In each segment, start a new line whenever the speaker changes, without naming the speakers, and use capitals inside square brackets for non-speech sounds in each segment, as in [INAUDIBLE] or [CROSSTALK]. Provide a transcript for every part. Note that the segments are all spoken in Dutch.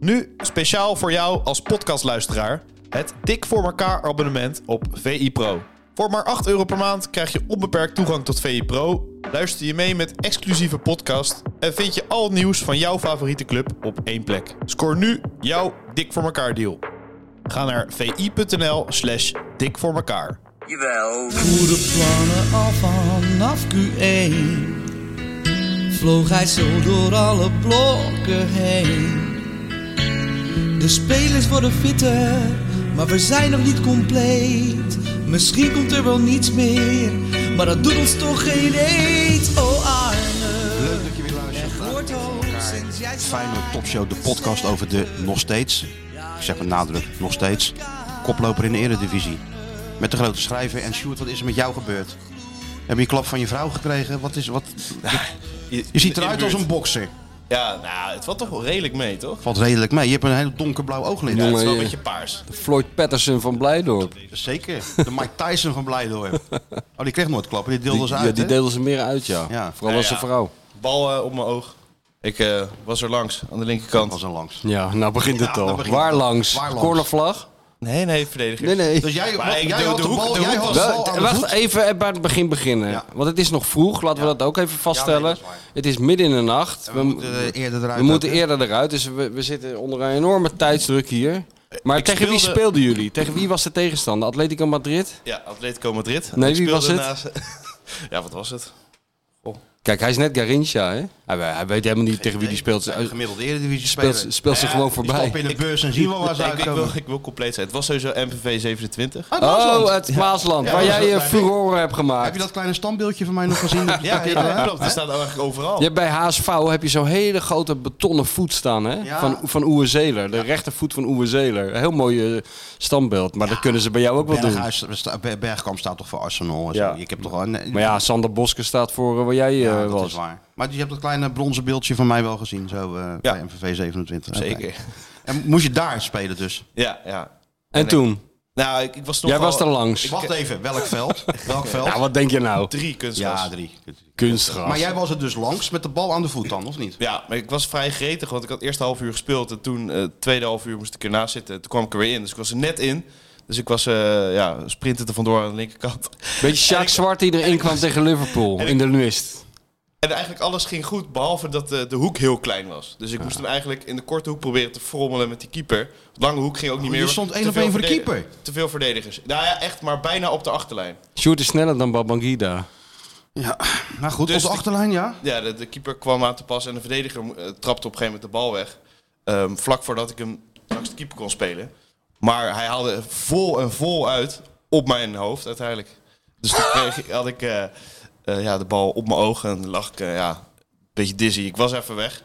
Nu speciaal voor jou als podcastluisteraar het Dik voor elkaar abonnement op VI Pro. Voor maar 8 euro per maand krijg je onbeperkt toegang tot VI Pro, luister je mee met exclusieve podcast en vind je al het nieuws van jouw favoriete club op één plek. Scoor nu jouw Dik voor elkaar deal. Ga naar vi.nl slash dik voor elkaar.
Jawel.
goede plannen al vanaf Q1 Vloog hij zo door alle blokken heen De spelers worden fitter, maar we zijn nog niet compleet Misschien komt er wel niets meer, maar dat doet ons toch geen eet Oh Arne,
Leuk dat je weer luistert.
echt hoort hoog sinds jij
Feyenoord Topshow, de podcast over de nog steeds, ik zeg met nadruk, nog steeds, koploper in de eredivisie. Met de grote schrijver. En Sjoerd, wat is er met jou gebeurd? Heb je een klap van je vrouw gekregen? Wat is, wat... Je ziet eruit als een bokser.
Ja, nou, het valt toch wel redelijk mee, toch?
Valt redelijk mee. Je hebt een heel donkerblauw ooglid.
Ja, het is wel een
je-
beetje paars.
Floyd Patterson van Blijdorp.
Zeker. De Mike Tyson van Blijdorp. Oh, die kreeg nooit klappen. Die deelde
Die,
ze
ja,
uit,
die
hè?
deelden ze meer uit, ja.
Ja.
Vooral
Ja,
als
ja.
een vrouw.
Bal eh, op mijn oog. Ik eh, was er langs, aan de
Was
linkerkant.
er langs.
Ja, nou begint
Ja,
het
nou
al.
begint
Waar
het.
langs?
Waar langs?
Cornervlag?
Nee, nee, verdediger.
Nee, nee.
Dus jij,
Maar
wat-
ik
jij
doe-
had
de
de
hoek-
bal,
de
jij
hoek
had de
was-
bal
Wel,
aan de
wacht,
voet.
even eh, bij het begin beginnen.
Ja.
Want het is nog vroeg, laten we dat ook even vaststellen.
nee, dat is waar.
het is midden in de nacht.
We moeten eh, eerder eruit.
we moeten
ook, hè?
eerder eruit, dus we, we zitten onder een enorme tijdsdruk hier. Maar tegen wie
speelde-
speelden jullie? Tegen wie was de tegenstander? Atletico Madrid?
Ja, Atletico Madrid.
Nee,
Ik
wie was
speelde
het?
naast- [LAUGHS] ja, wat was het?
Kijk, hij is net Garincha, hè? Hij, hij weet helemaal niet tegen wie die speelt.
Een gemiddelde eredivisie
speelt,
speler.
speelt ze gewoon
Die stappen
voorbij.
in de beurs en zien wel waar ze
ik, ik, wil,
uitkomen. Ah,
ik wil compleet zijn. Het was sowieso MPV 27.
Oh, het Maasland,
Ja,
waar
dat
jij
is
je
wel bij
furore hebt gemaakt.
Heb je dat kleine standbeeldje van mij nog gezien? ja,
ja, ja, klopt. Die staat eigenlijk overal.
Je hebt bij HSV heb je zo'n hele grote betonnen voet staan hè?
Ja.
van, van Oewe Zeler. De rechtervoet van Oewe Zeler. Heel mooi eh, standbeeld. Maar dat kunnen ze bij jou ook wel doen.
Berghuis, sta- Ber- Bergkamp staat toch voor Arsenal? en
Ja.
zo. Ik heb toch wel... nee,
Maar ja, Sander Boske staat voor eh, waar jij eh,
ja, dat
was.
is waar. Maar je hebt dat kleine bronzen beeldje van mij wel gezien, zo eh, bij MVV 27.
Zeker.
Oké. En moest je daar spelen dus?
Ja, ja.
En toen?
Nou, ik, ik was nog
Jij was er langs.
Wacht even, welk veld? Welk veld?
Ja, wat denk je nou?
Drie kunstgras.
Ja,
Ja,
drie.
Kunstgras.
Maar jij was er dus langs met de bal aan de voet dan, of niet?
maar ik was vrij gretig, want ik had eerst een half uur gespeeld. En toen, eh tweede half uur, moest ik ernaast zitten. Toen kwam ik er weer in, dus ik was er net in. Dus ik was, eh ja, sprinten er vandoor aan de linkerkant.
Beetje
En
Sjaak
ik-
Zwart die erin kwam tegen Liverpool in de Nuist.
En eigenlijk alles ging goed, behalve dat de, de hoek heel klein was. Dus ik moest
Ah.
hem eigenlijk in de korte hoek proberen te frommelen met die keeper. De lange hoek ging ook niet meer.
Oh, je stond
Te
één op
veel
één voor de
verdedig-
keeper.
Te veel verdedigers. Nou ja, echt, maar bijna op de achterlijn.
Sjoerd is sneller dan Babangida.
Ja. Nou goed,
Dus
op de
die-
achterlijn, ja?
Ja, de, de keeper kwam aan te pas en de verdediger eh, trapte op een gegeven moment de bal weg. Ehm, vlak voordat ik hem langs de keeper kon spelen. Maar hij haalde vol en vol uit op mijn hoofd uiteindelijk. Dus toen kreeg, ik- had ik eh, eh, ja, de bal op mijn ogen en lag ik eh, ja, een beetje dizzy. Ik was even weg.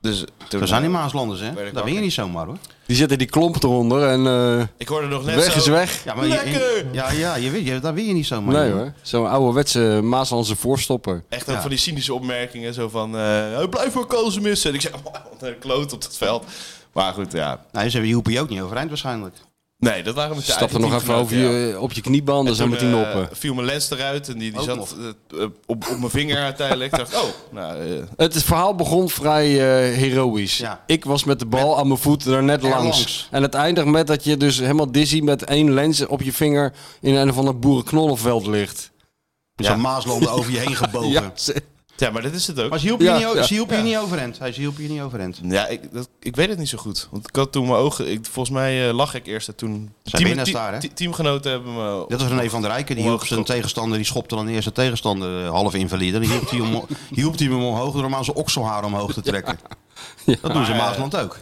Dus toen,
We zijn in Maaslanders,
Werd
hè?
ik
Dat ben je
wakker.
niet zomaar, hoor.
Die zette die klomp eronder en eh,
Ik hoorde nog net
weg
zo...
is weg.
Ja, maar je- in-
Lekker!
ja, ja je, weet- je, dat ben je niet zomaar.
Nee
joh.
hoor, zo'n ouderwetse Maaslandse voorstopper.
Echt ook
Ja.
van die cynische opmerkingen. Zo van, eh, blijf maar kozen missen. En ik zei, [LAUGHS] oh, wat een kloot op dat veld. Maar goed, ja.
Nee, ze Nou, dus hebben Joepie ook niet overeind waarschijnlijk.
Nee, dat waren met de
Stap er nog even over je, eh, op je
En
kniebanden zo
toen,
met die
eh,
noppen.
viel mijn lens eruit en die, die
Ook
zat
nog.
eh, eh, op, op mijn vinger uiteindelijk. Ik dacht, oh, nou, eh,
Het verhaal begon vrij eh, heroïs.
Ja.
Ik was met de bal aan mijn voet er net
Er
langs.
langs.
En het eindigt met dat je dus helemaal dizzy met één lens op je vinger in een of ander boerenknollenveld ligt.
Zo'n Maaslanden over je
[LAUGHS]
heen gebogen.
Ja, ze-
ja, maar dat is het ook.
Maar ze hielp je,
Ja,
niet, o-
ja.
ze hielp je niet overend. Hij ze hielp je niet overend.
Ja, ik, dat, ik weet het niet zo goed. Want ik had toen mijn ogen... Ik, volgens mij eh, lag ik eerst en toen...
winnaars daar, hè?
te- teamgenoten hebben me...
Dat was René van der Rijken. Die hielp zijn
Omhoog
tegenstander. Die schopte dan eerst zijn tegenstander eh, half invalide. Die hielp hij om-
[LAUGHS]
hielp hij hem omhoog door hem aan zijn okselhaar omhoog te trekken. Dat doen ze in
Maar, eh,
Maasland ook.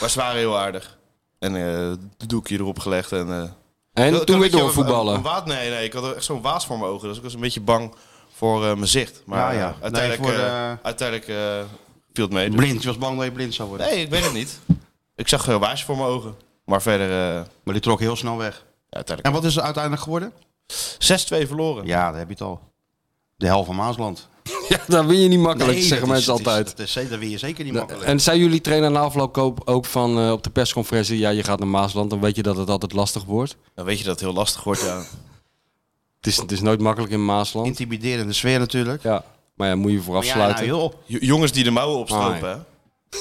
Maar ze waren heel aardig. En eh het doekje erop gelegd en... eh,
En
Ik had- ik
toen weer
had een beetje
doorvoetballen.
een-
[LAUGHS]
een waas- nee, nee, ik had echt zo'n waas voor mijn ogen. Dus ik was een beetje bang voor eh, mijn zicht. Maar
Ja,
eh,
ja.
uiteindelijk,
Nee, voor,
eh,
eh,
uiteindelijk eh, viel het mee. Dus-
Blind. Je was bang dat je blind zou worden.
Nee, ik weet het niet. Ik zag een waasje voor mijn ogen. Maar verder, eh,
Maar die trok heel snel weg.
ja, uiteindelijk.
En wat is er uiteindelijk geworden?
6-2 verloren.
Ja, daar heb je het al. De helft van Maasland.
Ja, dat win je niet makkelijk,
Nee,
zeggen
dat is-
mensen
dat is-
altijd.
Dat, is, dat wil je zeker niet makkelijk.
En zei jullie trainer na afloop ook- ook van eh, op de persconferentie... ja, je gaat naar Maasland, dan weet je dat het altijd lastig wordt.
Dan weet je dat het heel lastig wordt. Ja.
Het is, het is nooit makkelijk in Maasland.
Intimiderende sfeer natuurlijk.
Ja, maar ja, moet je voor
Maar ja, nou,
afsluiten.
joh,
Jo- Jongens die de mouwen opstropen.
Ah,
hè.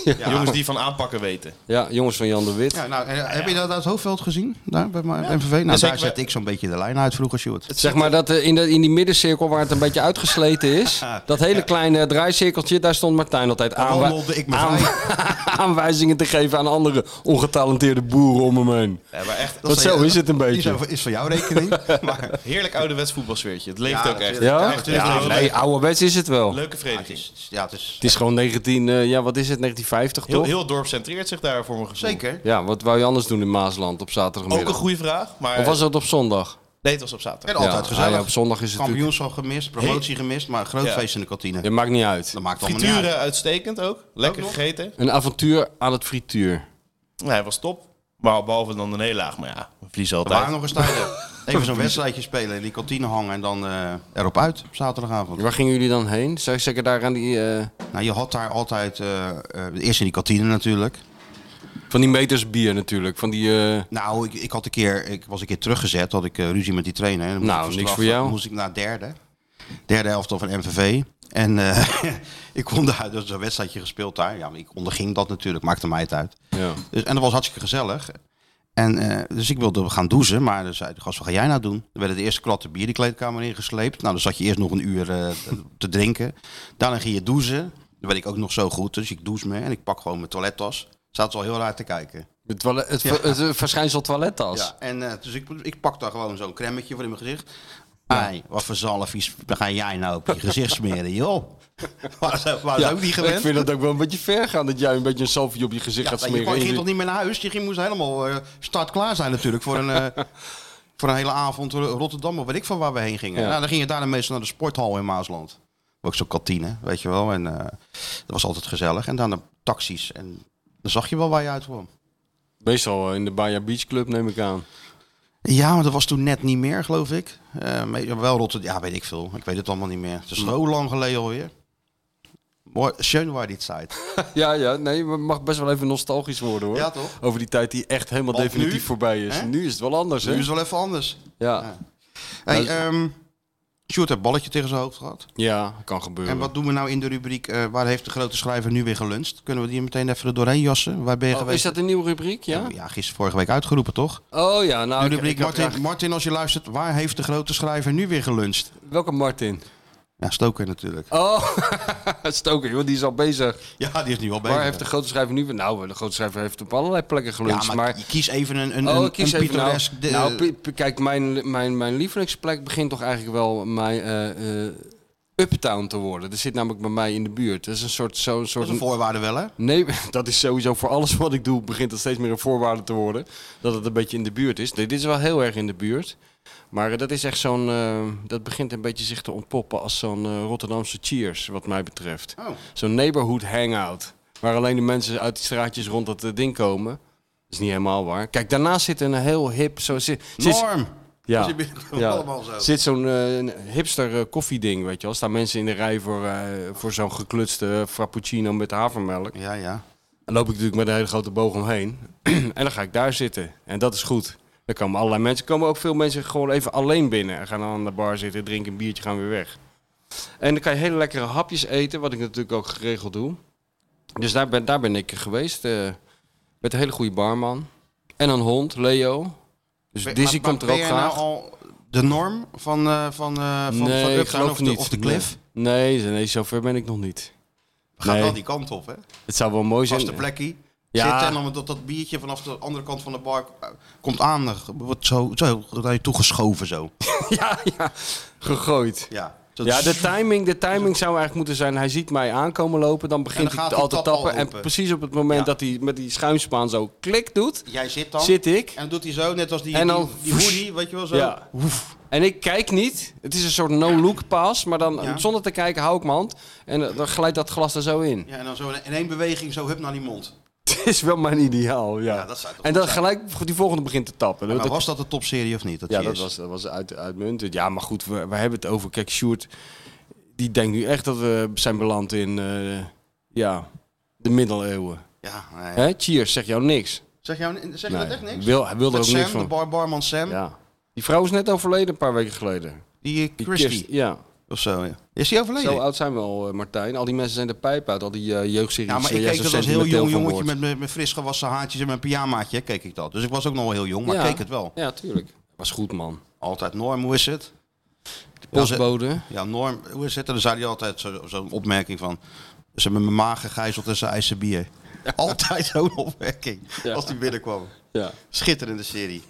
[LAUGHS]
Jongens die van aanpakken weten.
Ja, jongens van Jan de Wit.
Ja, nou, en, eh, heb je dat uit het hoofdveld gezien? Daar bij mijn MVV? Nou,
Dus
daar
ik-
zet ik zo'n beetje de lijn uit vroeger, Sjoerd.
Zeg maar dat eh, in, de, in die middencirkel waar het een beetje uitgesleten is, dat hele kleine draaicirkeltje, daar stond Martijn altijd
Daar
aanwij-
wandelde ik me
aan- [LAUGHS] aanwijzingen te geven aan andere ongetalenteerde boeren om hem heen.
Ja, maar echt,
Want zo is het een
Die
beetje.
zijn voor- is van jouw rekening. maar
heerlijk ouderwets voetbalsfeertje. Het leeft
Ja,
ook echt.
natuurlijk.
Ja?
Echt, het
Ja,
leeft ook.
nee, ouderwets is het wel.
Leuke
het
vereniging.
is, ja, het is
Het is gewoon 19, eh, ja wat is het, 1950
Heel,
toch?
heel het dorp centreert zich daar voor mijn gevoel.
zeker.
Ja, wat wou je anders doen in Maasland op
Ook een
zaterdagmiddag?
goede vraag, maar...
Of was dat op zondag?
Nee, het was op zaterdag.
En altijd
ja,
gezellig.
ah ja, op zondag is het natuurlijk...
Kampioenschap gemist, promotie gemist, maar groot
Ja.
feest in de kantine.
Ja, maakt niet uit.
Dat maakt allemaal niet uit.
Frituren uitstekend ook. Lekker gegeten.
Een avontuur aan het frituur.
Nee, hij was top. Maar behalve dan een hele laag. Maar ja, we verliezen
We waren
altijd.
nog eens tijden. Even zo'n wedstrijdje spelen, in die kantine hangen en dan eh, erop uit op zaterdagavond.
Waar gingen jullie dan heen? Zou ik zeker daar aan die... eh,
Nou, je had daar altijd, eh, eh, eerst in die kantine natuurlijk.
Van die meters bier natuurlijk. Van die, eh,
Nou, ik, ik, had een keer, ik was een keer teruggezet, had ik eh, ruzie met die trainer. En dan moest
Nou,
ik
niks
verstraffen.
voor jou.
Dan moest ik naar derde. Derde helft van MVV. En eh, [LAUGHS] ik kon daar, dus een wedstrijdje gespeeld daar. Ja, maar ik onderging dat natuurlijk, maakte mij het uit.
ja.
Dus, en dat was hartstikke gezellig. En, eh, dus ik wilde gaan douchen, maar dan zei de gast, wat ga jij nou doen? Er werden de eerste klatten bier die kleedkamer ingesleept. Nou, dan zat je eerst nog een uur eh, te drinken. Daarna ging je douchen. Dan ben ik ook nog zo goed, dus ik douche me en ik pak gewoon mijn toilettas. Zaten ze al heel raar te kijken.
Het, toilet, het,
Ja.
het, eh, verschijnsel toilettas.
Ja, en eh, dus ik, ik pak daar gewoon zo'n cremmetje voor in mijn gezicht. Ai, wat voor zalfjes ga jij nou op je gezicht smeren,
[LAUGHS]
joh? Waar is waar is
Ja,
ook niet
Ik
gewend?
vind dat ook wel een beetje ver gaan dat jij een beetje een salfje op je gezicht
Ja,
gaat
je
smeren.
kon- je ging
En
toch niet meer naar huis? Je ging, moest helemaal eh start klaar zijn natuurlijk voor een,
[LAUGHS]
eh, voor een hele avond Ro- Rotterdam of weet ik van waar we heen gingen.
Ja.
Nou, dan ging je daarna meestal naar de sporthal in Maasland. Ook zo'n kantine, weet je wel. En eh, dat was altijd gezellig. En dan de taxis. En dan zag je wel waar je uit kwam.
Meestal eh, in de Baja Beach Club neem ik aan.
Ja, maar dat was toen net niet meer, geloof ik. Eh, me- wel Rotterdam, ja, weet ik veel. Ik weet het allemaal niet meer. Het
Hm.
is zo lang geleden alweer. Mooi, schön war die Zeit.
Ja, ja, nee, maar het mag best wel even nostalgisch worden hoor.
Ja, toch?
Over die tijd die echt helemaal
Want
definitief
nu,
voorbij is.
hè?
Nu is het wel anders,
Nu
hè?
is het wel even anders.
Ja.
Hey,
is-
ehm Sjoerd heeft balletje tegen zijn hoofd gehad.
ja, kan gebeuren.
En wat doen we nou in de rubriek eh, waar heeft de grote schrijver nu weer geluncht? Kunnen we die meteen even er doorheen jassen? Waar ben je
Oh, is
geweest? Oh,
dat een nieuwe rubriek? Ja.
Ja, gisteren vorige week uitgeroepen, toch?
Oh ja, nou.
De
ik-
rubriek
ik had
Martin,
graag-
Martin, als je luistert, waar heeft de grote schrijver nu weer geluncht?
Welke Martin?
Ja, Stoker natuurlijk.
Oh, [LAUGHS] Stoker, joh, die is al bezig.
Ja, die is nu al bezig.
Waar heeft de grote schrijver nu weer? Nou, de grote schrijver heeft op allerlei plekken
ja,
geluncht.
maar,
maar
je kies even een, een,
oh,
een,
ik kies
een
even nou,
pittoresk de-
nou, pi- pi- kijk, mijn, mijn, mijn lievelingsplek begint toch eigenlijk wel mijn eh, eh, uptown te worden. Dat zit namelijk bij mij in de buurt. Dat is een soort... Zo,
Dat
soort
is een voorwaarde wel, hè?
Nee, [LAUGHS] dat is sowieso voor alles wat ik doe begint dat steeds meer een voorwaarde te worden. Dat het een beetje in de buurt is. Dit is wel heel erg in de buurt. Maar eh, dat is echt zo'n... eh, dat begint een beetje zich te ontpoppen als zo'n eh, Rotterdamse cheers, wat mij betreft.
Oh.
Zo'n neighborhood hangout. Waar alleen de mensen uit die straatjes rond dat eh, ding komen. Dat is niet helemaal waar. Kijk, daarnaast zit een heel hip... Zo, zit, zit-
Norm!
ja,
Zit binnen- [LAUGHS]
ja.
allemaal zo.
zit zo'n eh, een hipster eh, koffieding, weet je wel. Staan mensen in de rij voor, eh, voor zo'n geklutste frappuccino met havermelk.
Ja, ja.
Dan loop ik natuurlijk met een hele grote boog omheen. [CLEARS THROAT] en dan ga ik daar zitten. En dat is goed. Dan komen allerlei mensen. Er komen ook veel mensen gewoon even alleen binnen. En gaan dan aan de bar zitten, drinken een biertje, gaan weer weg. En dan kan je hele lekkere hapjes eten, wat ik natuurlijk ook geregeld doe. Dus daar ben, daar ben ik geweest. eh, met een hele goede barman. En een hond, Leo. Dus
Maar-
Dizzy
maar
komt er
ben
ook
jij
graag.
nou al de norm van, eh van, eh van, van
ik
Uptown
geloof
of, de,
niet.
of de cliff?
Nee, nee, nee, zover ben ik nog niet.
We gaan
Nee.
wel die kant op, hè?
Het zou wel mooi zijn.
Vaste plekkie.
Ja.
Zitten en dan dat, dat biertje vanaf de andere kant van de bar eh, komt aan. eh, Wordt zo, zo naar je toegeschoven zo.
[LAUGHS] ja, ja, gegooid.
Ja,
Ja, de timing, de timing zou eigenlijk moeten zijn. Hij ziet mij aankomen lopen, dan begint
dan
hij
gaat
al
die
te
tap al
tappen. En
open.
precies op het moment
Ja.
dat hij met die schuimspaan zo klik doet,
Jij zit dan.
zit ik.
En dan doet hij zo, net als die,
En dan-
die, die hoodie, weet je wel zo.
Ja. En ik kijk niet. Het is een soort no-look pass, maar dan
Ja.
zonder te kijken hou ik mijn hand. En eh, dan glijdt dat glas er zo in.
Ja, en dan zo in in één beweging zo hup naar die mond.
Het [LAUGHS] is wel mijn ideaal, ja.
Ja, dat zou toch
en
goed
dan
zijn.
gelijk die volgende begint te tappen.
Maar
Dat-
was dat de topserie of niet? Dat
Ja,
die
dat
is?
was, dat was uit, uitmuntend. Ja, maar goed, we, we hebben het over. Kijk, Sjoerd, die denkt nu echt dat we zijn beland in eh, ja, de middeleeuwen.
Ja, nee.
Hè? Cheers, zeg jou niks.
Zeg, jou, zeg je dat echt niks?
Wil, hij wil er
Met
ook
Sam,
niks
de
van.
bar, barman Sam.
Ja. Die vrouw is net overleden een paar weken geleden.
Die eh,
Die
Christie
Kirst- ja.
of zo, ja. Is hij overleden?
Zo oud zijn we al, eh, Martijn. Al die mensen zijn de pijp uit. Al die eh, jeugdseries.
ja, maar
eh,
ik
jij
keek
zo
dat als heel
sentimenteel
jong
van
jongetje
wordt.
met mijn- mijn fris gewassen haartjes en mijn pyjamaatje, keek ik dat. Dus ik was ook nog wel heel jong, maar
Ja.
keek het wel.
Ja, tuurlijk. Was goed, man.
Altijd Norm, hoe is het? Ja, ze-
Postbode.
Ja, Norm, hoe is het? En dan zei hij altijd zo- zo'n opmerking van... Ze hebben mijn maag gegijzeld en ze eisen bier. [LAUGHS] Altijd zo'n opmerking
Ja.
als hij binnenkwam.
Ja.
Schitterende
[LAUGHS]
serie.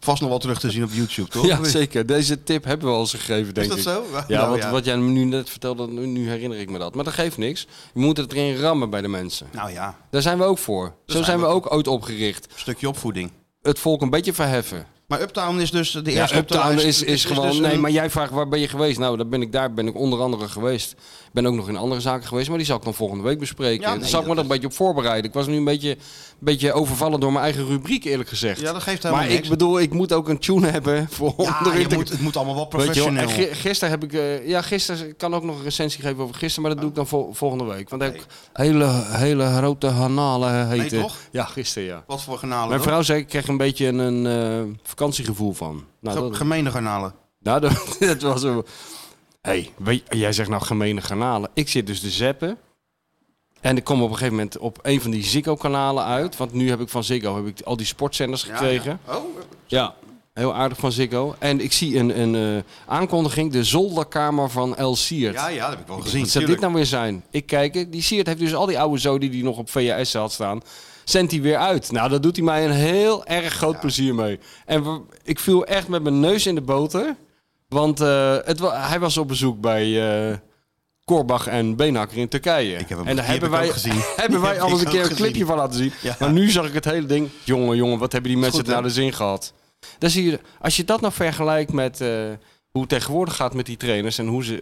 Vast nog wel terug te zien op YouTube, toch?
ja, zeker. Deze tip hebben we al eens gegeven, denk
dat
ik.
zo?
Ja,
Nou,
wat,
ja.
wat jij nu net vertelde, nu, nu herinner ik me dat. Maar dat geeft niks. Je moet het erin rammen bij de mensen.
Nou ja,
Daar zijn we ook voor. zo
zijn
zijn we
we-
ook ooit opgericht.
stukje opvoeding.
Het volk een beetje verheffen.
Maar Uptown is dus de
Ja,
eerste op de
Uptown
lijst.
is,
Het
is gewoon...
dus
nee,
een-
maar jij vraagt waar ben je geweest? Nou, daar ben ik, daar ben ik onder andere geweest. Ik ben ook nog in andere zaken geweest, maar die zal ik dan volgende week bespreken.
Ja, nee,
daar zal ik me
dat
nog een beetje op voorbereiden. Ik was nu een beetje, een beetje overvallen door mijn eigen rubriek, eerlijk gezegd.
Ja, dat geeft helemaal
maar
niks.
ik bedoel, ik moet ook een tune hebben voor
ja,
onderin
je
te-
moet, het moet allemaal wel
Weet je wel, en
professioneel.
gi- gisteren heb ik, eh, ja, gisteren ik kan ook nog een recensie geven over gisteren, maar dat doe ik dan vol- volgende week. Want heb ik hele, hele grote hanalen heten.
toch?
Ja, gisteren ja.
Wat voor garnalen?
Mijn
dan?
vrouw zei, ik kreeg een beetje een, een eh, vakantiegevoel van. Nou,
Ge-
dat,
Gemene garnalen.
nou, [LAUGHS] dat, dat was een... Hey, weet, jij zegt nou gemene kanalen. Ik zit dus te zappen. En ik kom op een gegeven moment op een van die Ziggo-kanalen uit. Want nu heb ik van Ziggo heb ik al die sportzenders gekregen.
Ja, ja. Oh,
Ja, heel aardig van Ziggo. En ik zie een, een eh, aankondiging, de zolderkamer van El Siert.
ja, ja, dat heb ik wel gezien.
Wat zou dit
tuurlijk.
nou weer zijn? Ik kijk, het, die Siert heeft dus al die oude zoden die hij nog op VHS had staan, zendt hij weer uit. Nou, daar doet hij mij een heel erg groot plezier mee. En we- ik viel echt met mijn neus in de boter, want eh, het, wa- hij was op bezoek bij... eh Korbach en Beenhakker in Turkije.
Ik heb hem-
en daar
die
hebben
heb ik
wij,
ook gezien.
[LAUGHS] hebben wij
Die
al
heb
eens
ik
een keer
ook
een clipje
gezien.
van laten zien.
Ja.
Maar nu zag ik het hele ding. Jongen, jongen, wat hebben die mensen
goed,
het naar
hè?
de zin gehad? Dan zie je, als je dat nou vergelijkt met eh, hoe het tegenwoordig gaat met die trainers en hoe ze,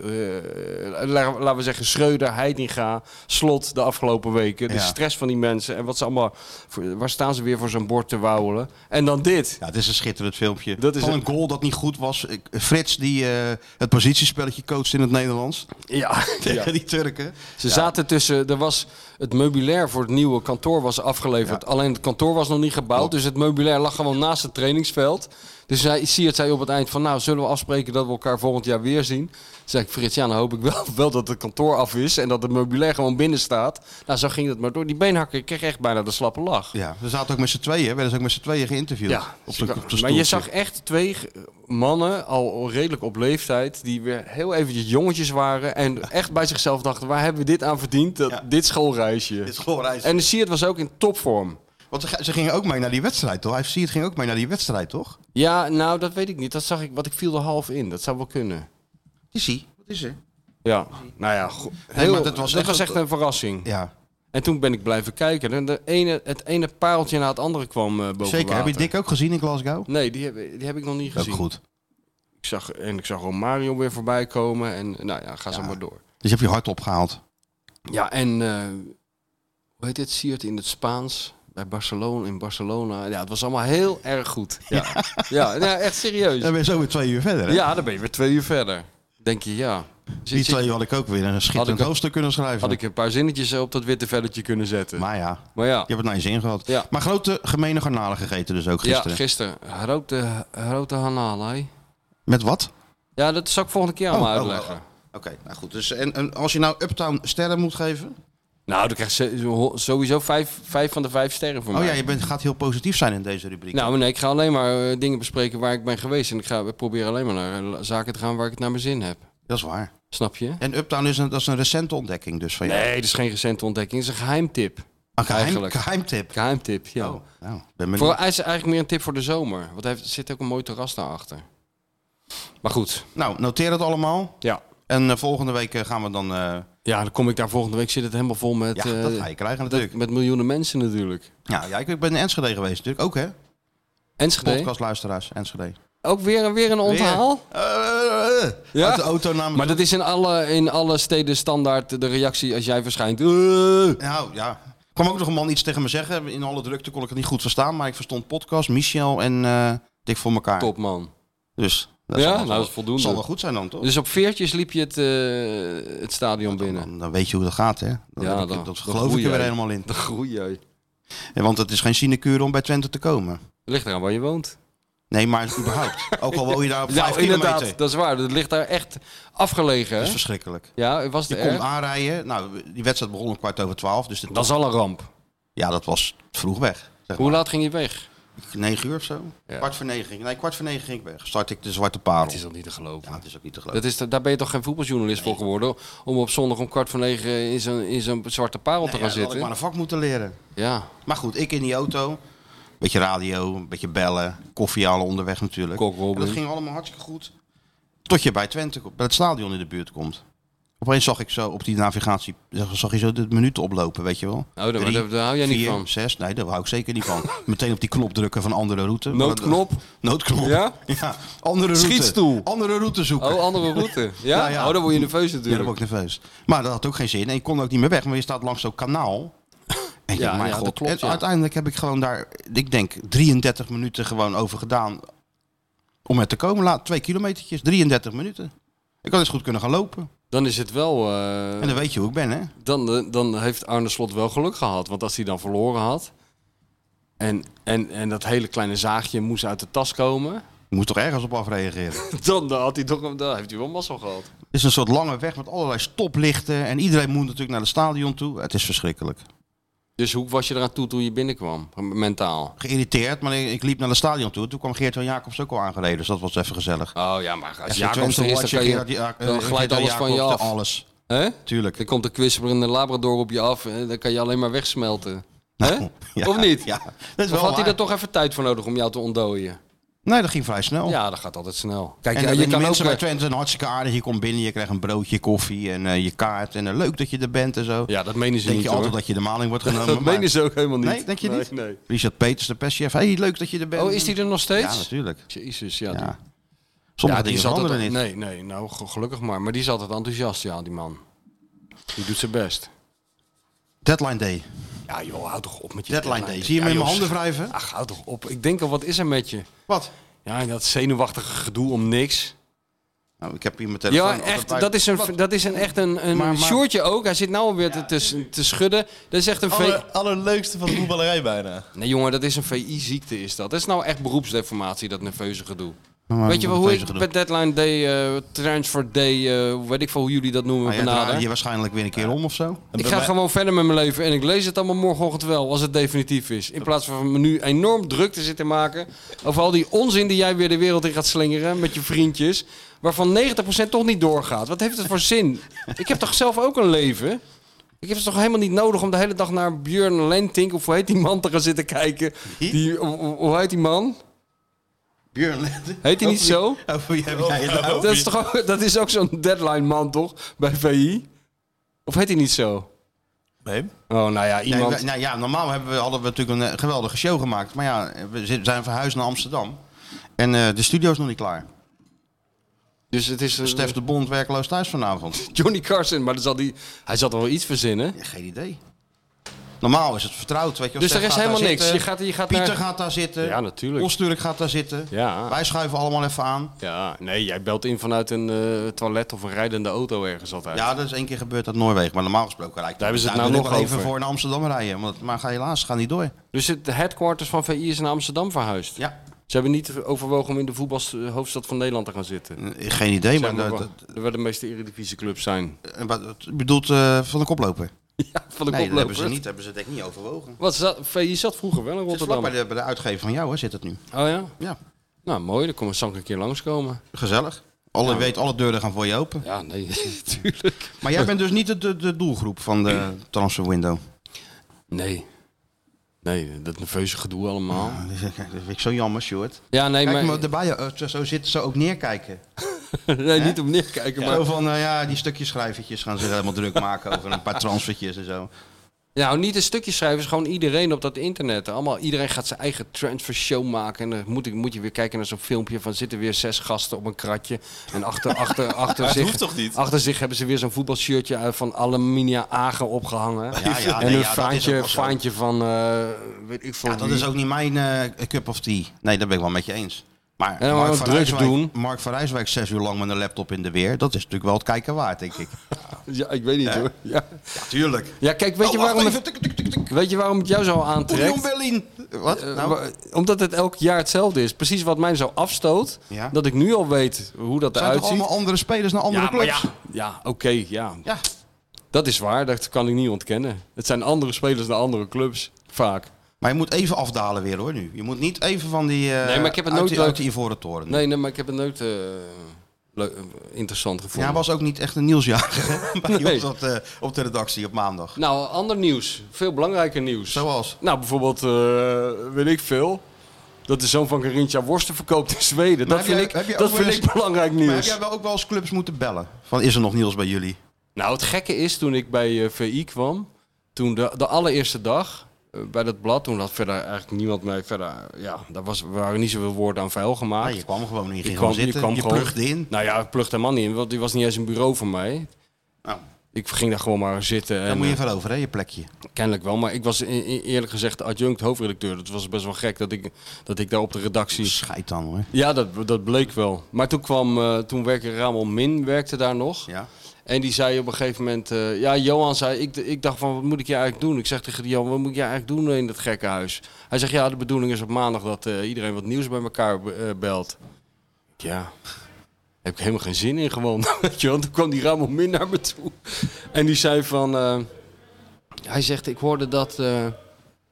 eh, la- laten we zeggen, Schreuder, Heidinga, Slot de afgelopen weken, de
Ja.
stress van die mensen en wat ze allemaal, voor- waar staan ze weer voor zo'n bord te wauwelen? En dan dit.
Ja, het is een schitterend filmpje.
Dat is
Van
een-
een goal dat niet goed was. Ik- Frits, die eh, het positiespelletje coacht in het Nederlands.
[LAUGHS] Ja,
Tegen die Turken.
Ze zaten tussen, er was, het meubilair voor het nieuwe kantoor was afgeleverd. Alleen het kantoor was nog niet gebouwd, dus het meubilair lag gewoon naast het trainingsveld. Dus zij, Siert zei op het eind van, nou zullen we afspreken dat we elkaar volgend jaar weer zien? Toen zei ik, Frits, ja dan hoop ik wel, wel dat het kantoor af is en dat het meubilair gewoon binnen staat. Nou zo ging dat maar door. Die beenhakker ik kreeg echt bijna de slappe lach. dus
Ja, we zaten ook met z'n tweeën. Werden ze ook met z'n tweeën geïnterviewd. op de, op de
maar je
stoeltje.
zag echt twee g- mannen, al redelijk op leeftijd, die weer heel eventjes jongetjes waren. En echt bij zichzelf dachten, waar hebben we dit aan verdiend? Dat,
Ja.
Dit schoolreisje.
Dit is gewoon reis.
En de Siert was ook in topvorm.
Want ze, ga- ze gingen ook mee naar die wedstrijd, toch? Hij het ging ook mee naar die wedstrijd, toch?
Ja, nou, dat weet ik niet. Dat zag ik, want ik viel er half in. Dat zou wel kunnen.
Is hij? Wat is er?
Ja, nou ja, go-
Nee,
heel-
maar
dat was echt, een verrassing.
Ja,
En toen ben ik blijven kijken. En de ene, het ene pareltje na het andere kwam eh boven
zeker. Heb je
water.
Dick ook gezien in Glasgow?
Nee, die heb, die heb ik nog niet
Ook
gezien.
goed.
Ik zag, en ik zag Romario weer voorbij komen. En nou ja, ga zo
Ja.
maar door.
Dus je hebt je hart opgehaald.
Ja, en eh, hoe heet dit? Siert in het Spaans. Bij Barcelona, in Barcelona. Ja, het was allemaal heel erg goed. Ja, ja. nou, echt serieus.
Dan ben je zo weer twee uur verder, hè?
Ja, dan ben je weer twee uur verder. Denk je, ja. Zit-
Die
zit-
twee had ik ook weer een
Had
schitterend
ik ook-
hoofdstuk kunnen schrijven.
had ik een paar zinnetjes op dat witte velletje kunnen zetten. Maar,
Maar ja,
ja,
je hebt het naar je zin gehad.
Ja.
Maar grote gemene garnalen gegeten dus ook
gisteren.
gisteren.
Ja, gisteren. Grote, grote hanalai.
Met wat?
Ja, dat zal ik volgende keer allemaal
Oh, oh,
uitleggen.
oh, Oké, nou goed. Dus en, en als je nou Uptown sterren moet geven...
Nou, dan krijg je zo- sowieso vijf, vijf van de vijf sterren voor
Oh
mij.
ja, je bent, gaat heel positief zijn in deze rubriek.
Nou, nee, ik ga alleen maar eh, dingen bespreken waar ik ben geweest. En ik ga proberen alleen maar naar eh, zaken te gaan waar ik het naar mijn zin heb.
Dat is waar.
Snap je?
En Uptown is een, dat is een recente ontdekking dus van jou.
Nee, dat is geen recente ontdekking. Dat is een geheimtip.
een geheim,
eigenlijk.
geheimtip.
Geheimtip, ja.
Oh, nou, ben benieuwd.
Voor, hij is eigenlijk meer een tip voor de zomer. Want er zit ook een mooi terras daarachter. Maar goed,
Nou, noteer het allemaal.
ja.
En eh, volgende week eh, gaan we dan... eh,
Ja, dan kom ik daar volgende week. Zit het helemaal vol met,
ja,
eh,
dat ga je krijgen natuurlijk.
met miljoenen mensen natuurlijk.
Ja, ja, ik ik ben in Enschede geweest natuurlijk. Ook hè?
Enschede.
Podcastluisteraars, Enschede.
Ook weer, weer een onthaal.
Weer? Eh, eh, eh.
Ja?
Uit de auto namens...
Maar dat is in alle, in alle steden standaard de reactie als jij verschijnt. Eh.
Nou ja, er kwam ook nog een man iets tegen me zeggen. In alle drukte kon ik het niet goed verstaan, maar ik verstond podcast, Michel en eh Dik voor elkaar.
Top man.
Dus
Ja,
zal
nou,
wel-
dat is voldoende.
Zal wel goed zijn dan, toch?
Dus op veertjes liep je het, eh, het stadion binnen.
Dan, dan weet je hoe dat gaat, hè? Dan heb
Ja,
ik-
dan-
dat
dan
geloof
groei
ik er weer
jij.
helemaal in. Eh,
Dan groei jij.
Ja, want het is geen sinecure om bij Twente te komen.
Ligt eraan waar je woont.
Nee, maar überhaupt.
[LAUGHS]
Ook al woon je daar op
Ja,
vijf
inderdaad,
kilometer.
dat is waar. Dat ligt daar echt afgelegen.
Dat
hè?
is verschrikkelijk.
ja, was
Je
het
komt
erg?
aanrijden. Nou, die wedstrijd begon om kwart over twaalf. Dus de
Dat is al een ramp.
Ja, dat was vroeg weg. Zeg
Hoe
maar.
laat ging je weg?
Negen uur of zo?
Ja.
Kwart voor negen ging Nee, kwart voor negen ging ik weg. Start ik de Zwarte Parel.
Het is al niet te geloven.
Ja, het is ook niet te geloven.
Dat is, daar ben je toch geen voetbaljournalist voor geworden? Om op zondag om kwart voor negen in zo'n, in zo'n zwarte parel te
Ja,
gaan
dan had ik
zitten?
maar een vak moeten leren.
Ja,
Maar goed, ik in die auto. Beetje radio, een beetje bellen. Koffie halen onderweg natuurlijk.
Kok Robin.
En dat ging allemaal hartstikke goed. Tot je bij Twente, komt, bij het stadion in de buurt komt. Opeens zag ik zo op die navigatie, zag, zag je zo de minuten oplopen, weet je wel.
Oh, daar-
Drie,
daar- daar hou jij niet
vier,
van.
zes, nee, daar hou ik zeker niet van. Meteen op die knop drukken van andere route.
Noodknop?
[LAUGHS] Noodknop.
Ja?
Andere route.
Schietstoel.
Andere route zoeken.
oh, andere route. Ja?
Nou ja.
Oh, dan word je nerveus
Ja, dan
natuurlijk.
word ik nerveus. Maar dat had ook geen zin. En je kon ook niet meer weg. Maar je staat langs zo'n kanaal. En ja,
Ja,
mijn
ja,
god.
dat klopt,
en
ja.
uiteindelijk heb ik gewoon daar, ik denk, 33 minuten gewoon over gedaan. Om het te komen. Laat, twee kilometertjes. 33 minuten. Ik had eens goed kunnen gaan lopen.
Dan is het wel... eh,
En dan weet je hoe ik ben, hè?
dan, eh, dan heeft Arne Slot wel geluk gehad. Want als hij dan verloren had... En, en, en dat hele kleine zaagje moest uit de tas komen... [LAUGHS]
Je moet toch ergens op afreageren.
Dan, dan had hij toch, een- dan heeft hij wel mazzel gehad.
Het is een soort lange weg met allerlei stoplichten. En iedereen moet natuurlijk naar het stadion toe. Het is verschrikkelijk.
Dus hoe was je eraan toe toen je binnenkwam? Mentaal.
Geïrriteerd, maar ik, ik liep naar het stadion toe. Toen kwam Geert van Jacobs ook al aangereden. Dus dat was even gezellig.
Oh ja, maar als
Als
Jacobs er is, dan, kan je,
eh,
dan glijdt alles van je af.
Alles,
Hè?
tuurlijk.
Dan komt de kwisperende labrador op je af. En dan kan je alleen maar wegsmelten. Hè?
[LAUGHS] Nou, [LAUGHS] Ja,
of niet?
Ja, dat is wel
Of had hij
waar.
er toch even tijd voor nodig om jou te ontdooien?
Nee, dat ging vrij snel.
Ja, dat gaat altijd snel. Kijk,
En,
ja,
en
je
Oh. die
kan ook... eh,
mensen bij Twente zijn hartstikke aardig. Je komt binnen, je krijgt een broodje, koffie en eh, je kaart. En eh, leuk dat je er bent en zo.
Ja, dat menen ze
denk
niet
je altijd
hoor.
dat je de maling wordt genomen.
[LAUGHS] Dat
maar-
menen ze ook helemaal niet.
Nee, denk je niet?
Nee.
Richard Peters, de perschef. Hé, hey, leuk dat je er bent.
Oh, is die er nog
Ja,
steeds?
natuurlijk.
Jezus, ja.
Ja.
die-
Sommige
ja, die
dingen
is altijd...
veranderen niet.
Nee, nee, nou ge- gelukkig maar. Maar die is altijd enthousiast, ja, die man. Die doet zijn best.
Deadline day.
Ja joh, hou toch op met je
Deadline day. Zie je me
Ja,
in mijn
joh,
handen wrijven?
Ach, hou toch op. Ik denk al, wat is er met je?
Wat?
Ja, en dat zenuwachtige gedoe om niks.
Nou, ik heb hier mijn telefoon.
Ja,
altijd
echt.
bij-
Dat is, een, dat is een, echt een, een
Maar- maar-
shortje ook. Hij zit nou alweer te, te, te schudden. Dat is echt
Oh,
een
Aller,
eh.
VI...
allerleukste van de voetballerij bijna.
Nee jongen, dat is een VI-ziekte is dat. Dat is nou echt beroepsdeformatie, dat nerveuze gedoe.
Maar
weet je wel hoe
wat is
ik
er
bij Deadline Day, eh, Transfer Day, eh, hoe weet ik veel hoe jullie dat noemen,
Ah, jij
benader.
draait je waarschijnlijk weer een keer om of zo.
Ik
bij
ga
mij-
gewoon verder met mijn leven en ik lees het allemaal morgenochtend wel, als het definitief is. In plaats van me nu enorm druk te zitten maken over al die onzin die jij weer de wereld in gaat slingeren met je vriendjes, waarvan 90% toch niet doorgaat. Wat heeft het voor zin? Ik heb toch zelf ook een leven? Ik heb het toch helemaal niet nodig om de hele dag naar Björn Lentink of hoe heet die man te gaan zitten kijken? Die, hoe, hoe heet die man?
Björn Lente. [LAUGHS]
Heet hij niet zo?
Oh, wie heb jij het nou?
Dat is, toch ook, dat is ook zo'n deadline man toch, bij VI? Of heet hij niet zo?
Nee.
Oh, nou ja,
Nee,
iemand...
wij- nou ja, normaal hebben we, hadden we natuurlijk een eh, geweldige show gemaakt. Maar ja, we zi- zijn verhuisd naar Amsterdam. En eh, de studio is nog niet klaar.
Dus het is een
Stef de Bond werkloos thuis vanavond.
Johnny Carson, maar dan zal die, hij zal er wel iets verzinnen.
Ja, geen idee. Normaal is het vertrouwd. Weet je, wel.
Dus
Stef
er is
gaat daar
helemaal niks.
zitten.
Je gaat, je gaat
Pieter
naar...
gaat daar zitten.
Ja, natuurlijk.
Osturk gaat daar zitten.
Ja.
Wij schuiven allemaal even aan.
Ja, nee, jij belt in vanuit een eh, toilet of een rijdende auto ergens altijd.
Ja, dat is één keer gebeurd uit Noorwegen. Maar normaal gesproken rijdt
Daar hebben ze het
wil
nou
ik
nog
wel even
over.
voor naar Amsterdam rijden. Want, maar ga helaas, gaat niet door.
Dus het de headquarters van VI is naar Amsterdam verhuisd.
Ja,
Ze hebben niet overwogen om in de voetbals, hoofdstad van Nederland te gaan zitten.
eh, geen idee.
Zeg
Maar
maar
dat,
waar- waar de meeste eredivisieclubs
[LAUGHS]
zijn.
dat- wat- wat- bedoelt eh, van de koploper?
Ja, van de
nee, dat hebben
koploper.
ze, niet, hebben ze denk ik niet overwogen.
Wat, zat, VI zat vroeger wel in
Het is vlak
Rotterdam.
bij de, bij de uitgever van jou hè, zit het nu.
Oh ja?
Ja,
Nou, mooi. Dan komen ze een keer langskomen.
gezellig. Alle, weet, alle deuren gaan voor je open.
Ja, nee, [LAUGHS] natuurlijk.
Maar [LAUGHS] jij bent dus niet de, de, de doelgroep van de transfer window.
Nee. Nee, dat nerveuze gedoe allemaal.
Ah, dat vind ik- dat vind ik zo jammer, Stuart.
Ja, nee,
Kijk
maar...
maar erbij, eh, zo, zo zitten ze ook neerkijken.
[LAUGHS] nee, niet om neerkijken, maar...
Zo van, eh, ja, die stukjes schrijvertjes gaan ze helemaal druk maken over een paar transfertjes en zo.
Nou, niet een stukje schrijvers, gewoon iedereen op dat internet. Allemaal, iedereen gaat zijn eigen transfer show maken. En dan moet, ik, moet je weer kijken naar zo'n filmpje van zitten weer zes gasten op een kratje.
[LAUGHS]
En achter, achter, achter,
het
zich,
hoeft toch niet?
achter zich hebben ze weer zo'n voetbalshirtje eh, van Alaminia Agen opgehangen.
Ja, ja,
en
nee,
een
ja, dat is ook
vaantje,
wel zo.
vaantje van, eh, weet ik veel
Ja, dat
wie.
is ook niet mijn eh, cup of tea. Nee, dat ben ik wel met je eens. Maar
dan
Mark,
wat
van
drugs
Rijswijk,
doen.
Mark van Rijswijk zes uur lang met een laptop in de weer. Dat is natuurlijk wel het kijken waard, denk ik.
Ja, ik weet niet hoor. Ja,
Tuurlijk.
ja kijk,
Oh,
weet, je waarom het, weet je waarom het jou zo aantrekt?
Berlin. Wat?
Eh,
Nou,
wa- Omdat het elk jaar hetzelfde is. Precies wat mij zo afstoot.
Ja.
Dat ik nu al weet hoe dat
zijn
eruit
toch
ziet.
allemaal andere spelers naar andere
ja, maar
clubs?
ja, ja oké, ja.
Ja.
Dat is waar, dat kan ik niet ontkennen. Het zijn andere spelers naar andere clubs, vaak.
Maar je moet even afdalen weer hoor nu. Je moet niet even van die eh,
Nee, maar ik heb het
uit,
nooit
die,
leuk-
uit die Ivoren Toren.
Nee, nee, maar ik heb het nooit eh, leu- eh, interessant gevonden.
Ja, was ook niet echt een nieuwsjager hè, [LAUGHS] bij
Nee.
ons op de, op de redactie op maandag.
Nou, ander nieuws. Veel belangrijker nieuws.
Zoals?
Nou, bijvoorbeeld, eh, weet ik veel. Dat de zoon van Carinthia worsten verkoopt in Zweden.
Maar
Dat
heb
vind,
jij- heb jij
ik, dat
ook
vind
wel eens-
ik belangrijk
Maar heb
nieuws.
jij wel ook wel eens clubs moeten bellen? Van is er nog nieuws bij jullie?
Nou, het gekke is, toen ik bij eh, VI kwam, toen de, de allereerste dag eh, bij dat blad, toen had verder eigenlijk niemand mee verder, ja, daar was, waren niet zoveel woorden aan vuil gemaakt.
Nee, Ah, je kwam gewoon niet. Je ging
Ik
gewoon
kwam- ik
zitten.
kwam
je
gewoon-
plugde in.
Nou ja, ik plugde helemaal niet in, want die was niet eens een bureau voor mij.
Nou,
Ik ging daar gewoon maar zitten.
daar
en,
moet je
eh,
van over hè, je plekje.
Kennelijk wel, maar ik was e- e- eerlijk gezegd adjunct hoofdredacteur. Dat was best wel gek dat ik, dat ik daar op de redactie...
Scheid dan hoor.
Ja, dat, dat bleek wel. Maar toen kwam, eh, toen werkte Ramon Min, werkte daar nog.
Ja.
En die zei op een gegeven moment... eh, ja, Johan zei... Ik, ik dacht van, wat moet ik je eigenlijk doen? Ik zeg tegen die Johan, wat moet ik je eigenlijk doen in dat gekke huis? Hij zegt, ja, de bedoeling is op maandag dat eh, iedereen wat nieuws bij elkaar eh, belt. Ja... Heb ik helemaal geen zin in gewoon. [LAUGHS] Weet je wel. Toen kwam die Ramon Min naar me toe. En die zei van... eh, hij zegt, ik hoorde dat... eh,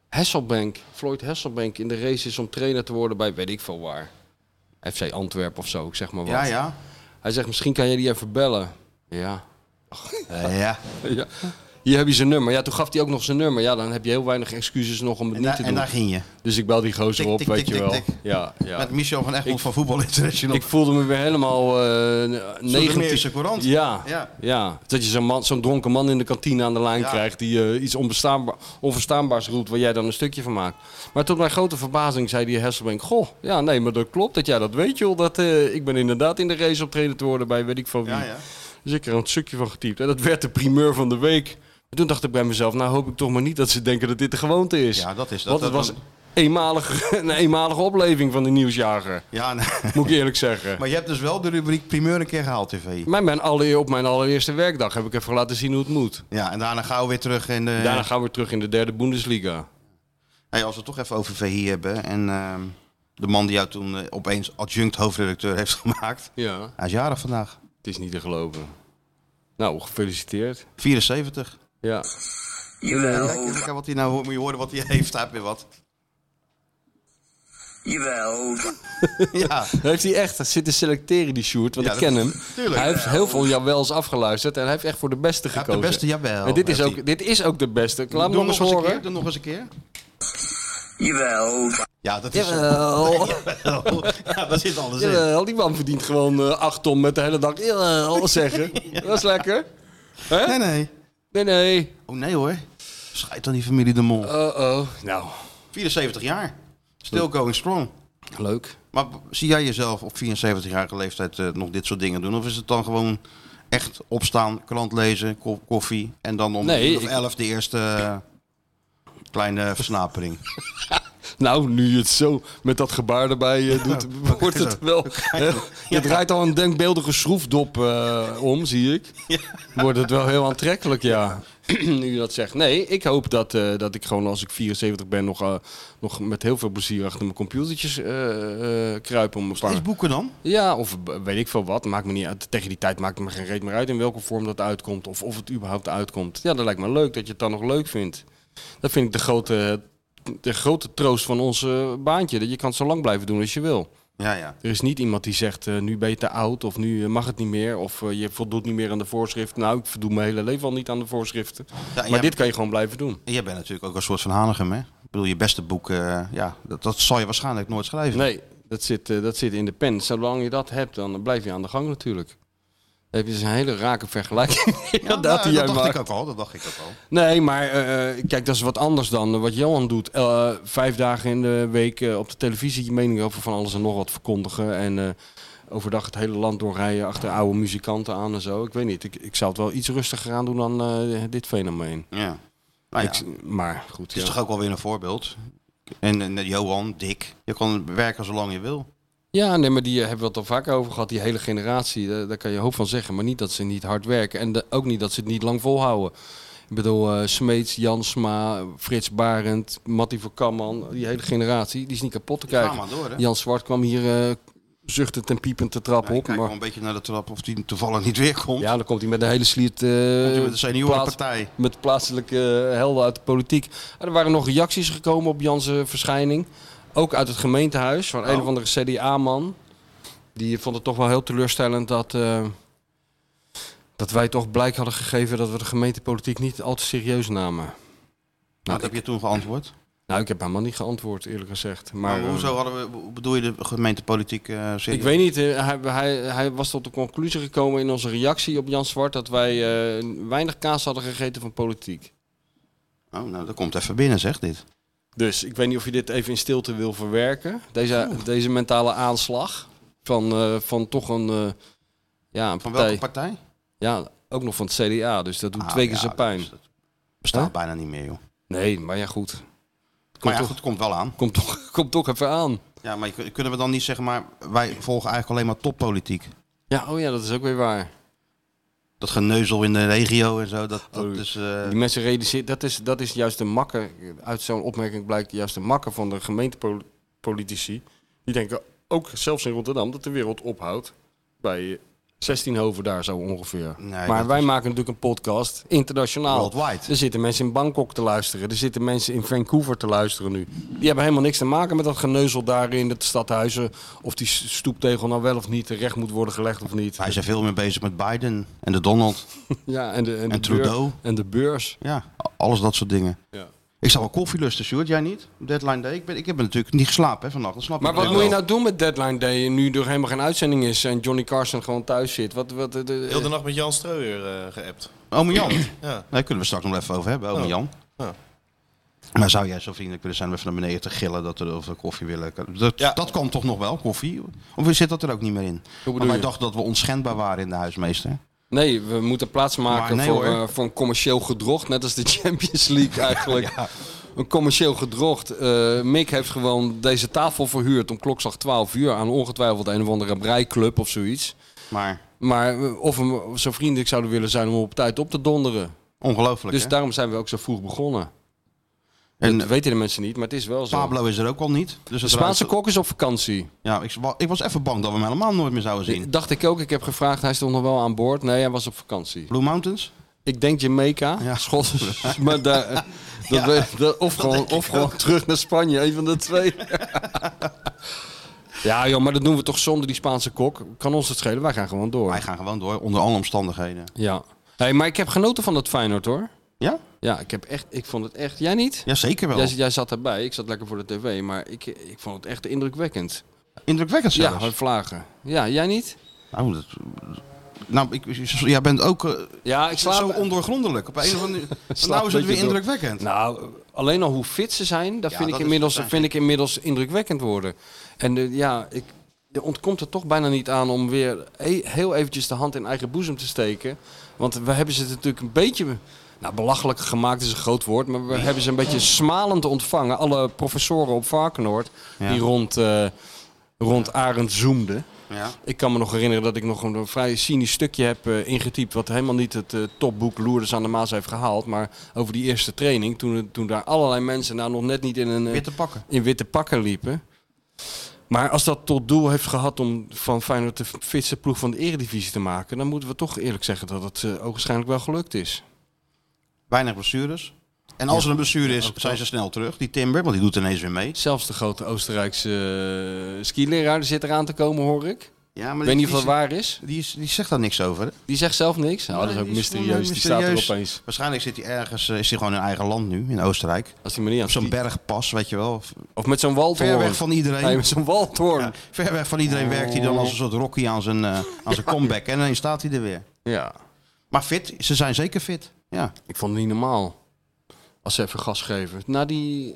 Hasselbank, Floyd Hasselbank in de race is om trainer te worden bij weet ik veel waar. FC Antwerpen of zo, ik zeg maar wat.
Ja, ja.
Hij zegt, misschien kan jij die even bellen. Ja.
Eh, ja.
ja. Hier heb je zijn nummer. Ja, toen gaf hij ook nog zijn nummer. Ja, dan heb je heel weinig excuses nog om het
En,
niet
daar-
te
en
doen.
daar ging je.
Dus ik bel die gozer
Tik,
op,
tik,
weet
tik,
je
tik,
wel.
tik.
Ja, ja.
Met Michel van Egmond
Ik-
van Voetbal International.
Ik voelde me weer helemaal eh
Soetermeerse
19...
courant.
Ja,
Ja.
ja. dat je zo'n man- zo'n dronken man in de kantine aan de lijn
Ja.
krijgt... die eh, iets onbestaanba- onverstaanbaars roept waar jij dan een stukje van maakt. Maar tot mijn grote verbazing zei die Hesselbank... Goh, ja, nee, maar dat klopt dat jij dat weet, joh. Dat, eh, ik ben inderdaad in de race optreden te worden bij weet ik van wie.
Ja, ja.
Dus ik er een stukje van getypt. En dat werd de primeur van de week. En toen dacht ik bij mezelf, nou hoop ik toch maar niet dat ze denken dat dit de gewoonte is.
Ja, dat is dat.
Want
dat
het was eenmalige, [LAUGHS] een eenmalige opleving van de nieuwsjager.
Ja, nee.
[LAUGHS] Moet ik eerlijk zeggen.
Maar je hebt dus wel de rubriek primeur een keer gehaald, TV.
Mijn, mijn alle- op mijn allereerste werkdag heb ik even laten zien hoe het moet.
Ja, en daarna gauw weer terug. En,
Daarna gaan we terug in de derde Bundesliga.
Hey, als we het toch even over VI hebben. En ehm, de man die jou toen eh, opeens adjunct hoofdredacteur heeft [LAUGHS] gemaakt.
Ja.
Hij is jarig vandaag.
Het is niet te geloven. Nou, gefeliciteerd.
74.
Ja.
Kijk,
Jawel,
kijk wat hij nou hoort. Moet je horen wat hij heeft. Hij heeft weer wat. [LAUGHS]
jawel.
Ja.
Heeft hij echt zitten selecteren, die Sjoerd? Want
Ja,
ik
dat-
ken hem.
tuurlijk.
Hij heeft heel veel jawels afgeluisterd en hij heeft echt voor de beste
heeft
gekozen.
de beste jawel,
En dit is,
heeft
ook,
hij.
dit is ook de beste. Ik Laat
Doe
me nog
hem
eens
nog eens een
horen.
keer. Doe nog eens een keer.
Jawel,
Ja, [LAUGHS] dat is
Jawel.
Ja, daar zit alles in.
Jawel, die man verdient gewoon eh, acht ton met de hele dag.
[LAUGHS]
Jawel, zeggen. Dat is lekker. Hè?
Nee, nee.
Nee, nee.
Oh nee hoor. Schijt dan die familie de mol.
Uh-oh. Nou,
74 jaar. Still going strong.
leuk.
Maar b- zie jij jezelf op 74-jarige leeftijd eh, nog dit soort dingen doen? Of is het dan gewoon echt opstaan, krant lezen, ko- koffie en dan om
Nee,
uur of
ik-
11 de eerste eh, kleine versnapering?
Nou, nu je het zo met dat gebaar erbij eh, doet, [LAUGHS] wordt het wel. hè? Je draait al een denkbeeldige schroefdop eh, om, zie ik. Wordt het wel heel aantrekkelijk, ja. [CLEARS THROAT] nu je dat zegt. Nee, ik hoop dat, eh, dat ik gewoon als ik 74 ben nog, eh, nog met heel veel plezier achter mijn computertjes eh, eh, kruip om een paar.
Is boeken dan?
Ja, of b- weet ik veel wat. Maakt me niet uit. Tegen die tijd maakt het me geen reet meer uit in welke vorm dat uitkomt. Of of het überhaupt uitkomt. Ja, dat lijkt me leuk dat je het dan nog leuk vindt. Dat vind ik de grote, de grote troost van ons eh, baantje. Dat je kan het zo lang blijven doen als je wil.
Ja, ja.
Er is niet iemand die zegt, eh, nu ben je te oud. Of nu eh, mag het niet meer. Of eh, je voldoet niet meer aan de voorschriften. Nou, ik voldoe mijn hele leven al niet aan de voorschriften.
ja
Maar
jij,
dit kan je gewoon blijven doen.
jij bent natuurlijk ook een soort van Hanegem, hè? Ik bedoel, je beste boek, eh, ja, dat, dat zal je waarschijnlijk nooit schrijven.
Nee, dat zit, eh, dat zit in de pen. Zolang je dat hebt, dan blijf je aan de gang natuurlijk. Dan heb je dus een hele rake vergelijking. [LAUGHS]
Ja,
inderdaad,
nou,
die jij
dat dacht
maakt.
ik ook al, dat dacht ik ook al.
Nee, maar eh, eh, kijk, dat is wat anders dan wat Johan doet. Eh, vijf dagen in de week eh, op de televisie je mening over van alles en nog wat verkondigen. En eh, overdag het hele land doorrijden achter oude muzikanten aan en zo. Ik weet niet, ik, ik zou het wel iets rustiger aan doen dan eh, dit fenomeen.
Ja. Nou ja.
Ik s- maar goed,
Het is
ja.
eh, toch ook wel weer een voorbeeld. En, en Johan, Dick, je kan werken zolang je wil.
Ja, nee, maar die eh, hebben we het al vaak over gehad. Die hele generatie, eh, daar kan je een hoop van zeggen. Maar niet dat ze niet hard werken. En de- ook niet dat ze het niet lang volhouden. Ik bedoel, eh, Smeets, Jansma, Frits Barend, Matty van Kamman. Die hele generatie, die is niet kapot te
Die gaan
krijgen.
maar door, hè?
Jan Zwart kwam hier eh, zuchtend en piepend de trap
Ja, ik
op.
kijk wel
Maar,
een beetje naar de trap of die toevallig niet weer komt.
ja, dan komt hij met een hele sliert eh,
Met de seniorenpartij.
met plaatselijke eh, helden uit de politiek. En er waren nog reacties gekomen op Jans' eh, verschijning. Ook uit het gemeentehuis van een
Oh.
of andere CDA-man. Die vond het toch wel heel teleurstellend dat, eh, dat wij toch blijk hadden gegeven dat we de gemeentepolitiek niet al te serieus namen.
Wat heb je toen geantwoord?
Nou, ik heb helemaal niet geantwoord, eerlijk gezegd. Maar,
Maar,
eh,
hoezo hadden we, hoe bedoel je de gemeentepolitiek eh serieus?
Ik weet niet, eh, hij, hij, hij was tot de conclusie gekomen in onze reactie op Jan Zwart dat wij eh, weinig kaas hadden gegeten van politiek.
Oh, nou, dat komt even binnen, zeg dit.
Dus ik weet niet of je dit even in stilte wil verwerken. Deze, deze mentale aanslag van, eh, van toch een, eh, ja, een
Van
partij.
welke partij?
Ja, ook nog van het CDA. Dus dat doet
Ah,
twee keer
ja,
zijn pijn.
dus dat bestaat
Huh?
bijna niet meer, joh.
Nee, maar ja, goed. Komt,
Maar ja,
toch,
goed, het komt wel aan.
komt, toch, [LAUGHS] komt toch even aan.
Ja, maar je kun- kunnen we dan niet zeggen, maar wij volgen eigenlijk alleen maar toppolitiek.
Ja, oh ja, dat is ook weer waar.
Dat geneuzel in de regio en zo, dat, dat
Oh,
is... eh,
Die mensen realiseren, dat is, dat is juist de makker. Uit zo'n opmerking blijkt juist de makker van de gemeentepolitici. Die denken ook zelfs in Rotterdam dat de wereld ophoudt bij eh, 16 hoven daar zo ongeveer.
Nee,
maar
dat
wij
is-
maken natuurlijk een podcast internationaal.
Worldwide.
Er zitten mensen in Bangkok te luisteren. Er zitten mensen in Vancouver te luisteren nu. Die hebben helemaal niks te maken met dat geneuzel daar in het stadhuizen. Of die stoeptegel nou wel of niet terecht moet worden gelegd of niet.
Wij zijn veel meer bezig met Biden en de Donald
Ja, en de, en de
en Trudeau.
beur- en de beurs.
Ja, a- alles dat soort dingen.
Ja.
Ik zou wel koffie lusten, Sjoerd. Jij niet? Op Deadline Day. Ik, ben, ik heb natuurlijk niet geslapen hè, vannacht. Dat snap
Maar
ik
wat
wel.
moet je nou doen met Deadline Day nu er helemaal geen uitzending is en Johnny Carson gewoon thuis zit? Wat, wat, eh, de, de-
Heel de nacht met Jan Streuer eh, geappt.
Ome Oh, Jan.
Ja.
Daar kunnen we straks nog wel even over hebben, ome
Oh.
Jan.
Ja.
Maar zou jij zo vriendelijk willen zijn om even naar beneden te gillen dat we of we koffie willen? Dat,
Ja.
dat kan toch nog wel, koffie? Of zit dat er ook niet meer in?
hoe
Maar
bedoel
wij
je?
dachten dat we onschendbaar waren in de huismeester.
Nee, we moeten plaats maken
Maar nee,
voor,
hoor.
eh, voor een commercieel gedrocht, net als de [LAUGHS] Champions
[LAUGHS]
League eigenlijk. Een commercieel gedrocht. Eh, Mick heeft gewoon deze tafel verhuurd om klokslag 12 uur aan ongetwijfeld een of andere breiklub of zoiets.
Maar
Maar eh, of we zo vriendelijk zouden willen zijn om op tijd op te donderen.
ongelooflijk,
Dus
hè?
daarom zijn we ook zo vroeg begonnen.
En
dat weten de mensen niet, maar het is wel zo.
Pablo is er ook al niet. Dus
de
het
Spaanse
ruikt-
kok is op vakantie.
Ja, ik, wa- ik was even bang dat we hem helemaal nooit meer zouden zien.
Dacht ik ook. Ik heb gevraagd, hij stond nog wel aan boord. Nee, hij was op vakantie.
Blue Mountains?
Ik denk Jamaica,
Ja.
Schot. [LAUGHS] maar daar, eh, dat we- dat- of gewoon, of gewoon terug naar Spanje, een van de
[LAUGHS]
twee. ja, joh, maar dat doen we toch zonder die Spaanse kok. Kan ons het schelen, wij gaan gewoon door.
Wij gaan gewoon door, onder alle omstandigheden.
Ja. Hey, maar ik heb genoten van dat Feyenoord, hoor.
Ja?
Ja, ik, heb echt, ik vond het echt... Jij niet?
Ja, zeker wel.
Jij, jij zat erbij, ik zat lekker voor de tv, maar ik, ik vond het echt indrukwekkend.
Indrukwekkend
Ja,
zelfs.
hard vlagen. Ja, jij niet?
Nou, dat, nou ik, jij bent ook eh,
Ja, ik slaap...
zo ondoorgrondelijk. Op een of
[LAUGHS]
andere,
Slaap
nou is het
een
weer
beetje door.
indrukwekkend.
Nou, alleen al hoe fit ze zijn, dat,
Ja,
vind,
dat
ik
is
inmiddels,
fijn.
vind ik inmiddels indrukwekkend worden. En eh, ja, ik, je ontkomt er toch bijna niet aan om weer he- heel eventjes de hand in eigen boezem te steken. Want we hebben ze het natuurlijk een beetje... Nou, belachelijk gemaakt is een groot woord, maar we hebben ze een beetje smalend ontvangen. Alle professoren op Varkenoord,
Ja.
die rond, eh rond Arend zoemden.
ja.
Ik kan me nog herinneren dat ik nog een vrij cynisch stukje heb eh, ingetypt. Wat helemaal niet het eh, topboek Loerders aan de Maas heeft gehaald. Maar over die eerste training. Toen, het- toen daar allerlei mensen nou nog net niet in, een, eh,
Weer te pakken.
in witte pakken liepen. Maar als dat tot doel heeft gehad om van Feyenoord de fitste ploeg van de eredivisie te maken. Dan moeten we toch eerlijk zeggen dat het eh ogenschijnlijk wel gelukt is.
Weinig blessures. En als er een blessure is, zijn ze snel terug. Die Timber, want die doet ineens weer mee.
Zelfs de grote Oostenrijkse eh, skileraar zit eraan te komen hoor ik.
Ja,
Ik
maar
weet niet of
die,
dat waar is.
die, is- die zegt daar niks over. hè?
Die zegt zelf niks. Nou, dat is
Nee,
ook
die is gewoon,
mysterieus.
eh,
Die staat er
mysterieus.
opeens.
Waarschijnlijk zit hij ergens, eh, is hij gewoon in eigen land nu, in Oostenrijk.
Als die manier
Op zo'n bergpas, weet je wel.
Of met zo'n
Ver
waltoren.
weg van iedereen.
Nee, met zo'n waltoren.
Ja, Oh. ver weg van iedereen werkt hij dan als een soort Rocky aan zijn, eh, aan zijn comeback. En dan staat hij er weer.
Ja.
Maar fit, ze zijn zeker fit. Ja.
Ik vond het niet normaal. Als ze even gas geven. Na die...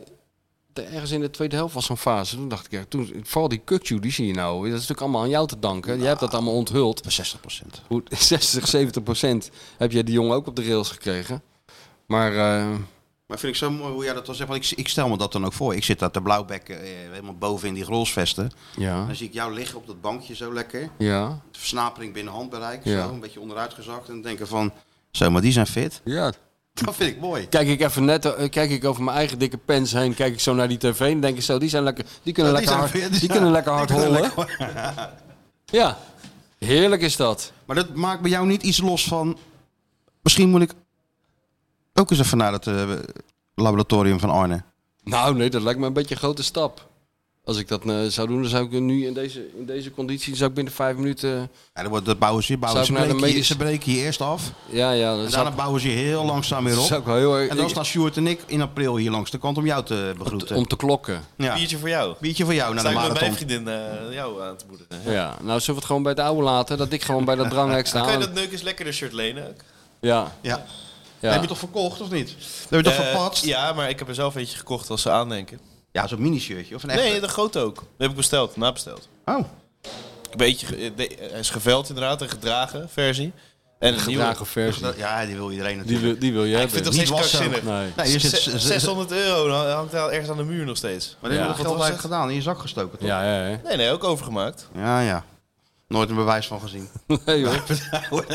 de- Ergens in de tweede helft was zo'n fase. Toen dacht ik, ja, toen, vooral die kutju, die zie je nou. Dat is natuurlijk allemaal aan jou te danken. Jij hebt dat allemaal onthuld.
60 procent.
Hoe- [LAUGHS] 60, 70 procent heb jij die jongen ook op de rails gekregen. Maar eh,
Maar vind ik zo mooi hoe jij dat al zegt. Want ik, ik stel me dat dan ook voor. Ik zit daar te blauwbek eh, helemaal boven in die grolsvesten.
Ja.
Dan zie ik jou liggen op dat bankje zo lekker.
Ja.
De versnapering binnen handbereik.
Ja.
Zo, een beetje onderuitgezakt. En denken van, zo, maar die zijn fit. [LAUGHS]
Ja.
Dat vind ik mooi.
Kijk ik even net eh, kijk ik over mijn eigen dikke pens heen, kijk ik zo naar die tv en denk ik zo, die zijn lekker, die kunnen,
Ja, die
lekker,
zijn
hard,
fit,
die
ja.
kunnen lekker
Die
hard
kunnen
hollen.
lekker
Ja, heerlijk is dat.
Maar dat maakt bij jou niet iets los van. Misschien moet ik ook eens even naar het eh, laboratorium van Arne.
Nou nee, dat lijkt me een beetje een grote stap. Als ik dat eh, zou doen, dan zou ik nu in deze, in deze conditie, zou ik binnen vijf minuten...
Ja, dan wordt, dat bouwen ze, bouwen
Zou
ze,
ik naar de
breken je,
medische-
ze breken je eerst af.
Ja, ja, dat
En
zou,
daarna bouwen ze je heel langzaam weer
dat
op.
zou ik wel heel erg...
En dan staan Stuart en ik in april hier langs de kant om jou te begroeten.
om te klokken.
ja.
Biertje voor jou.
Biertje voor jou naar
Sta
de
ik met mijn
marathon.
vriendin eh, jou aan te moedigen. hè?
Ja, nou zullen we het gewoon bij het oude laten, dat ik gewoon bij dat dranghek sta.
[LAUGHS]
Kan je dat neuk eens lekker de shirt lenen? ook?
Ja,
Ja. Heb
ja.
je toch verkocht of niet? Heb je toch
Eh,
verpatst? Ja,
Ja, maar ik heb er zelf eentje gekocht als ze aandenken.
zo'n mini-shirtje of een echte.
Nee, de grote ook. Die heb ik besteld, nabesteld.
Oh,
Ik heb eentje, ge- eh, de- hij is geveld inderdaad, een gedragen versie. En een nieuwe.
Gedragen versie.
dat- ja, die wil iedereen
Die
natuurlijk.
wil, die wil je
Ik
hebben.
vind het nog
Niet
steeds
wassen.
krankzinnig.
Nee.
Nee, hier zit
Zes- 600 euro dan hangt hij al ergens aan de muur nog steeds.
Maar dit
Ja.
heb je
Wat
geld
was
eigenlijk gedaan, in je zak gestoken toch?
Ja, ja, ja.
Nee, nee, ook overgemaakt.
ja. ja. Nooit een bewijs van [LAUGHS] gezien.
[LAUGHS] Nee, joh.
[LAUGHS]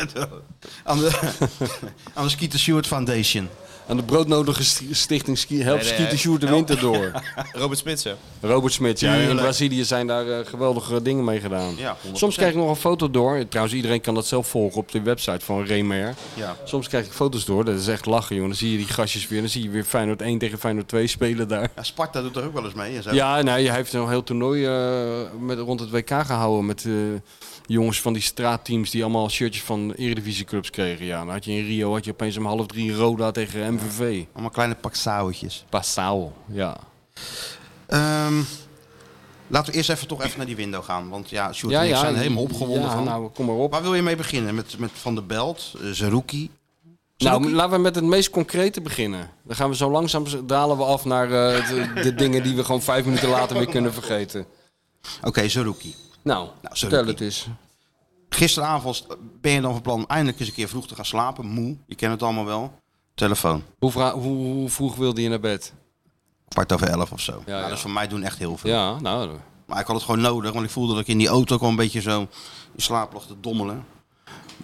aan de, [LAUGHS] aan de Skeeter Stewart Foundation.
Aan de broodnodige sti- stichting ski, helpt
Nee, nee,
Skieten Sjoerd de winter
[LAUGHS]
door.
Robert Smitsen.
Robert Smit, ja. In
Tuurlijk.
Brazilië zijn daar eh, geweldige dingen mee gedaan.
Ja, 100%.
Soms krijg ik nog een foto door. Trouwens, iedereen kan dat zelf volgen op de website van Remer.
Ja.
Soms krijg ik foto's door. Dat is echt lachen, joh. Dan zie je die gastjes weer. Dan zie je weer Feyenoord 1 tegen Feyenoord 2 spelen daar.
ja. Sparta doet er ook wel eens mee. En zo.
Ja, nee, hij heeft een heel toernooi eh, met, rond het WK gehouden met eh, jongens van die straatteams die allemaal shirtjes van eredivisieclubs kregen. Ja, dan had je in Rio had je opeens om half drie Roda tegen MVV.
Allemaal kleine pak sauwtjes.
Passau, ja.
Ehm, laten we eerst even toch even naar die window gaan. Want ja, Sjoerd
ja,
en ik
ja,
zijn helemaal opgewonden
ja,
van.
nou, kom maar op.
Waar wil je mee beginnen? Met, met Van der Belt, eh, Zerouki.
Nou, laten we met het meest concrete beginnen. Dan gaan we zo langzaam dalen we af naar eh, de, de dingen die we gewoon vijf minuten later weer kunnen vergeten.
Oké, Zerouki.
Nou,
sorry,
vertel
Piet.
het eens.
Gisteravond eh, ben je dan van plan om eindelijk eens een keer vroeg te gaan slapen. Moe, je kent het allemaal wel. Telefoon,
Hoe, vra- hoe, hoe vroeg wilde je naar bed?
kwart over elf of zo. nou,
ja.
Dat is voor mij doen echt heel veel.
Ja, nou,
Maar ik had het gewoon nodig, want ik voelde dat ik in die auto gewoon een beetje zo in slaap lag te dommelen.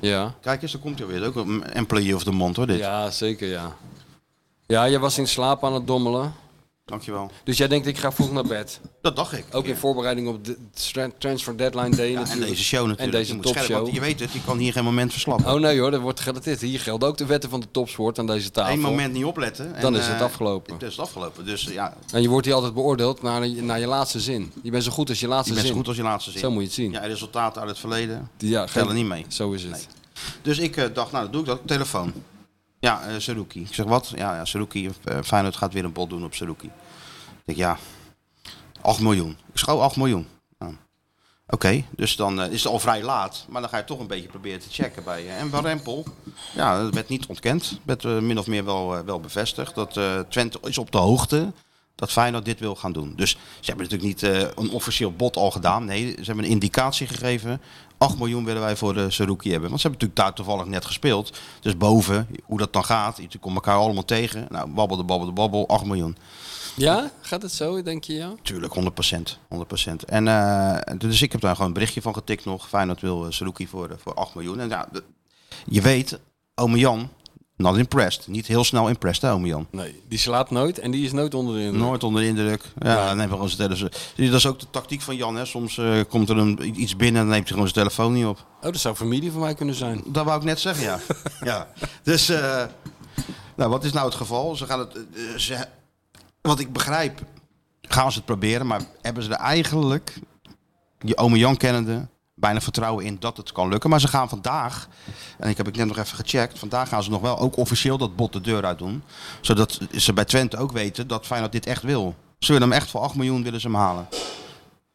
ja.
Kijk eens, daar komt hij weer. Dat is Ook een employee of the month hoor, dit.
Ja, zeker ja. Ja, jij was in slaap aan het dommelen.
Dankjewel.
Dus jij denkt, ik ga vroeg naar bed.
Dat dacht ik.
Ook
Ja.
in voorbereiding op de tra- Transfer Deadline Day
Ja, en
natuurlijk.
deze show natuurlijk.
En deze
je moet
topshow.
scherp, want je weet het, je kan hier geen moment verslappen.
Oh nee hoor, dat wordt gedateerd. Hier gelden ook de wetten van de topsport aan deze tafel.
Eén moment niet opletten. En,
Dan is het
eh,
afgelopen.
Dan is het afgelopen. Dus ja,
En Nou, je wordt hier altijd beoordeeld naar, naar je laatste zin. Je bent zo goed als je laatste
je bent zo
zin.
goed als je laatste zin.
Zo moet je het zien.
Ja, resultaten uit het verleden.
ja,
tellen niet mee.
Zo is het.
Dus ik eh, dacht, nou dat doe ik dat. Telefoon. Ja, eh Saruki. Ik zeg wat? Ja, ja Saruki. eh, Feyenoord gaat weer een bod doen op Saruki. Ik denk ja, 8 miljoen. Ik schouw 8 miljoen. Nou, Oké, dus dan eh, is het al vrij laat. Maar dan ga je toch een beetje proberen te checken bij eh, En van Rempel, ja, dat werd niet ontkend. Werd eh, min of meer wel, eh, wel bevestigd. Dat eh, Twente is op de hoogte dat Feyenoord dit wil gaan doen. Dus ze hebben natuurlijk niet eh, een officieel bod al gedaan. Nee, ze hebben een indicatie gegeven. 8 miljoen willen wij voor de Saruki hebben. Want ze hebben natuurlijk daar toevallig net gespeeld. Dus boven, hoe dat dan gaat. Je komt elkaar allemaal tegen. Nou, babbel de babbel de babbel, 8 miljoen.
Ja? Gaat het zo, denk je ja?
Tuurlijk, 100%. 100%. En eh, dus ik heb daar gewoon een berichtje van getikt nog. Feyenoord wil eh, Saruki voor, eh, voor 8 miljoen. En ja, de- je weet, ome Jan, not impressed. Niet heel snel impressed, hè, ome Jan.
Nee. Die slaapt nooit en die is nooit onder de indruk.
Nooit onder de indruk. Ja, dan hebben we gewoon zijn telefoon. Dus Dat is ook de tactiek van Jan. Hè. Soms eh, komt er een, iets binnen en dan neemt hij gewoon zijn telefoon niet op.
Oh, dat zou familie van mij kunnen zijn.
Dat wou ik net zeggen, ja. ja. Dus, eh, nou, wat is nou het geval? Ze gaan het, eh, ze, wat ik begrijp, gaan ze het proberen, maar hebben ze er eigenlijk, je ome Jan kennende, bijna vertrouwen in dat het kan lukken. Maar ze gaan vandaag, en ik heb ik net nog even gecheckt, vandaag gaan ze nog wel ook officieel dat bot de deur uit doen. Zodat ze bij Twente ook weten dat Feyenoord dit echt wil. Ze willen hem echt voor 8 miljoen willen ze hem halen.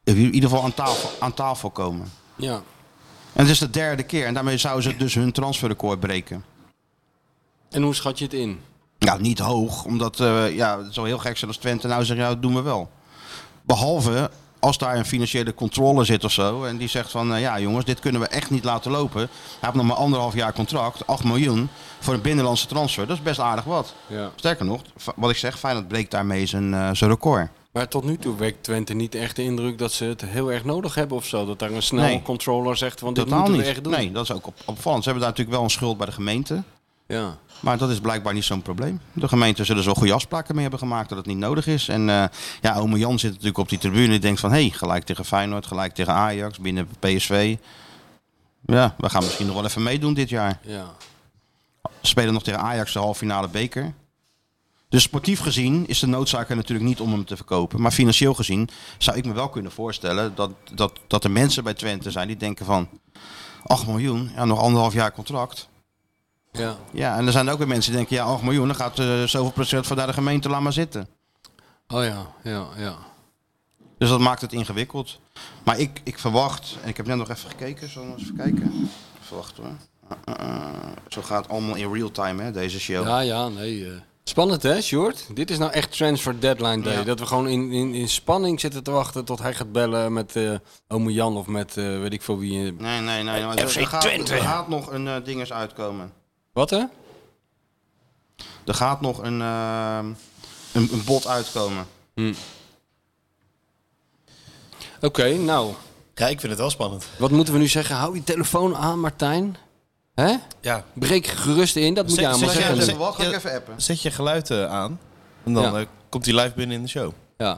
In ieder geval aan tafel, aan tafel komen.
Ja.
En het is de derde keer. En daarmee zouden ze dus hun transferrecord breken.
En hoe schat je het in?
Ja, niet nou hoog. Omdat eh, ja, het zou heel gek zijn als Twente nou zegt, ja, dat doen we wel. Behalve als daar een financiële controle zit of zo. En die zegt van, eh, ja jongens, dit kunnen we echt niet laten lopen. Hij heeft nog maar anderhalf jaar contract. 8 miljoen voor een binnenlandse transfer. Dat is best aardig wat.
Ja.
Sterker nog, fa- wat ik zeg, Feyenoord breekt daarmee zijn, eh, zijn record.
Maar tot nu toe wekt Twente niet echt de indruk dat ze het heel erg nodig hebben of zo. Dat daar een snel
Nee.
controller zegt van dit
Totaal
moeten we
niet.
echt doen.
Nee, dat is ook op, opvallend. Ze hebben daar natuurlijk wel een schuld bij de gemeente.
Ja.
Maar dat is blijkbaar niet zo'n probleem. De gemeente zullen zo goede afspraken mee hebben gemaakt dat het niet nodig is. En eh, ja, ome Jan zit natuurlijk op die tribune die denkt van... hé, hey, gelijk tegen Feyenoord, gelijk tegen Ajax, binnen PSV. Ja, we gaan misschien nog wel even meedoen dit jaar.
Ja.
Ze spelen nog tegen Ajax de halve finale beker. Dus sportief gezien is de noodzaak er natuurlijk niet om hem te verkopen. Maar financieel gezien zou ik me wel kunnen voorstellen dat, dat, dat er mensen bij Twente zijn die denken van... 8 miljoen, ja, nog anderhalf jaar contract.
ja.
Ja, en er zijn ook weer mensen die denken, ja, 8 miljoen, dan gaat eh, zoveel procent van naar de gemeente, laat maar zitten.
Oh ja, ja, ja.
Dus dat maakt het ingewikkeld. Maar ik, ik verwacht, en ik heb net nog even gekeken, zullen we eens even kijken? Even wachten hoor. Eh, eh, eh, zo gaat het allemaal in real time, hè, deze show.
Ja, ja, nee. eh. Spannend hè, Short? Dit is nou echt transfer deadline day.
Ja.
Dat we gewoon in, in, in spanning zitten te wachten tot hij gaat bellen met eh ome Jan of met eh, weet ik veel wie. eh.
Nee, nee, nee. Maar
FC
er, gaat,
Twente.
er gaat nog een eh ding eens uitkomen.
Wat hè?
Er gaat nog een, eh, een, een bot uitkomen.
Oké, nou.
Ja, ik vind het wel spannend.
Wat moeten we nu zeggen? Hou je telefoon aan, Martijn. Hè?
Ja.
Breek gerust in, dat moet
Zet-
jij allemaal
zet jij
Zeg
hem
zeggen.
even
zet-
wat, ga ik
ja.
even appen.
Zet je geluid eh, aan en dan
Ja.
eh, komt hij live binnen in de show.
Ja.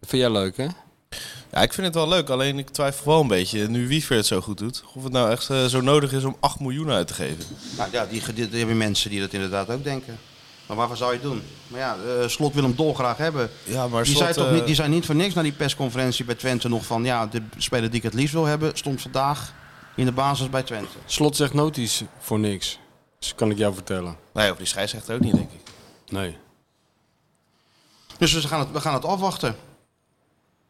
Dat vind jij leuk hè?
Ja, ik vind het wel leuk, alleen ik twijfel wel een beetje, nu Wiever het zo goed doet, of het nou echt eh, zo nodig is om 8 miljoen uit te geven.
Nou ja, die, die, die hebben mensen die dat inderdaad ook denken. Maar waarvoor zou je het doen? Maar ja, eh, Slot wil hem dolgraag hebben.
Ja, maar
die,
Slot,
zei toch
eh,
niet, die zei niet voor niks na die persconferentie bij Twente nog van... ja, de speler die ik het liefst wil hebben stond vandaag in de basis bij Twente.
Slot zegt noties voor niks. Dus kan ik jou vertellen.
Nee, Nou of die scheidsrechter ook niet, denk ik.
Nee.
Dus we gaan het, we gaan het afwachten.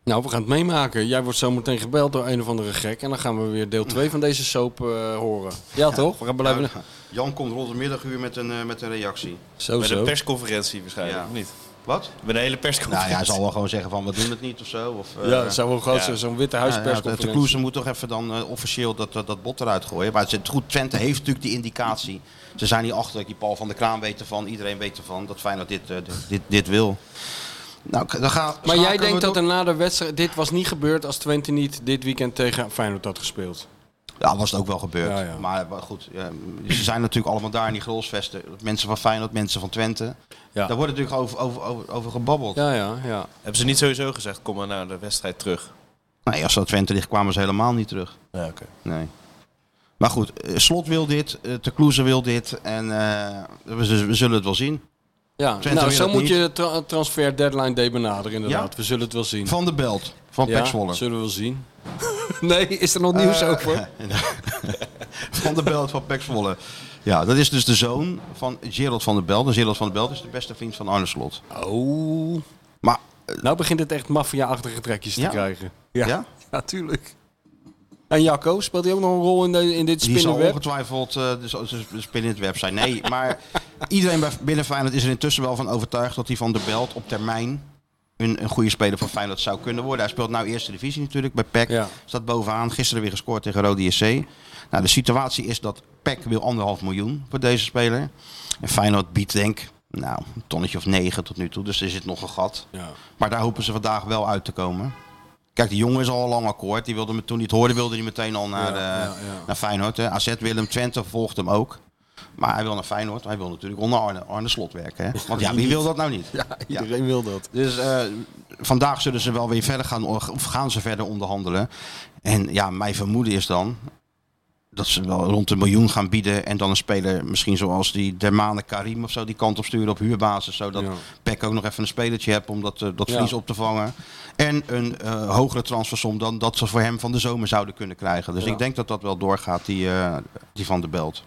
Nou, we gaan het meemaken. Jij wordt zo meteen gebeld door een of andere gek. En dan gaan we weer deel 2 van deze soap eh, horen. Ja, toch? Nou, We gaan blijven...
Ja, Eh, Jan komt rond het middaguur met een, eh, met een reactie.
Zo,
Met een
zo.
persconferentie waarschijnlijk,
Ja.
of niet?
Wat?
Met een hele
Nou
persconferentie.
wel gewoon zeggen van we doen het niet of zo. Of, eh,
Ja, het zou wel groot
Ja.
zijn. Zo'n witte
Ja, ja, de- de
huispersconferentie.
Kloeze moet toch even dan eh, officieel dat, dat, dat bot eruit gooien. Maar het zit goed, Twente heeft natuurlijk die indicatie. Ze zijn hier achter, die Paul van der Kraan weet ervan, iedereen weet ervan. Dat fijn dat dit, eh, dit, dit, dit wil. Nou, k- dan gaan,
maar jij
schakelen we
denkt dat
door-
er na de wedstrijd... Dit was niet gebeurd als Twente niet dit weekend tegen Feyenoord had gespeeld.
Ja, was het ook wel gebeurd.
Ja, ja.
Maar, maar goed, ja, ze zijn natuurlijk allemaal daar in die grolsvesten. Mensen van Feyenoord, mensen van Twente.
Ja.
Daar wordt natuurlijk over, over, over, over gebabbeld.
Ja, ja, ja.
Hebben ze niet sowieso gezegd, kom maar naar de wedstrijd terug?
Nee, Nou, als dat Twente ligt kwamen ze helemaal niet terug.
Ja, oké.
Nee. Maar goed, eh, Slot wil dit, eh, Te Kloeze wil dit. En eh, we, z- we zullen het wel zien.
ja.
Twente
Nou,
wil
zo
dat
moet
niet.
je tra- transfer deadline day benaderen inderdaad. We zullen het wel zien.
Van de Belt, van
ja,
Pek Zwolle.
zullen we wel zien. [LAUGHS] nee, is er nog nieuws
Eh, [LAUGHS]
over?
Van de Belt van Pek Zwolle. Ja, dat is dus de zoon van Gerald van der Belt. En Gerald van der Belt is de beste vriend van Arne Slot.
Oh.
Maar,
Nou begint het echt maffia-achtige trekjes te
Ja?
krijgen.
ja?
[LAUGHS] natuurlijk. En Jacco, speelt hij ook nog een rol in, de, in dit
Die zal
spinnenweb?
ongetwijfeld eh dus, dus spinnen het web zijn. Nee, [LAUGHS] maar iedereen bij, binnen Feyenoord is er intussen wel van overtuigd dat hij van de Belt op termijn een, een goede speler voor Feyenoord zou kunnen worden. Hij speelt nou eerste divisie natuurlijk bij PEC.
Ja.
Staat bovenaan. Gisteren weer gescoord tegen Rode SC. Nou, de situatie is dat PEC wil anderhalf miljoen voor deze speler. En Feyenoord biedt denk ik, nou, een tonnetje of negen tot nu toe. Dus er zit nog een gat.
Ja.
[LAUGHS] Maar daar hopen ze vandaag wel uit te komen. Kijk, die jongen is al lang akkoord. Die wilde me toen niet hoorde, wilde hij meteen al naar,
Ja,
de-
ja, ja.
naar Feyenoord. Hè. AZ Willem Twente volgt hem ook. Maar hij wil naar Feyenoord. Hij wil natuurlijk onder Arne, Arne Slot werken. Hè. Want ja, wie wil dat
[LAUGHS]
nou niet?
Iedereen wil dat.
Dus eh, vandaag zullen ze wel weer verder gaan, of gaan ze verder onderhandelen. En ja, mijn vermoeden is dan dat ze wel rond een miljoen gaan bieden. En dan een speler misschien zoals die Dermane Karim of zo die kant op sturen op huurbasis. Zodat
Ja.
Peck ook nog even een spelertje hebt om dat, eh, dat
Ja.
verlies op te vangen. En een eh, hogere transfersom dan dat ze voor hem van de zomer zouden kunnen krijgen. Dus
Ja.
ik denk dat dat wel doorgaat, die, eh, die van de Belt.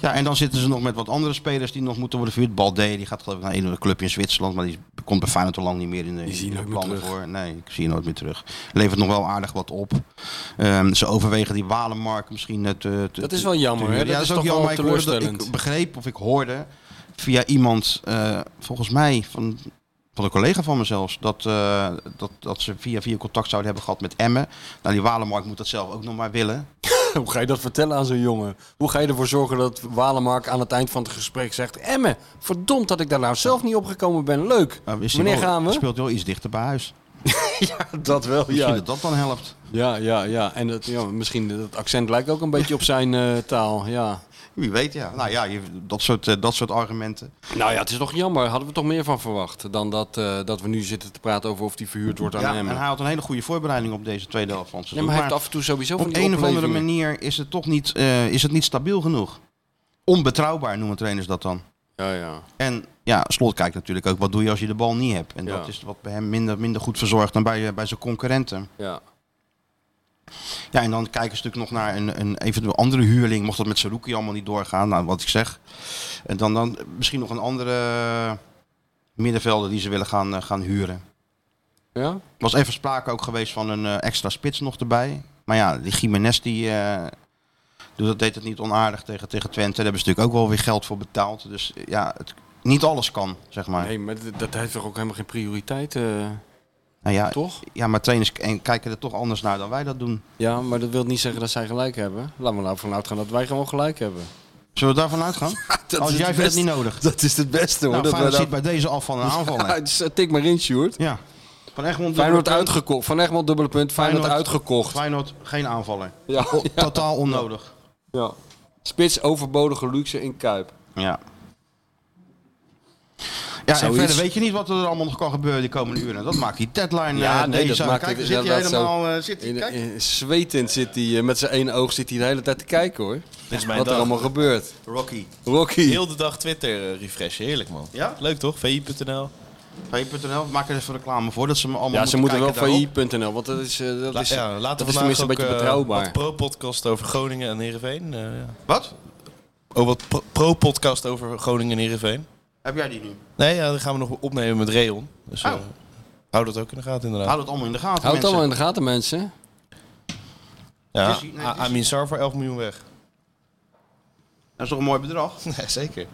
Ja, en dan zitten ze nog met wat andere spelers die nog moeten worden verhuurd. Balde, die gaat geloof ik naar een of andere club in Zwitserland, maar die komt bij Feyenoord al lang niet meer in de,
Die zie je
in de
nooit meer
plannen
terug.
voor. Nee, ik zie je nooit meer terug. Levert nog wel aardig wat op. Ehm, ze overwegen die Walenmark misschien eh, te, te-
Dat is wel jammer,
te-
hè?
Ja,
Dat is toch
ook
wel
jammer. Ik hoorde dat-
teleurstellend.
Ik begreep of ik hoorde via iemand, eh, volgens mij, van Van een collega van me zelfs. Dat, eh, dat, dat ze via via contact zouden hebben gehad met Emmen. Nou, die Walemark moet dat zelf ook nog maar willen.
[LAUGHS] Hoe ga je dat vertellen aan zo'n jongen? Hoe ga je ervoor zorgen dat Walemark aan het eind van het gesprek zegt... Emme, verdomd dat ik daar nou zelf niet opgekomen ben. Leuk.
Maar is die
Wanneer
Nou, wel-
gaan we?
Speelt wel iets dichter bij huis.
[LAUGHS] Dat wel,
Misschien
ja.
dat dat dan helpt.
Ja, ja, ja. En dat, ja, misschien dat accent lijkt ook een beetje [LAUGHS] op zijn eh, taal, ja.
Wie weet, ja. Nou ja, je- dat, soort, eh, dat soort argumenten.
Nou ja, het is toch jammer. Hadden we toch meer van verwacht dan dat, eh, dat we nu zitten te praten over of die verhuurd wordt aan
Ja, en
Emmen.
hij had een hele goede voorbereiding op deze tweede helft van het
Ja,
seizoen.
maar hij
Maar
heeft af en toe sowieso van
op
die
een of andere
oplevingen.
manier is het toch niet, eh, is het niet stabiel genoeg. Onbetrouwbaar noemen trainers dat dan.
Ja, ja.
En ja, Slot kijkt natuurlijk ook wat doe je als je de bal niet hebt. En
Ja.
dat is wat bij hem minder, minder goed verzorgd dan bij, eh, bij zijn concurrenten.
ja.
Ja, en dan kijken ze natuurlijk nog naar een, een eventueel andere huurling. Mocht dat met Saruki allemaal niet doorgaan, nou, wat ik zeg. En dan, dan misschien nog een andere eh, middenvelder die ze willen gaan, eh, gaan huren.
Ja?
Er was even sprake ook geweest van een eh, extra spits nog erbij. Maar ja, die Jiménez die, eh, doet dat deed het niet onaardig tegen, tegen Twente. Daar hebben ze natuurlijk ook wel weer geld voor betaald. Dus eh, ja, het, niet alles kan, zeg maar.
Nee, maar d- dat heeft toch ook helemaal geen prioriteit, eh,
nou ja,
toch?
ja, maar trainers k- en kijken er toch anders naar dan wij dat doen.
Ja, maar dat wil niet zeggen dat zij gelijk hebben. Laten we nou vanuit gaan dat wij gewoon gelijk hebben.
Zullen we daarvan
[LAUGHS]
uitgaan? Als jij vindt het niet nodig.
Dat is het beste hoor.
Nou,
dat
Feyenoord
wij
zit bij deze af van een aanval. hè.
[LAUGHS] Ja, dus, eh, tik maar in, Sjoerd.
Ja. Van Egmond,
Feyenoord
dubbele punt.
uitgekocht. Van Egmond dubbele punt. Feyenoord,
Feyenoord-
uitgekocht.
Feyenoord, geen aanvaller.
Ja,
O- Totaal onnodig.
ja. Spits overbodige luxe in Kuip.
Ja. Ja, en
Zoiets.
verder weet je niet wat er allemaal nog kan gebeuren die komende uren. Dat maakt die deadline.
Ja,
eh,
nee, dat
deze-
maakt
Kijk,
het
zit hij
inderdaad zo.
helemaal... eh, zit hij,
In,
kijk.
in- zwetend zit hij eh, met zijn ene oog zit hij de hele tijd te kijken hoor.
Dit is mijn
Wat er
dag.
allemaal gebeurt.
Rocky.
Rocky.
Heel de dag Twitter eh, refreshen. Heerlijk, man.
Ja?
Leuk, toch? VI.nl.
Hey.nl, maak er even reclame voor dat ze me allemaal
Ja, ze moeten wel
kijken daarop.
failliet.nl, want dat is, eh, dat
La-
is,
ja, laten
dat
we
is
vandaag
tenminste
ook,
een beetje
eh,
betrouwbaar.
wat pro-podcast over Groningen en Heerenveen. eh, ja.
Wat?
Oh, wat pro- pro-podcast over Groningen en Heerenveen.
Heb jij die nu?
Nee, ja, dat gaan we nog opnemen met Reon. Dus eh,
Oh.
hou dat ook in de gaten, inderdaad.
Houd het allemaal in de gaten,
Houd het allemaal
mensen.
in de gaten mensen.
Ja,
Is hij- nee,
A-
is hij-
Ah, Amin Sar voor 11 miljoen weg. [LAUGHS]
Dat is toch een mooi bedrag?
Nee, zeker.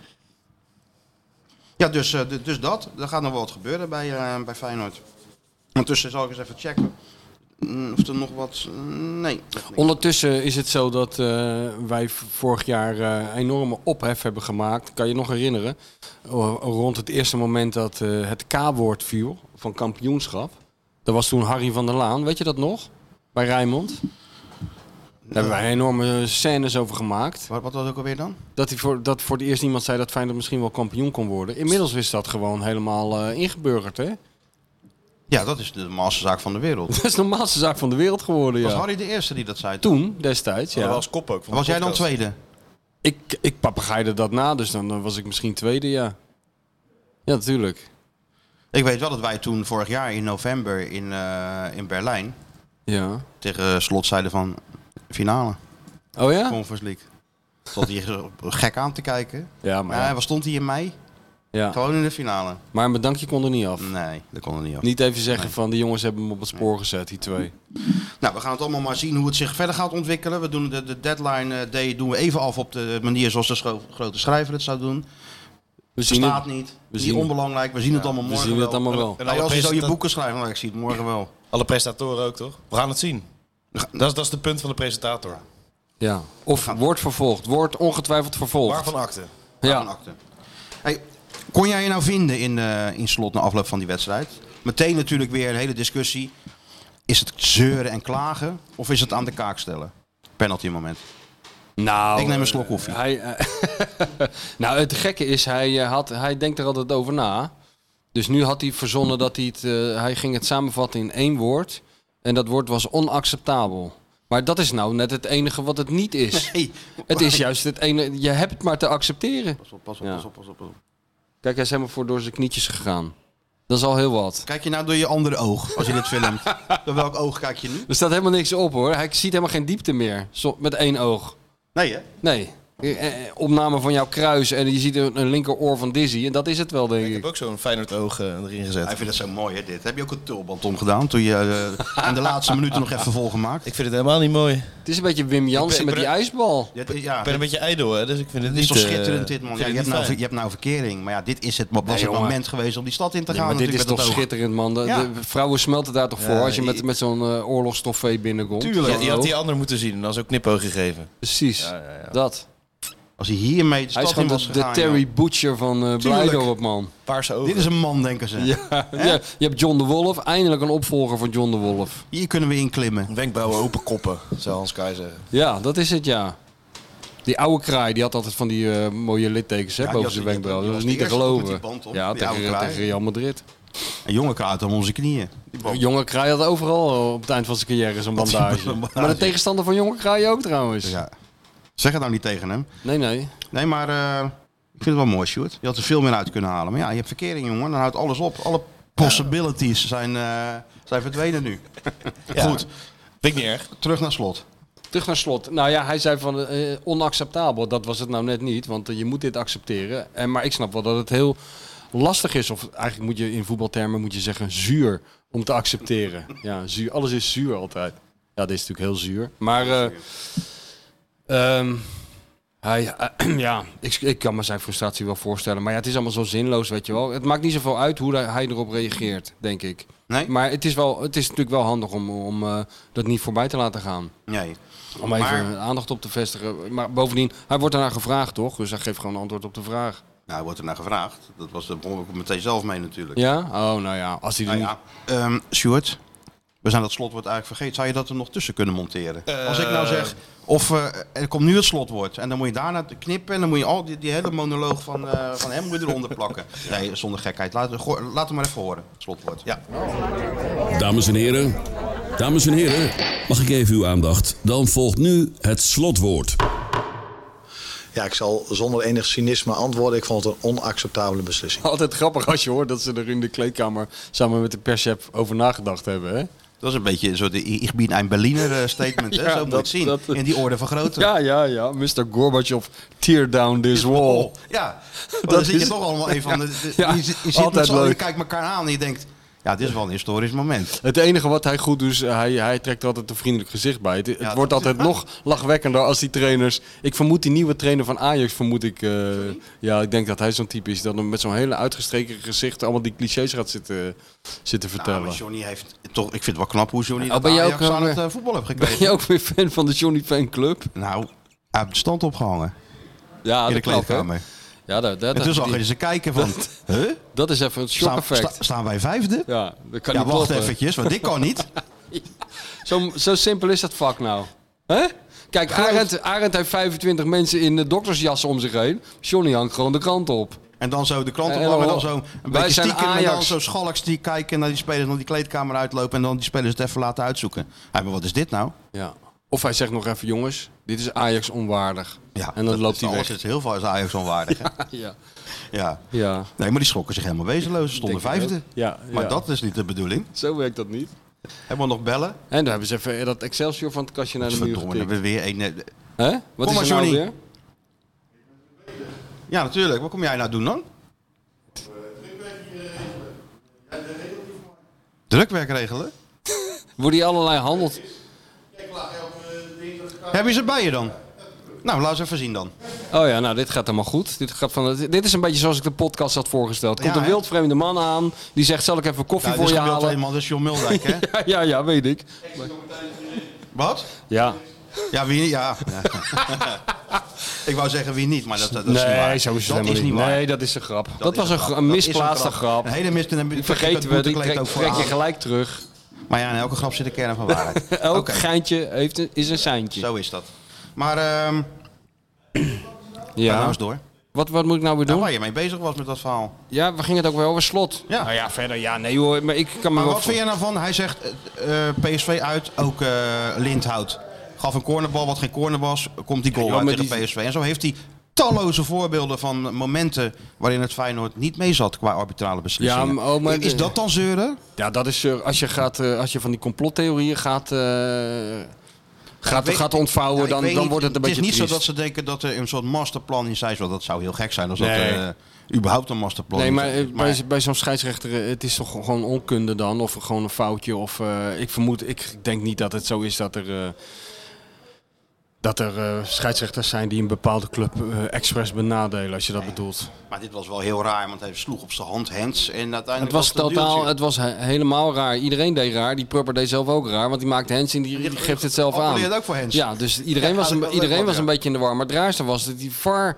Ja, dus, eh, d- dus dat. Er gaat nog wel wat gebeuren bij, eh, bij Feyenoord. Ondertussen zal ik eens even checken mm, of er nog wat... mm, Nee.
Ondertussen is het zo dat eh, wij v- vorig jaar eh, enorme ophef hebben gemaakt. Kan je nog herinneren? O- Rond het eerste moment dat eh, het K-woord viel van kampioenschap. Dat was toen Harry van der Laan. Weet je dat nog? Bij Rijnmond. Daar hebben wij enorme scènes over gemaakt.
Wat, wat was ook alweer dan?
Dat, hij voor, dat voor het eerst iemand zei dat Feyenoord misschien wel kampioen kon worden. Inmiddels is dat gewoon helemaal eh, ingeburgerd. Hè? [LAUGHS]
Ja, dat is de masterzaak van de wereld.
Dat is de normaalste zaak van de wereld geworden.
Was
Ja.
Harry de eerste die dat zei?
Toen, destijds.
Oh, Dat
Ja.
was kop ook. van de
Was jij dan
podcast.
tweede?
Ik, ik papegaaide dat na, dus dan, dan was ik misschien tweede, ja. Ja, natuurlijk.
Ik weet wel dat wij toen vorig jaar in november in, eh, in Berlijn
Ja.
tegen slot zeiden van finale
Oh ja?
Conference League. Stond hij zo gek aan te kijken.
Ja, maar,
Maar ja,
ja.
waar stond hij in mei?
Ja.
Gewoon in de finale.
maar mijn dankje kon er niet af.
Nee, dat kon er niet af.
Niet even zeggen van, die jongens hebben hem op het spoor gezet, die twee.
Nou, we gaan het allemaal maar zien hoe het zich verder gaat ontwikkelen. We doen de, de deadline eh, day doen we even af op de manier zoals de scho- grote schrijver het zou doen.
We zien
Staat
het,
niet.
zien
Niet
het.
onbelangrijk. We zien het allemaal
we
morgen
zien het
wel.
allemaal wel.
En
Nou,
alle,
als je zo je
presenta-
boeken schrijft, nou, ik zie het morgen wel.
alle presentatoren ook, toch? We gaan het zien. Dat is, dat is de punt van de presentator.
Ja. Of wordt vervolgd. Wordt ongetwijfeld vervolgd.
Waarvan akte?
Van
Ja.
akte. Hey, kon jij je nou vinden in, eh, in slot na afloop van die wedstrijd? Meteen natuurlijk weer een hele discussie. Is het zeuren en klagen of is het aan de kaak stellen? Penalty moment.
Nou,
Ik neem een slok
eh,
koffie.
Hij, eh, [LAUGHS] nou, het gekke is, hij, eh, had, hij denkt er altijd over na. Dus nu had hij verzonnen dat hij het... eh, hij ging het samenvatten in één woord. En dat woord was onacceptabel. Maar dat is nou net het enige wat het niet is.
Hey,
Het is juist het ene... Je hebt het maar te accepteren.
Pas op, pas op,
Ja.
pas op, pas op, pas op.
Kijk, hij is helemaal voor door zijn knietjes gegaan. Dat is al heel wat.
Kijk je nou door je andere oog als je dit
[LAUGHS]
filmt? door welk oog kijk je nu?
Er staat helemaal niks op, hoor. Hij ziet helemaal geen diepte meer. Zo- met één oog.
Nee hè?
Nee. eh, eh, opname van jouw kruis en je ziet een, een linkeroor van Dizzy. En dat is het wel, denk
Ik
ik.
heb ook zo'n Feyenoord oog eh, erin gezet.
Hij vindt het zo mooi, hè, dit. Heb je ook een tulband omgedaan toen je eh, in de laatste minuten nog even volgemaakt?
Ik vind het helemaal niet mooi.
Het is een beetje Wim
Ik ben-
Jansen met
ik
die
ben-
ijsbal.
Ja, dit- ja,
Ik ben een beetje ijdel, hè, dus ik vind het
het
niet...
is toch
eh,
schitterend dit, man.
vind
Ja,
het
je, hebt
niet
nou,
fijn.
je hebt nou verkering, maar ja, dit is het, was het
jongen.
moment geweest om die stad in te
Ja,
gaan.
maar dit is
natuurlijk,
toch
met dat oog.
schitterend, man. De,
Ja.
de vrouwen smelten daar toch voor als je met, met zo'n eh oorlogstoffee binnenkomt.
Ja,
Zo.
je had die ander moeten zien en dan is ook knipoog gegeven.
Precies, dat.
Als hij hiermee de
Hij
stad
is
in
gewoon
was
de, de
gegaan.
Terry
joh.
Butcher van eh Blijdorp,
[LAUGHS]
man.
Paarse ogen.
Dit is een man, denken ze.
Ja, ja, je hebt John de Wolf, eindelijk een opvolger van John de Wolf.
Hier kunnen we inklimmen.
Wenkbrauwen open koppen, zou Hans Kai zeggen.
Ja, dat is het, ja. Die oude kraai, die had altijd van die eh, mooie littekens hè,
Ja, die
boven
had-
zijn
die-
wenkbrauw.
die
Dat was
was
niet
de
te
eerste
geloven.
met die band op,
ja,
die oude
tegen,
kraai.
tegen Real Madrid.
Een jongen kraait om onze knieën.
Jonge kraai had overal op het eind van zijn carrière zo'n bandage.
bandage.
Maar de tegenstander van jonge kraai ook trouwens.
Ja. Zeg het nou niet tegen hem.
Nee, nee.
Nee, maar eh, ik vind het wel mooi, Sjoerd. Je had er veel meer uit kunnen halen. Maar ja, je hebt verkering, jongen. Dan houdt alles op. Alle possibilities zijn, eh, zijn verdwenen nu.
Vind
Goed,
ik niet erg.
terug naar slot.
Terug naar slot. Nou ja, hij zei van eh, onacceptabel. Dat was het nou net niet, want eh, je moet dit accepteren. En, maar ik snap wel dat het heel lastig is. Of eigenlijk moet je in voetbaltermen moet je zeggen zuur om te accepteren. ja, zuur. Alles is zuur altijd. Ja, dit is natuurlijk heel zuur. Maar eh, ehm, hij, eh, [CLEARS THROAT] ja, ik, ik kan me zijn frustratie wel voorstellen. Maar ja, het is allemaal zo zinloos, weet je wel. Het maakt niet zoveel uit hoe hij- hij erop reageert, denk ik.
Nee?
Maar het is, wel, het is natuurlijk wel handig om, om eh, dat niet voorbij te laten gaan.
Nee.
Om
Maar-
even aandacht op te vestigen. Maar bovendien, hij wordt daarna gevraagd, toch? Dus hij geeft gewoon antwoord op de vraag.
Nou, wordt er naar gevraagd. Dat was de begon ik meteen zelf mee natuurlijk.
Ja? Oh, nou ja. Als hij er
Nou ja, ehm, Sjoerd, we zijn dat slotwoord eigenlijk vergeten. Zou je dat er nog tussen kunnen monteren? Als ik nou zeg, of eh, er komt nu het slotwoord. En dan moet je daarna knippen en dan moet je al die, die hele monoloog van, eh, van hem moet je eronder plakken. Nee, zonder gekheid. Laat, goor- laat hem maar even horen, het slotwoord.
Ja.
Dames en heren, dames en heren, mag ik even uw aandacht? Dan volgt nu het slotwoord.
Ja, ik zal zonder enig cynisme antwoorden. Ik vond het een onacceptabele beslissing.
niet... [LAUGHS] Altijd grappig als je hoort dat ze er in de kleedkamer samen met de perschef over nagedacht hebben, hè?
Dat is een beetje een soort I- Ik bin een Berliner eh, statement. hè?
Ja,
Zo moet je
dat-
het zien.
dat-
In die orde van grootte.
Ja, ja, ja. Mr. Gorbachev, tear down this wall. [LAUGHS]
Ja, want
Dat
dan zit je
is-
toch allemaal even aan de... de-
Ja,
je, zit- je zit
altijd
met z'n allen, je
leuk.
kijkt elkaar aan en je denkt... Ja, dit is wel een historisch moment. Nou,
Het enige wat hij goed doet, is eh, hij, hij trekt er altijd een vriendelijk gezicht bij. Het, het
dat
wordt
is-
altijd
[LAUGHS]
nog lachwekkender als die trainers... Ik vermoed die nieuwe trainer van Ajax, vermoed ik... eh, ja, ik denk dat hij zo'n type is. Dat hem met zo'n hele uitgestreken gezicht allemaal die clichés gaat zitten, eh, zitten
Nou,
vertellen.
maar Johnny heeft toch... Ik vind het wel knap hoe Johnny
Oh,
dat
ben je
Ajax
ook,
aan
eh,
het eh, voetbal heeft
Ben je
gekregen.
ook weer fan van de Johnny Fan Club?
Nou, uit de stand opgehangen in
Ja,
de
Ah, dat klopt, hè?
kleedkamer.
Ja, dat, dat,
En toen
dat,
zag je ze kijken van... Huh?
[LAUGHS] dat is even het shock
Staan,
effect.
sta- staan wij vijfde?
Ja, dat kan
Ja,
niet
wacht
kloppen.
eventjes, want dit kan niet.
Zo, zo simpel is dat vak nou. hè? Kijk, Arend, Arend heeft 25 mensen in eh, doktersjassen om zich heen. Johnny hangt gewoon de krant op.
En dan zo de krant
En
ophangen en dan
dan-
zo een
wij
beetje
zijn
stiekem en dan
Ajax.
zo schalks die kijken naar die spelers, dan die kleedkamer uitlopen en dan die spelers het even laten uitzoeken. Hé, maar wat is dit nou?
Ja. Of hij zegt nog even, jongens, dit is Ajax onwaardig.
Ja,
en dan
dat
loopt
is
hij
alles
weg.
is heel veel is Ajax onwaardig. hè?
[LAUGHS] Ja.
Ja.
ja,
Nee, maar die schrokken zich helemaal wezenloos. Ze stonden
Denk ik
vijfde.
ook. Ja,
maar
ja.
dat is niet de bedoeling.
zo werkt dat niet.
Helemaal nog bellen.
En dan hebben ze even eh, dat Excelsior van het kastje naar de muur
Verdomme, dan
getikt.
hebben we weer een... eh,
Hè? Wat
Kom
is
maar,
er nou
Johnny.
weer?
Ja, natuurlijk. Wat kom jij nou doen dan? Drukwerk regelen?
Wordt hij allerlei handelt?
Heb je ze bij je dan? Nou, laat ze even zien dan.
Oh ja, nou, dit gaat helemaal goed. Dit, gaat van, dit is een beetje zoals ik de podcast had voorgesteld. Komt
Ja,
een
hè?
wildvreemde man aan, die zegt, zal ik even koffie
Nou, dit
voor
is
je
gebeeld
halen?
eenmaal, dat is John Muldijk,
[LAUGHS]
hè?
Ja, ja, ja, weet ik.
Wat?
Ja.
Ja, wie niet?
[LAUGHS]
Ja. [LAUGHS] ik wou zeggen wie niet, maar dat, dat, dat is niet waar.
Nee, zo is het
dat
helemaal
is niet
niet.
waar.
Nee, dat is een grap. Dat,
is
was een, gra- een
Dat is
misplaatste grap.
Een hele mis... en dan-
Die
dat
vergeten we, die
boetekleed
trek,
ook voor
trek je
aan.
gelijk terug.
Maar ja, in elke grap zit een kern van waarheid.
[LAUGHS] Elk
Oké.
geintje heeft een, is een seintje.
Zo is dat. Maar ehm ja. nou
ja.
eens door.
Wat, wat moet ik nou weer
Nou,
doen?
waar je mee bezig was met dat verhaal.
Ja, we gingen het ook wel over slot.
Ja.
Nou ja, verder, ja, nee hoor. Maar ik kan me
Maar
wel
wat vind jij nou van? Hij zegt eh, eh, PSV uit, ook eh, Lindhout. Gaf een cornerbal, wat geen corner was, komt die goal
Ja,
uit
maar
tegen
die-
PSV. En zo heeft hij talloze voorbeelden van momenten waarin het Feyenoord niet mee zat qua arbitrale beslissingen.
Ja, maar- oh, maar-
Is dat dan zeuren?
Ja, dat is eh, als je, gaat, eh, als je van die complottheorieën gaat, eh, gaat,
weet-
gaat ontvouwen,
Ja, ik
dan,
weet
dan
niet.
wordt het een beetje
Het is niet
triest.
zo dat ze denken dat er een soort masterplan in zijn. Want dat zou heel gek zijn als
Nee.
dat eh, überhaupt een masterplan
Nee,
is.
maar, eh, bij, bij zo'n scheidsrechter, eh, het is toch gewoon onkunde dan? Of gewoon een foutje? Of eh, ik vermoed, ik denk niet dat het zo is dat er. eh, dat er eh, scheidsrechters zijn die een bepaalde club eh, expres benadelen, als je dat bedoelt.
maar dit was wel heel raar, want hij sloeg op zijn hand hands. En uiteindelijk
Het was,
het een
totaal,
duwtje.
het was he- helemaal raar. Iedereen deed raar. Die Prupper deed zelf ook raar, want die maakte hands en die, die geeft het zelf aan.
Appelleert ook voor hands.
Ja, dus iedereen
Ja,
was,
dat
een,
kan ook
iedereen
wel,
was
ja.
een beetje in de war. Maar het raarste was dat die VAR...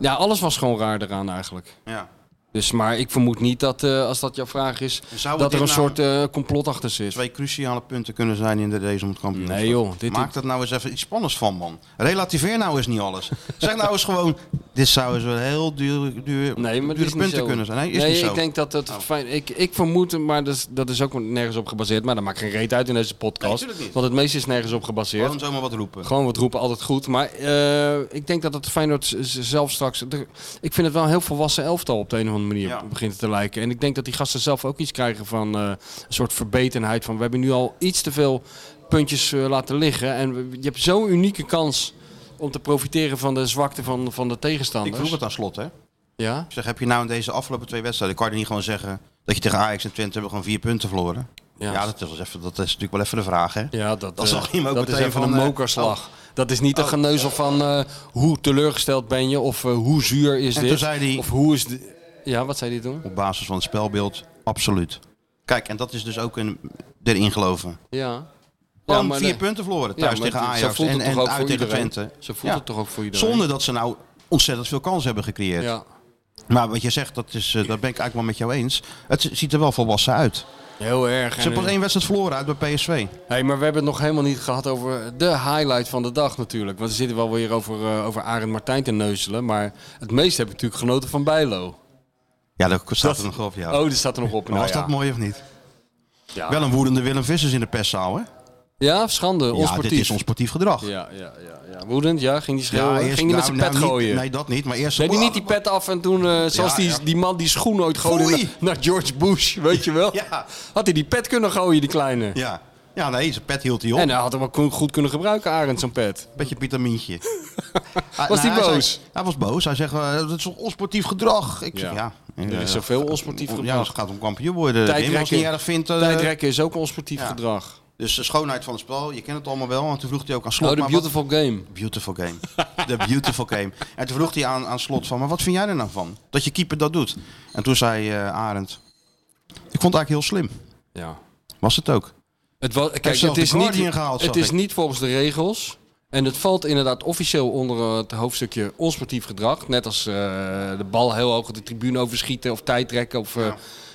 Ja, alles was gewoon raar eraan eigenlijk.
Ja.
Dus, maar ik vermoed niet dat, eh, als dat jouw vraag is,
Zou het
dat er een
dit nou-
soort eh, complot achter zit.
Twee cruciale punten kunnen zijn in de race om het kampioenschap.
Nee, joh, dit-
Maak dat nou eens even iets spannends van, man. Relativeer nou eens niet alles. zeg nou eens gewoon, dit zou eens wel heel duur, duur,
Nee, maar
dure
dat is niet
punten
zo.
kunnen zijn. Nee, is
nee
niet zo. Oh.
ik denk dat het fijn... Ik, ik vermoed, maar dat is, dat is ook nergens op gebaseerd. Maar dat maakt geen reet uit in deze podcast.
Nee, tuurlijk niet.
want het meeste is nergens op gebaseerd.
Gewoon zomaar wat roepen.
Gewoon wat roepen, altijd goed. Maar eh, ik denk dat het Feyenoord z- z- zelf straks... de- ik vind het wel een heel volwassen elftal op de een of andere manier
Ja.
begint het te lijken. En ik denk dat die gasten zelf ook iets krijgen van eh, een soort verbetenheid. Van, we hebben nu al iets te veel puntjes eh, laten liggen. En we- je hebt zo'n unieke kans om te profiteren van de zwakte van, van de
Ik
tegenstanders.
vroeg het aan slot, hè.
Ja?
Ik zeg, heb je nou in deze afgelopen twee wedstrijden, kan je niet gewoon zeggen dat je tegen Ajax en Twente hebben gewoon vier punten verloren? Ja,
Ja.
dat, is wel even, dat is natuurlijk wel even de vraag, hè?
Ja, dat,
Dan
eh,
zag je hem ook
dat is
meteen
even
van,
een
eh, Oh.
mokerslag. Dat is niet een geneuzel van eh, hoe teleurgesteld ben je of eh, hoe zuur is
En
dit.
toen zei hij-
Of hoe is... di- Ja, wat zei hij toen?
Op basis van het spelbeeld, absoluut. Kijk, en dat is dus ook een, erin geloven.
Ja.
Gewoon
maar
vier
de-
punten verloren thuis
Ja, maar
tegen
dit- zo
Ajax
voelt het
en,
toch ook
en uit
voor
tegen
iedereen?
Twente.
Zo voelt het toch ook voor iedereen?
Zonder dat ze nou ontzettend veel kansen hebben gecreëerd.
Ja.
Maar wat je zegt, dat, is, eh, dat ben ik eigenlijk wel met jou eens. Het ziet er wel volwassen uit. Ze
Heel erg. eh,
hebben pas één wedstrijd verloren uit bij PSV.
hey, maar we hebben het nog helemaal niet gehad over de highlight van de dag natuurlijk. Want we zitten wel weer over, eh, over Arend Martijn te neuzelen. Maar het meest heb ik natuurlijk genoten van Bijlo.
Ja, dat staat er nog op, ja.
Oh, die staat er nog op.
Maar
Nou,
was
ja.
dat mooi of niet?
Ja.
Wel een woedende Willem Vissers in de perszaal, hè?
Ja, schande.
Ja,
onsportief.
dit is ons sportief gedrag.
Ja, ja, ja, ja. Woedend, ja. Ging die schreeuwen?
eerst-
ging die
nou,
met zijn pet
nou, niet-
gooien?
Nee, dat niet. Maar eerst... Oh,
Deed hij niet die pet af en toen, eh, zoals
Ja,
die,
ja.
die man die schoen ooit gooide
Foei!
naar, naar George Bush, weet je wel?
[LAUGHS] Ja.
Had hij die pet kunnen gooien, die kleine?
Ja. ja, nee, zijn pet hield hij op.
En nou- hij had hem ook ko- goed kunnen gebruiken, Arend, zo'n pet.
Beetje
[LAUGHS]
vitamintje. was
die
Hij,
boos?
zei- hij was boos. Hij zegt, eh, dat is toch onsportief gedrag. Ik zeg, ja.
Er is
eh,
zoveel onsportief
Ja,
gedrag.
het gaat om kampioen worden. Tijdrekken. Als
Tijdrekken.
hij niet erg vindt. eh,
Tijdrekken is ook onsportief
Ja.
gedrag.
dus de schoonheid van het spel, je kent het allemaal wel. En toen vroeg hij ook aan slot.
Oh, de
maar
beautiful game.
Wat, beautiful game. The beautiful game. En toen vroeg hij aan, aan slot van, maar wat vind jij er nou van? Dat je keeper dat doet. En toen zei eh Arend, ik vond het eigenlijk heel slim.
Ja.
Was het ook.
Het wa- kijk,
heeft zelfs
het is,
de
niet,
Guardian gehaald,
het
zag
is
ik.
niet volgens de regels. En het valt inderdaad officieel onder eh, het hoofdstukje onsportief gedrag. Net als eh, de bal heel hoog op de tribune overschieten of tijdrekken. Of eh,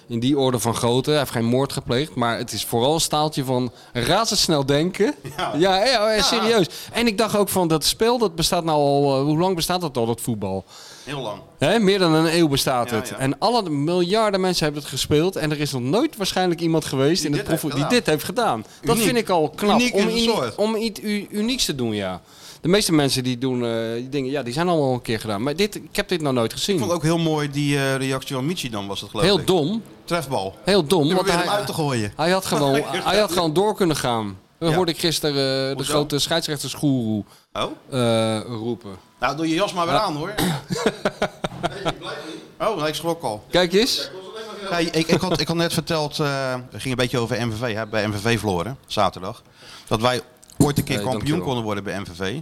in die orde van grootte. Hij heeft geen moord gepleegd. Maar het is vooral een staaltje van razendsnel denken. Ja, ja, ja, serieus. En ik dacht ook van dat spel, dat bestaat nou al... eh, hoe lang bestaat dat al, dat voetbal?
Heel lang.
Hè, meer dan een eeuw bestaat
Ja,
het.
ja.
En alle miljarden mensen hebben het gespeeld. En er is nog nooit waarschijnlijk iemand geweest in
dit
het proef
heeft
die
gedaan.
dit heeft gedaan. Dat
Uniek.
vind ik al knap.
Uniek
om,
in zijn soort.
om iets u- unieks te doen, ja. De meeste mensen die doen eh, die dingen, ja, die zijn allemaal een keer gedaan. Maar dit, ik heb dit nog nooit
Ik vond
gezien.
ook heel mooi die eh, reactie van Michi dan was het geloof
Heel
ik.
dom.
Trefbal.
Heel dom.
Je
Want
probeert hem
hij,
uit te gooien.
hij, had
[LAUGHS]
gewoon, hij had gewoon door kunnen gaan. Dat
Ja.
hoorde ik gisteren eh, de
Hoezo?
grote scheidsrechtersgoeroe
Oh?
eh, roepen.
Nou, doe je jas maar weer aan [LAUGHS] hoor. Oh, nee, ik schrok al.
Kijk eens.
Ja, ik, ik, had, ik had net verteld, eh het ging een beetje over MVV, hè, bij MVV verloren, zaterdag. Dat wij ooit een keer
Nee,
kampioen
dankjewel.
konden worden bij MVV.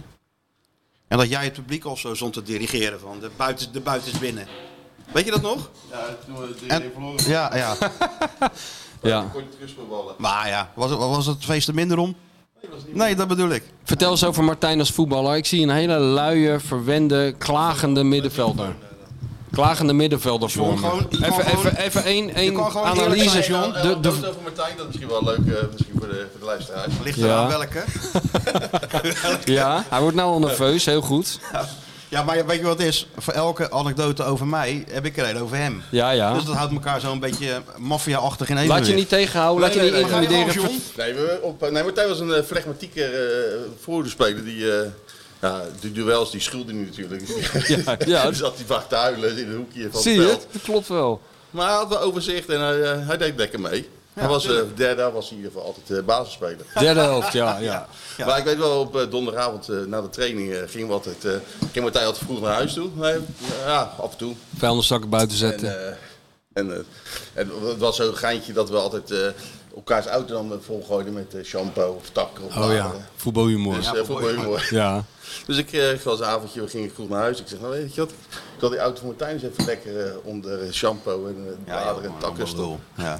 En dat jij het publiek al zo stond te dirigeren van de buiten, de buiten is binnen. Weet je dat nog? Ja, toen we verloren. Ja, ja.
Ja.
Maar ja, was, het- was het feest er minder om? Nee, dat bedoel ik.
Vertel eens over Martijn als voetballer. Ik zie een hele luie, verwende, klagende middenvelder. Klagende middenvelder voor
John,
me.
gewoon- je kan
Even,
gewoon-
even, even één, één
kan gewoon
analyse,
eerlijk zijn,
John. De,
de,
de,
over Martijn, dat is misschien wel leuk eh, misschien voor, de, voor de luisteraars.
Ligt
Ja.
er aan welke?
ja, hij wordt nou al nerveus, heel goed.
Ja, maar weet je wat het is? Voor elke anekdote over mij heb ik er een over hem.
Ja, ja.
Dus dat houdt elkaar zo'n beetje maffia-achtig in evenwicht.
Laat je niet tegenhouden, laat je
Nee,
niet
nee, nee,
intimideren.
Nee, we, op, nee, Martijn was een eh, flegmatieke eh voorhoederspeler die... eh, ja, de duels die schulden nu natuurlijk.
[LAUGHS]
Ja, ja.
dus zat hij vaak te huilen in een hoekje van
Zie je
het
het?
veld.
Dat klopt wel.
Maar hij had wel overzicht en hij, eh, hij deed lekker mee.
hij was eh, derde, was hij in ieder geval altijd eh, basisspeler.
Derde helft, ja. ja.
Maar ik weet wel, op eh, donderdagavond eh, na de training eh, gingen we altijd, eh, ging Martijn altijd vroeg naar huis toe. Nee, ja, af en toe.
Vuilniszakken buiten
En,
zetten.
eh, en, eh, en het was zo'n geintje dat we altijd eh, elkaars auto dan volgooiden met eh, shampoo of takken of
oh
water.
ja, voetbalhumor.
Dus,
Ja.
eh, vond ik wel heel mooi.
ja.
Dus ik eh was een avondje, we gingen goed naar huis. Ik zeg, nou weet je wat, ik had die auto van Martijn eens even lekker eh, onder shampoo en eh, bladeren en takken stoppen.
Ja.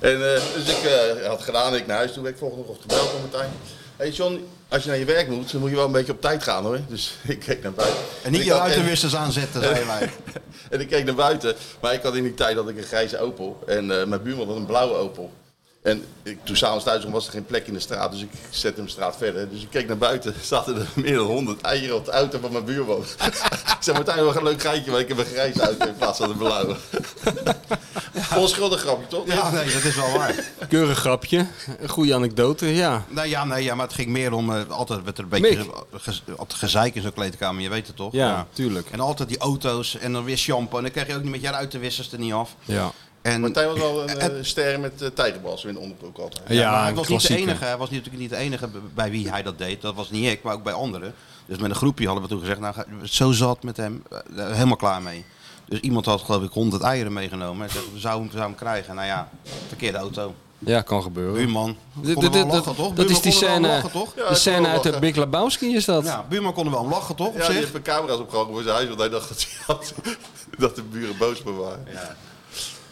En eh, dus ik eh, had gedaan, ik naar huis toe, ben ik volgende ochtend gebeld van Martijn. Hé hey John, als je naar je werk moet, dan moet je wel een beetje op tijd gaan hoor. Dus [LAUGHS] ik keek naar buiten.
En niet
ik
je
had- en-
ruitenwissers aanzetten,
[LAUGHS]
zei wij.
en ik keek naar buiten. Maar ik had in die tijd had ik een grijze Opel. En eh, mijn buurman had een blauwe Opel. En ik, toen s'avonds thuis kwam was er geen plek in de straat. Dus ik zette hem de straat verder. Dus ik keek naar buiten. [LAUGHS] Zaten er meer dan honderd eieren op de auto van mijn buurman. [LAUGHS] ik zei, Martijn, wat een leuk geitje. Maar ik heb een grijze auto in plaats van een
[LAUGHS]
blauwe. Onschuldig grapje, toch?
Ja, [LAUGHS] nee, dat is wel waar.
Keurig grapje. Een goede anekdote, ja.
Nee, ja, nee, ja, maar het ging meer om eh, altijd werd er een beetje
Mick.
ge- ge- altijd gezeik in zo'n kleedkamer, je weet het toch?
Ja, tuurlijk.
En altijd die auto's en dan weer shampoo. En dan kreeg je ook niet met je ruitenwissers er niet af.
Ja,
En,
Martijn was
[LAUGHS]
wel een
Het-
eh, ster met uh, tijgerbals in de onderbroek altijd.
ja,
maar hij was niet de
klassieker.
enige. Hij was natuurlijk niet de enige b- bij wie hij dat deed. Dat was niet ik, maar ook bij anderen. Dus met een groepje hadden we toen gezegd, nou, ga- zo zat met hem, eh, helemaal klaar mee. Dus iemand had geloof ik 100 eieren meegenomen. En zei, we zouden hem, zou hem krijgen. Nou ja, verkeerde auto.
Ja, kan gebeuren.
Buurman.
Dit-
Konden we
dit-
wel lachen, toch?
dat
Buurman
is die
konden we wel om
scène,
lachen, toch?
Ja,
die
ik kon
scène
wel
uit de
lachen.
Big Lebowski, is dat?
Ja, buurman konden wel om lachen, toch? Op
Ja, die
zich?
heeft een camera's opgehangen voor zijn huis. Want hij dacht dat, hij had, [LAUGHS] dat de buren boos me waren.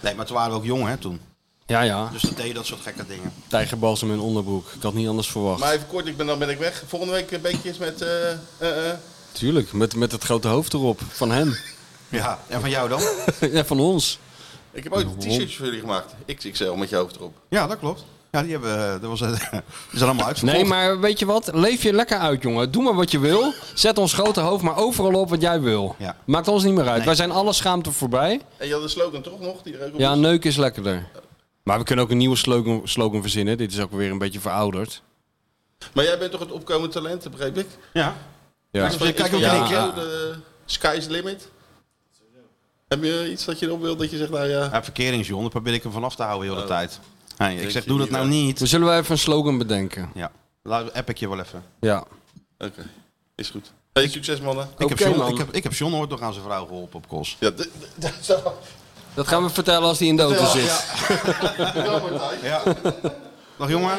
Nee, maar toen waren we ook jong, hè, toen.
Ja, ja.
Dus dat deed je dat soort gekke dingen.
Tijgerbalsem in onderbroek. Ik had niet anders verwacht.
Maar even kort, ik ben, dan ben ik weg. Volgende week een beetje eens met... eh, eh, eh,
Tuurlijk, met, met het grote hoofd erop. Van hem.
Ja. En van jou dan?
[LAUGHS] ja, van ons.
ik heb ooit een t-shirtje voor jullie gemaakt. XXL met je hoofd erop.
ja, dat klopt. Ja, die hebben... eh, Dat was, eh, [LAUGHS] die zijn allemaal uitverkocht.
Nee, maar weet je wat? Leef je lekker uit, jongen. Doe maar wat je wil. Zet ons grote hoofd maar overal op wat jij wil.
Ja.
Maakt ons niet meer uit.
Nee.
Wij zijn alle schaamte voorbij.
En je had een slogan toch nog? Die er ook op
Ja,
is?
neuk is lekkerder. Maar we kunnen ook een nieuwe slogan, slogan verzinnen. Dit is ook weer een beetje verouderd.
Maar jij bent toch het opkomend talent, begreep ik?
Ja.
Ja.
Is van-
kijk
is
ook
van jou
in één
ook de Sky's the limit? Heb je iets dat je erop wilt dat je zegt, nou ja...
Ja, verkeringsjongen, daar probeer ik hem vanaf te houden
Oh.
heel de tijd. Nee, ik
Denk
zeg,
je
doe dat
niet
nou
wel.
niet.
We zullen wel even een slogan bedenken.
Ja. Laat, app ik je wel even.
Ja.
Oké, is goed. Hey, succes mannen.
Ik,
Oké,
heb John,
man.
ik, heb, ik heb John ooit nog aan zijn vrouw geholpen op Kos.
Ja, d- d- d- zo.
Dat gaan we vertellen als hij in de auto zit.
Ja, Martijn.
Ja. Dag jongen.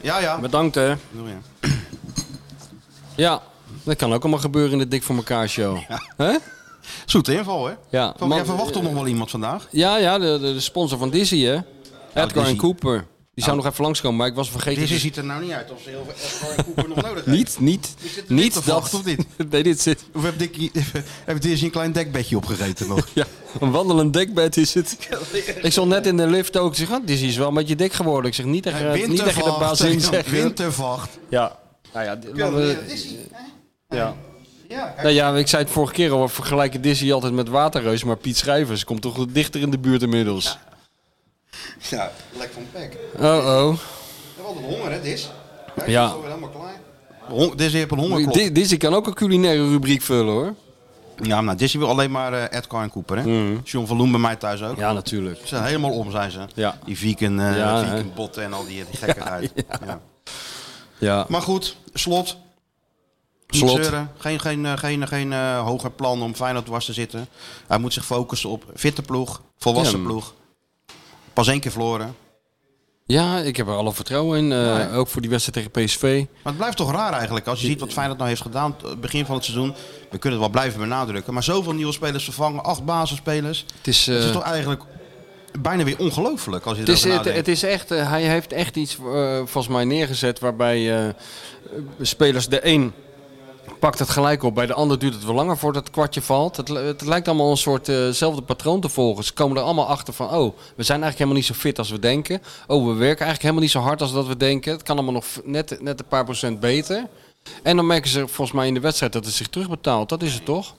Ja, ja.
Bedankt, hè.
Doe je.
Ja, dat kan ook allemaal gebeuren in de Dik voor elkaar show. Hè?
Zoete inval, hè?
Ja,
Van,
man- eh,
jij verwacht toch nog wel iemand vandaag?
Ja, ja, de, de, de sponsor van Dizzy, hè? Edgar
Dizzy.
en Cooper. Die zou nog even langskomen, maar ik was vergeten.
Deze
die-
ziet er nou niet uit of ze heel veel Edgar en Cooper
[LAUGHS]
nog nodig hebben.
Niet, niet,
zit erin
niet
te
dat...
wachten, of niet?
[LAUGHS] nee, dit zit...
Of heb Dickie, [LAUGHS] heeft Dizzy een klein dekbedje opgegeten nog?
Ja, een wandelend dekbed is het. ik stond net in de lift ook. Ik zeg, oh, Dizzy is wel een beetje dik geworden. Ik zeg, niet tegen, niet tegen de
[LAUGHS]
baas in
Wintervacht.
zeggen.
Wintervacht.
Ja. Nou ja, dit- laten we- ja.
Ja,
Nou ja, ik zei het vorige keer al, we vergelijken Dizzy altijd met Waterreus, maar Piet Schrijvers komt toch dichter in de buurt inmiddels.
ja. Lek van pek.
Oh oh.
We hadden honger, hè, Dis?
is Ja. alweer
helemaal klaar. Hon Dis heeft een hongerklop.
Di- Dizzy kan ook een culinaire rubriek vullen hoor.
Ja, nou, Disney wil alleen maar eh, Edgar en Cooper, hè? John van Loen bij mij thuis ook.
Mm. Ja, natuurlijk.
Ze zijn helemaal om, zijn ze.
Ja.
Die vegan, eh
Ja,
vegan
hè.
botten en al die, die
[LAUGHS]
gekkigheid. Ja,
Ja.
Maar goed, slot. Niet
Slot.
zeuren. Geen, geen, eh, geen, geen eh, hoger plan om Feyenoord dwars te zitten. Hij moet zich focussen op fitte ploeg, volwassen
Ja.
ploeg. Pas één keer verloren.
Ja, ik heb er alle vertrouwen in. eh, Ook voor die wedstrijd tegen PSV.
Maar het blijft toch raar eigenlijk als je ziet wat Feyenoord nou heeft gedaan t- het begin van het seizoen. We kunnen het wel blijven benadrukken. Maar zoveel nieuwe spelers vervangen, acht basisspelers.
Het is,
Het is
eh,
toch eigenlijk bijna weer ongelooflijk als je
het is,
erover
het,
nadenkt.
het is echt, eh, hij heeft echt iets eh, volgens mij neergezet waarbij eh, spelers de een pakt het gelijk op, bij de ander duurt het wel langer voordat het kwartje valt. Het, li- het lijkt allemaal een soort eh, zelfde patroon te volgen. Ze komen er allemaal achter van, oh, we zijn eigenlijk helemaal niet zo fit als we denken. Oh, we werken eigenlijk helemaal niet zo hard als dat we denken. Het kan allemaal nog v- net, net een paar procent beter. En dan merken ze volgens mij in de wedstrijd dat het zich terugbetaalt. Dat is het toch?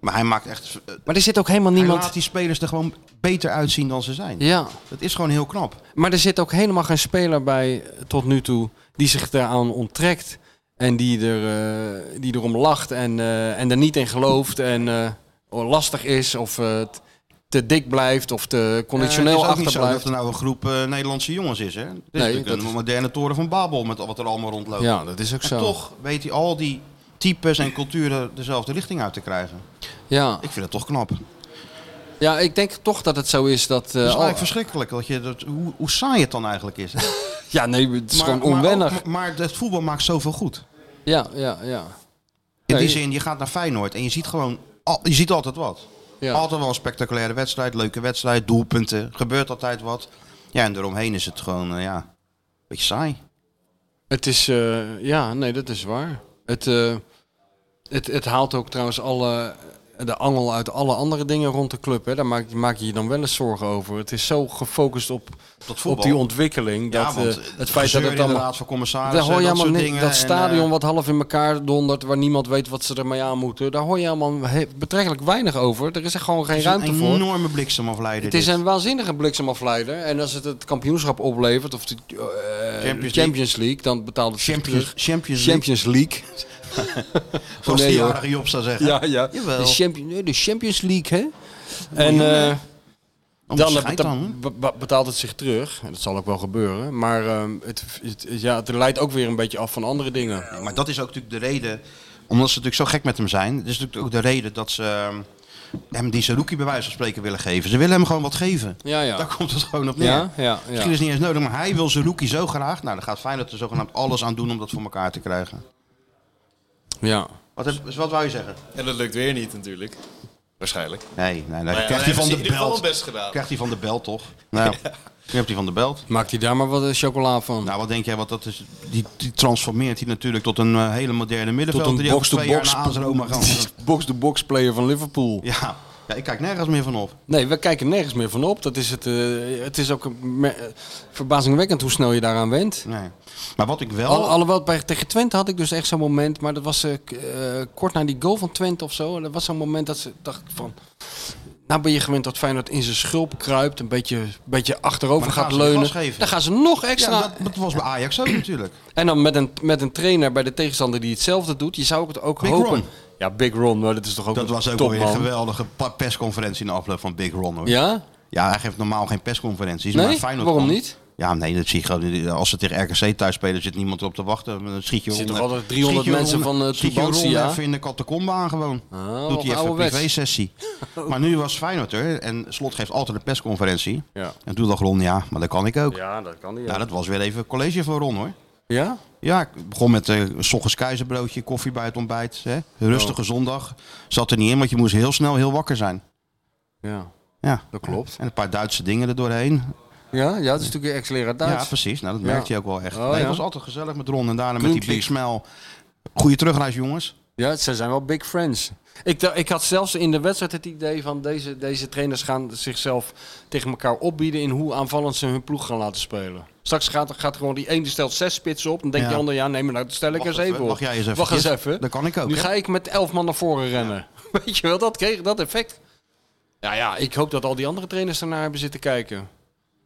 Maar hij maakt echt... eh,
Maar er zit ook helemaal
Hij
niemand...
laat die spelers er gewoon beter uitzien dan ze zijn.
Ja,
Dat is gewoon heel knap.
maar er zit ook helemaal geen speler bij eh, tot nu toe die zich daaraan onttrekt. En die, er, eh, die erom lacht en, eh, en er niet in gelooft en eh, lastig is of eh, t- te dik blijft of te
Eh, het
conditioneel
is ook niet zo dat
achterblijft.
er nou een groep eh, Nederlandse jongens is. Hè? Het is natuurlijk
dat
een
is-
moderne toren van Babel met wat er allemaal rondloopt.
Ja, dat is ook
en
zo.
toch weet hij al die types en culturen dezelfde richting uit te krijgen.
ja.
Ik vind dat toch knap. Het
ja, ik denk toch dat het zo is dat... eh,
is
al-
eigenlijk verschrikkelijk dat je dat, hoe, hoe saai het dan eigenlijk is. Het
ja, nee, het is gewoon onwennig.
Maar, het voetbal maakt zoveel goed.
ja, ja, ja.
In
Nee.
die zin, je gaat naar Feyenoord en je ziet gewoon, al- je ziet altijd wat.
Ja.
Altijd wel een spectaculaire wedstrijd, leuke wedstrijd, doelpunten, gebeurt altijd wat. Ja, en eromheen is het gewoon, eh, ja, een beetje saai.
Het is, eh, ja, nee, dat is waar. Het, eh, het, het haalt ook trouwens alle, de angel uit alle andere dingen rond de club. Hè. Daar maak, maak je je dan wel eens zorgen over. Het is zo gefocust op,
Tot
op die ontwikkeling. Dat, eh, het feit dat het
dan
allemaal...
raad van commissarissen,
Daar hoor je
dat
helemaal
soort
niks.
dingen.
Dat
en,
stadion
eh,
wat half in elkaar dondert, waar niemand weet wat ze ermee aan moeten. Daar hoor je helemaal he- betrekkelijk weinig over. Er is er gewoon geen
het is
ruimte
een
voor.
enorme bliksemafleider.
Het is
dit.
een waanzinnige bliksemafleider. En als het het kampioenschap oplevert, of de eh, Champions, League, dan betaalt het zich
Champions,
terug.
Champions League,
Champions League.
zoals
nee,
die
hoor.
jarige Job zou zeggen.
Ja, ja.
Jawel.
De, Champions, nee, de Champions League, hè? En eh,
Om
dan,
schijt
beta-
dan.
be- be- betaalt het zich terug. En dat zal ook wel gebeuren. Maar ehm, het, het, ja, het leidt ook weer een beetje af van andere dingen.
Ja, Maar dat is ook natuurlijk de reden, omdat ze natuurlijk zo gek met hem zijn. Dat is natuurlijk ook de reden dat ze ehm, hem die Saruki bij wijze van spreken willen geven. Ze willen hem gewoon wat geven.
Ja, ja.
Daar komt het gewoon op neer.
Ja, ja, ja.
Misschien is het niet eens nodig, maar hij wil Saruki zo graag. Nou, dan gaat Feyenoord er zogenaamd alles aan doen om dat voor elkaar te krijgen.
ja.
Wat, heb, wat wou je zeggen?
En dat lukt weer niet natuurlijk. Waarschijnlijk.
Nee, nee, nee.
Maar ja,
krijgt
dan
hij van
hebben ze in
de
ieder geval
belt.
hun best gedaan.
Krijgt hij van de belt, toch? Nou, nu hebt hij van de belt.
Maakt hij daar maar wat eh, chocola van?
Nou, wat denk jij? Want dat is, die, die transformeert hij natuurlijk tot een eh, hele moderne middenvelder.
Tot een
die over twee jaar
box-to-box
naar AS Roma
[LAUGHS]
gaat.
box-to-box player van Liverpool.
Ja. ja, ik kijk nergens meer van op.
Nee, we kijken nergens meer van op. Dat is het, eh, het is ook een me- eh, verbazingwekkend hoe snel je daaraan went.
Nee. Maar wat ik wel...
Al, alhoewel bij, tegen Twente had ik dus echt zo'n moment, maar dat was eh, k- eh, kort na die goal van Twente of zo. Dat was zo'n moment dat ze dacht ik van, nou ben je gewend dat Feyenoord in zijn schulp kruipt, een beetje, beetje achterover
Maar dan
gaat
gaan ze
leunen.
gas geven.
Dan gaan ze nog
ja,
extra.
dat, dat was bij Ajax ook natuurlijk.
En dan met een, met een trainer bij de tegenstander die hetzelfde doet. Je zou het ook
Big
hopen.
Ron.
Ja, Big Ron, maar dat is toch ook
Dat
een
was ook
topman.
alweer een geweldige pa- persconferentie in de afloop van Big Ron. Hoor.
Ja?
Ja, hij geeft normaal geen persconferenties.
Nee?
maar Feyenoord
Waarom
kwam-
niet?
Ja, nee, dat zie je gewoon. Als ze tegen RKC thuis spelen, zit niemand erop te wachten. Dan schiet je
Er zitten
Ron-
toch altijd 300
schiet je
mensen
Ron-
van, eh,
schiet je Ron
Tubantia? Oh,
even in de catacombe aan gewoon. Doet
nog
hij even een
ouderwets. [LAUGHS]
privé-sessie. maar nu was Feyenoord er en Slot geeft altijd een persconferentie.
Ja.
En toen dacht Ron, ja, maar dat kan ik ook.
Ja, dat kan niet.
Nou, dat was weer even college van Ron hoor.
Ja?
Ja, ik begon met eh, s ochtends keizerbroodje, koffie bij het ontbijt. Hè? Rustige
Oh.
zondag. Zat er niet in, want je moest heel snel heel wakker zijn.
Ja.
Ja.
Dat klopt.
En een paar Duitse dingen er doorheen.
Ja, ja, dat is natuurlijk ex-leraar
Ja,
Duits.
precies. Nou, dat
Ja.
merkte je ook wel echt.
Oh,
nee,
ja.
Het was altijd gezellig met Ron en daarna met die
Groentlief.
big smile. Goeie terugreis, jongens.
Ja, ze zijn wel big friends. Ik, dacht- ik had zelfs in de wedstrijd het idee van deze, deze trainers gaan zichzelf tegen elkaar opbieden in hoe aanvallend ze hun ploeg gaan laten spelen. Straks gaat, gaat gewoon die ene stelt zes spitsen op. Dan denkt
Ja.
die ander, ja nee, maar nou stel ik
Wacht
eens
even,
even op.
mag jij eens even,
Wacht eens
Kit?
even.
Dat kan ik ook,
Nu
hè?
ga ik met elf man naar voren rennen. [LAUGHS] Weet je wel, dat kreeg dat effect. Ja, ja, ik hoop dat al die andere trainers ernaar hebben zitten kijken.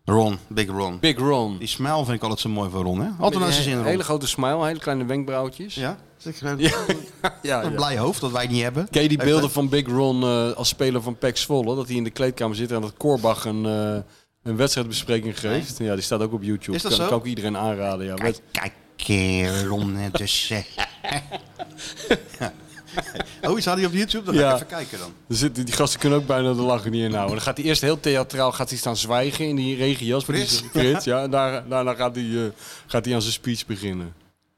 Ron, big Ron.
Big Ron.
Die smile vind ik altijd zo mooi van Ron, hè? Altijd naar zijn zin,
Een
Ron.
hele grote smile, hele kleine wenkbrauwtjes.
Ja?
ja, ja,
Een
ja.
blij hoofd dat wij het niet hebben.
Ken je die
Heeft
beelden van Big Ron eh, als speler van PEC Zwolle? Dat hij in de kleedkamer zit en dat Korbach een, eh, een wedstrijdbespreking geeft. Ja, die staat ook op YouTube.
Is dat
kan,
zo?
kan ook iedereen aanraden. Ja.
Kijk, kijk, eh, Ron het is. eh.
[LAUGHS]
Ja. Oh, is had hij op YouTube? Dan ga
Ja.
ik even kijken dan.
Er zitten- die gasten kunnen ook bijna de lachen niet inhouden. Dan gaat hij eerst heel theatraal gaat hij staan zwijgen in die regenjas. van die-
Frits.
Frits, ja. En daar, daarna gaat hij, eh, gaat hij aan zijn speech beginnen.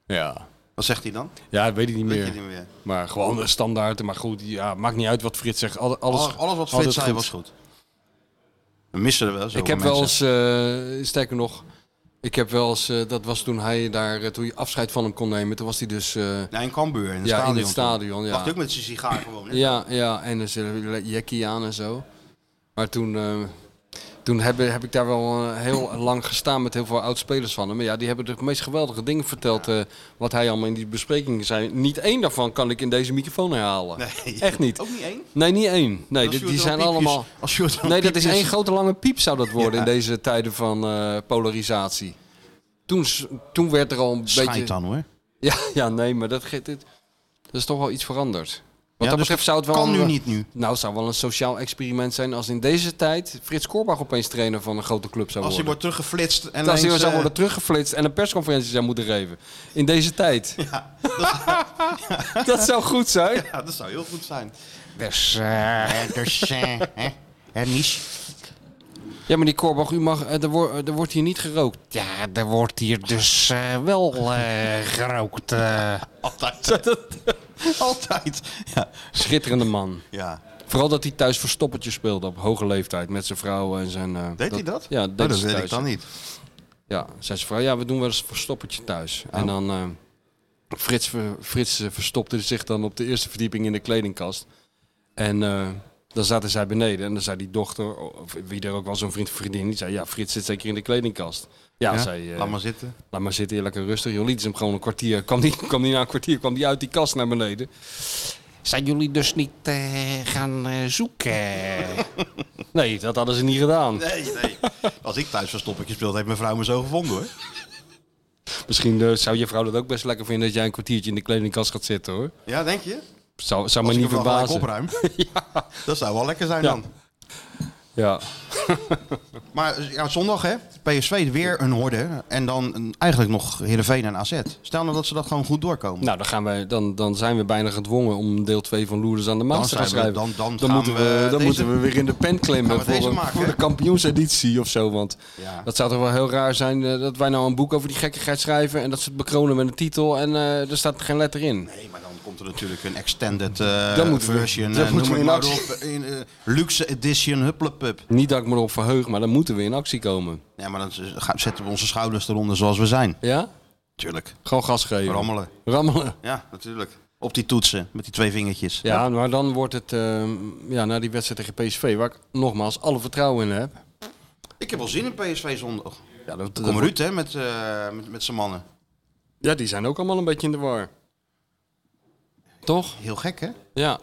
Ja,
Wat zegt hij dan?
ja dat weet ik niet
Weet je
meer.
niet meer.
Maar gewoon de standaard. Maar goed, ja, maakt niet uit wat Frits zegt. Al- Alles,
Alles, alles wat
altijd
Frits zei was goed. We missen er wel zo
Ik heb wel eens, eh, sterker nog, ik heb wel eens, eh, dat was toen hij daar, eh, toen je afscheid van hem kon nemen, toen was hij dus, eh,
Nee, in Cambuur, in het
Ja, in
stadion.
het stadion, ja.
Wacht ook met zijn sigaar gewoon. hè?
ja, ja, en er zit een jackie aan en zo. Maar toen, eh, toen heb, heb ik daar wel eh, heel lang gestaan met heel veel oud-spelers van hem. Maar ja, die hebben de meest geweldige dingen verteld, eh, wat hij allemaal in die besprekingen zei. Niet één daarvan kan ik in deze microfoon herhalen.
Nee.
Echt niet.
Ook niet één?
Nee, niet één. Nee,
Als Sjoerd
die, die
wel
zijn
piepjes-
allemaal...
Als Sjoerd wel
Nee, dat is
piepjes-
één grote lange piep zou dat worden
Ja.
in deze tijden van eh, polarisatie. Toen, s- toen werd er al een
Schijt
beetje...
dan hoor.
Ja, ja, nee, maar dat, ge- dit, dat is toch wel iets veranderd. dat
dus
betreft zou het wel
kan
een-
nu niet nu.
Nou, het zou wel een sociaal experiment zijn als in deze tijd Frits Korbach opeens trainer van een grote club zou
Als hij
worden.
wordt teruggeflitst en
als hij
ineens,
zou
eh,
worden teruggeflitst en een persconferentie zou moeten geven. In deze
[LAUGHS]
tijd. [LAUGHS] dat zou goed zijn.
Ja, dat zou heel goed zijn.
Pers.
dus, hè?
Ja, maar die Korbach, u mag, eh, er, wor- eh, er wordt hier niet gerookt. Ja, er wordt hier dus eh, wel eh, gerookt. eh.
[LAUGHS] Altijd. [LAUGHS] Altijd. Ja.
Schitterende man.
ja.
Vooral dat hij thuis verstoppertje speelde op hoge leeftijd met zijn vrouw en zijn... eh,
Deed hij dat?
Ja,
Oh,
deed
dat
ze
weet
thuis.
ik dan niet.
Ja, zei zijn vrouw, ja, we doen wel eens een verstoppertje thuis.
Oh.
En dan... eh, Frits, ver- Frits eh, verstopte zich dan op de eerste verdieping in de kledingkast. En eh, dan zaten zij beneden. En dan zei die dochter, of wie er ook wel zo'n vriend of vriendin, die zei... Ja, Frits zit zeker in de kledingkast. Ja,
Ja,
zei... eh,
Laat maar zitten.
Laat maar zitten, hier lekker rustig. Jullie, het is hem gewoon een kwartier. Kwam die, kwam die na een kwartier kwam die uit die kast naar beneden. Zijn jullie dus niet eh, gaan eh, zoeken? [LAUGHS] nee, dat hadden ze niet gedaan.
Nee, nee. Als ik thuis verstoppertje speelde, heeft mijn vrouw me zo gevonden hoor.
Misschien eh, zou je vrouw dat ook best lekker vinden dat jij een kwartiertje in de kledingkast gaat zitten hoor.
Ja, denk je?
Zou, zou me
Als ik
niet
hem wel gelijk
verbazen.
opruim.
[LAUGHS]
Dat zou wel lekker zijn
Ja.
dan.
Ja.
Maar eh, ja, zondag hè, PSV weer een horde en dan een- eigenlijk nog Heerenveen en AZ. Stel nou dat ze dat gewoon goed doorkomen.
Nou, dan, gaan wij, dan, dan zijn we bijna gedwongen om deel 2 van Loerders aan de Maas
Dan
te gaan
zijn we-
schrijven.
dan- dan gaan
moeten,
we
we, dan
deze-
moeten we weer in de pen
Gaan
klimmen
we
voor,
deze
een-
maken,
voor
hè?
de kampioenseditie of zo. Want
Ja.
dat zou toch wel heel raar zijn eh, dat wij nou een boek over die gekkigheid schrijven... en dat ze het bekronen met een titel en eh, er staat geen letter in.
Nee, maar dan komt er natuurlijk een extended eh,
Dan moeten we-
version.
dan
eh,
moeten
noem
we
het
in
maar
actie.
op, in, eh, luxe edition, hupplepup.
Niet dat ik me erop verheug, maar dan moeten we in actie komen.
Ja, maar dan z- gaan- zetten we onze schouders eronder zoals we zijn.
Ja?
Tuurlijk.
Gewoon gas geven.
Rammelen.
Rammelen.
Ja, natuurlijk. Op die toetsen, met die twee vingertjes.
Ja, maar dan wordt het... eh, ja, na die wedstrijd tegen PSV, waar ik nogmaals alle vertrouwen in heb...
Ik heb wel zin in PSV zondag.
Ja, dat, dat
Kom
wordt-
Ruud hè, met, eh, met, met zijn mannen.
ja, die zijn ook allemaal een beetje in de war. Toch?
Heel gek hè?
Ja.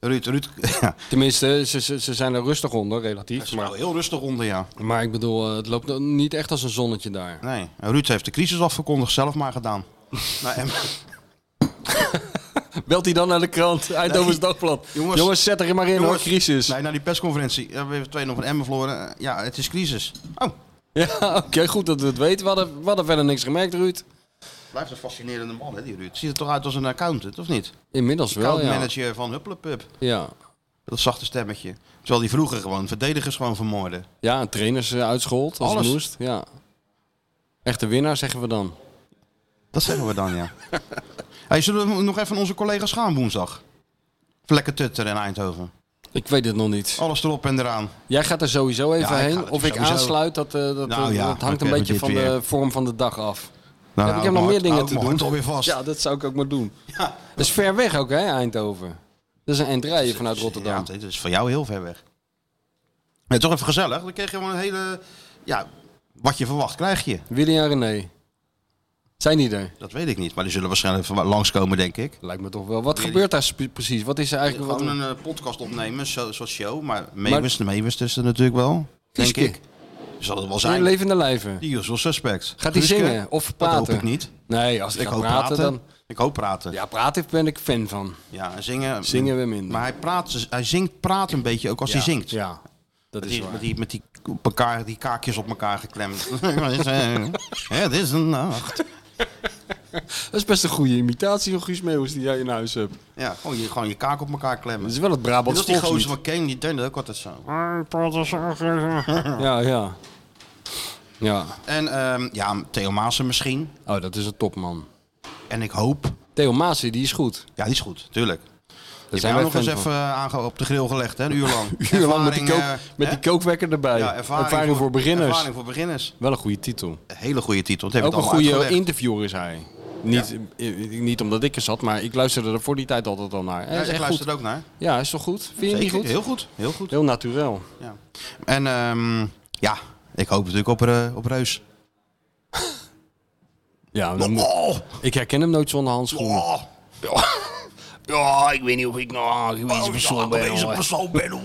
Ruud, Ruud. [LAUGHS] Ja,
Tenminste, ze, ze, ze zijn er rustig onder, relatief.
ze
Maar,
waren heel rustig onder, ja.
maar ik bedoel, eh, het loopt nog niet echt als een zonnetje daar.
Nee, en Ruud heeft de crisis afgekondigd, zelf maar
[LAUGHS]
gedaan. nou, en,
Belt hij dan naar de krant, [LAUGHS] Eindhoven's
Nee.
Dagblad. Jongens,
Jongens.
zet er maar in hoor,
Jongens.
crisis.
nee, na die persconferentie hebben we even twee nog van Emmen verloren. Eh, Ja, het is crisis. Oh,
[LAUGHS] Ja, oké, goed dat we het weten. We hadden, we hadden verder niks gemerkt, Ruud.
blijft een fascinerende man, hè, die Ruud. Ziet er toch uit als een accountant, of niet?
Inmiddels wel, ja.
Accountmanager van Hupplepup.
Ja,
Dat zachte stemmetje. Terwijl die vroeger gewoon verdedigers gewoon vermoorden.
ja en trainers eh, uitschold als
Alles.
het moest. Ja. Echte winnaar, zeggen we dan.
Dat zeggen we dan, ja. hey, zullen we nog even onze collega's gaan woensdag? Vlekken Tutter in Eindhoven.
Ik weet het nog niet.
Alles erop en eraan.
Jij gaat er sowieso even
Ja, ik ga
heen.
er
Of ik
sowieso.
aansluit, dat, eh, dat,
Nou ja,
dat hangt een
oké,
beetje
dit
van de
weer.
vorm van de dag af.
Nou,
ik heb nog meer dingen te doen.
Het alweer vast.
Ja, dat zou ik ook maar doen. Dat is ver weg ook, hè, Eindhoven. Dat is een eind rijden vanuit Rotterdam.
Ja, dit is van jou heel ver weg. Ja, toch even gezellig. Dan kreeg je gewoon een hele... Ja, wat je verwacht krijg je.
Willy en René. Zijn die er?
Dat weet ik niet. Maar die zullen waarschijnlijk van- langskomen, denk ik.
Lijkt me toch wel. Wat
Willy.
gebeurt daar spe- precies? Wat is er eigenlijk?
Gewoon
Wat...
een eh, podcast opnemen, zo, zoals show. Maar Meewis, de Meewis is er natuurlijk wel. Denk
Guuske.
ik. Zal het wel
Zijn
zijn.
levende lijven.
Die usual suspect.
Gaat hij
Guuske?
zingen of praten?
Dat hoop ik niet.
Nee, als ik
Ik
ga
hoop
praten,
praten.
dan...
Ik hoop praten. Ja,
Ja, praten ben ik fan van.
en zingen. mm,
Zingen we minder.
Maar hij, praat, dus- hij zingt, praat een beetje ook als hij zingt.
Ja, dat
Met
is
die,
waar.
met die, met die, op elkaar, die kaakjes op elkaar geklemd.
[LAUGHS]
[LAUGHS] Het is een nacht.
Dat is best een goede imitatie van Guus Meeuwis die jij in huis hebt.
Ja, gewoon je, gewoon je kaak op elkaar klemmen.
Dat is wel het
Dat
Brabants
is die gozer
volkslied.
van Kane, die deed dat ook altijd zo.
Ja, ja. Ja.
En ehm, ja, Theo Maassen misschien.
Oh, dat is een topman.
En ik hoop...
Theo Maassen, die is goed.
Ja, die is goed, tuurlijk.
Daar
Die hebben
wij
nog eens
fan van.
even eh, aange- op de grill gelegd, hè, een uur lang.
[LAUGHS] Uur lang met die,
Ervaring,
kook,
eh,
met
hè?
die kookwekker erbij.
Ja,
ervaring, voor, beginners.
Ervaring voor beginners.
Wel een goede titel.
Een hele goede titel. Dat heb
Ook
ik
een
al
goede
uitgelegd.
interviewer is hij. Niet, eh, eh, niet omdat ik er zat, maar ik luisterde er voor die tijd altijd al naar. Hij
Ja,
is
ik
echt
luister
goed.
er ook naar.
Ja, is toch goed? Vind je die
Zeker.
goed?
Heel goed. Heel goed.
Heel naturel.
Ja. En ehm, ja, ik hoop natuurlijk op, eh, op Reus.
Ja, dan
Oh.
moet- ik herken hem nooit zonder handschoenen.
[LAUGHS]
Ja, ik weet niet of ik nou een
oh,
gewezen persoon ben. hoor.
persoon ben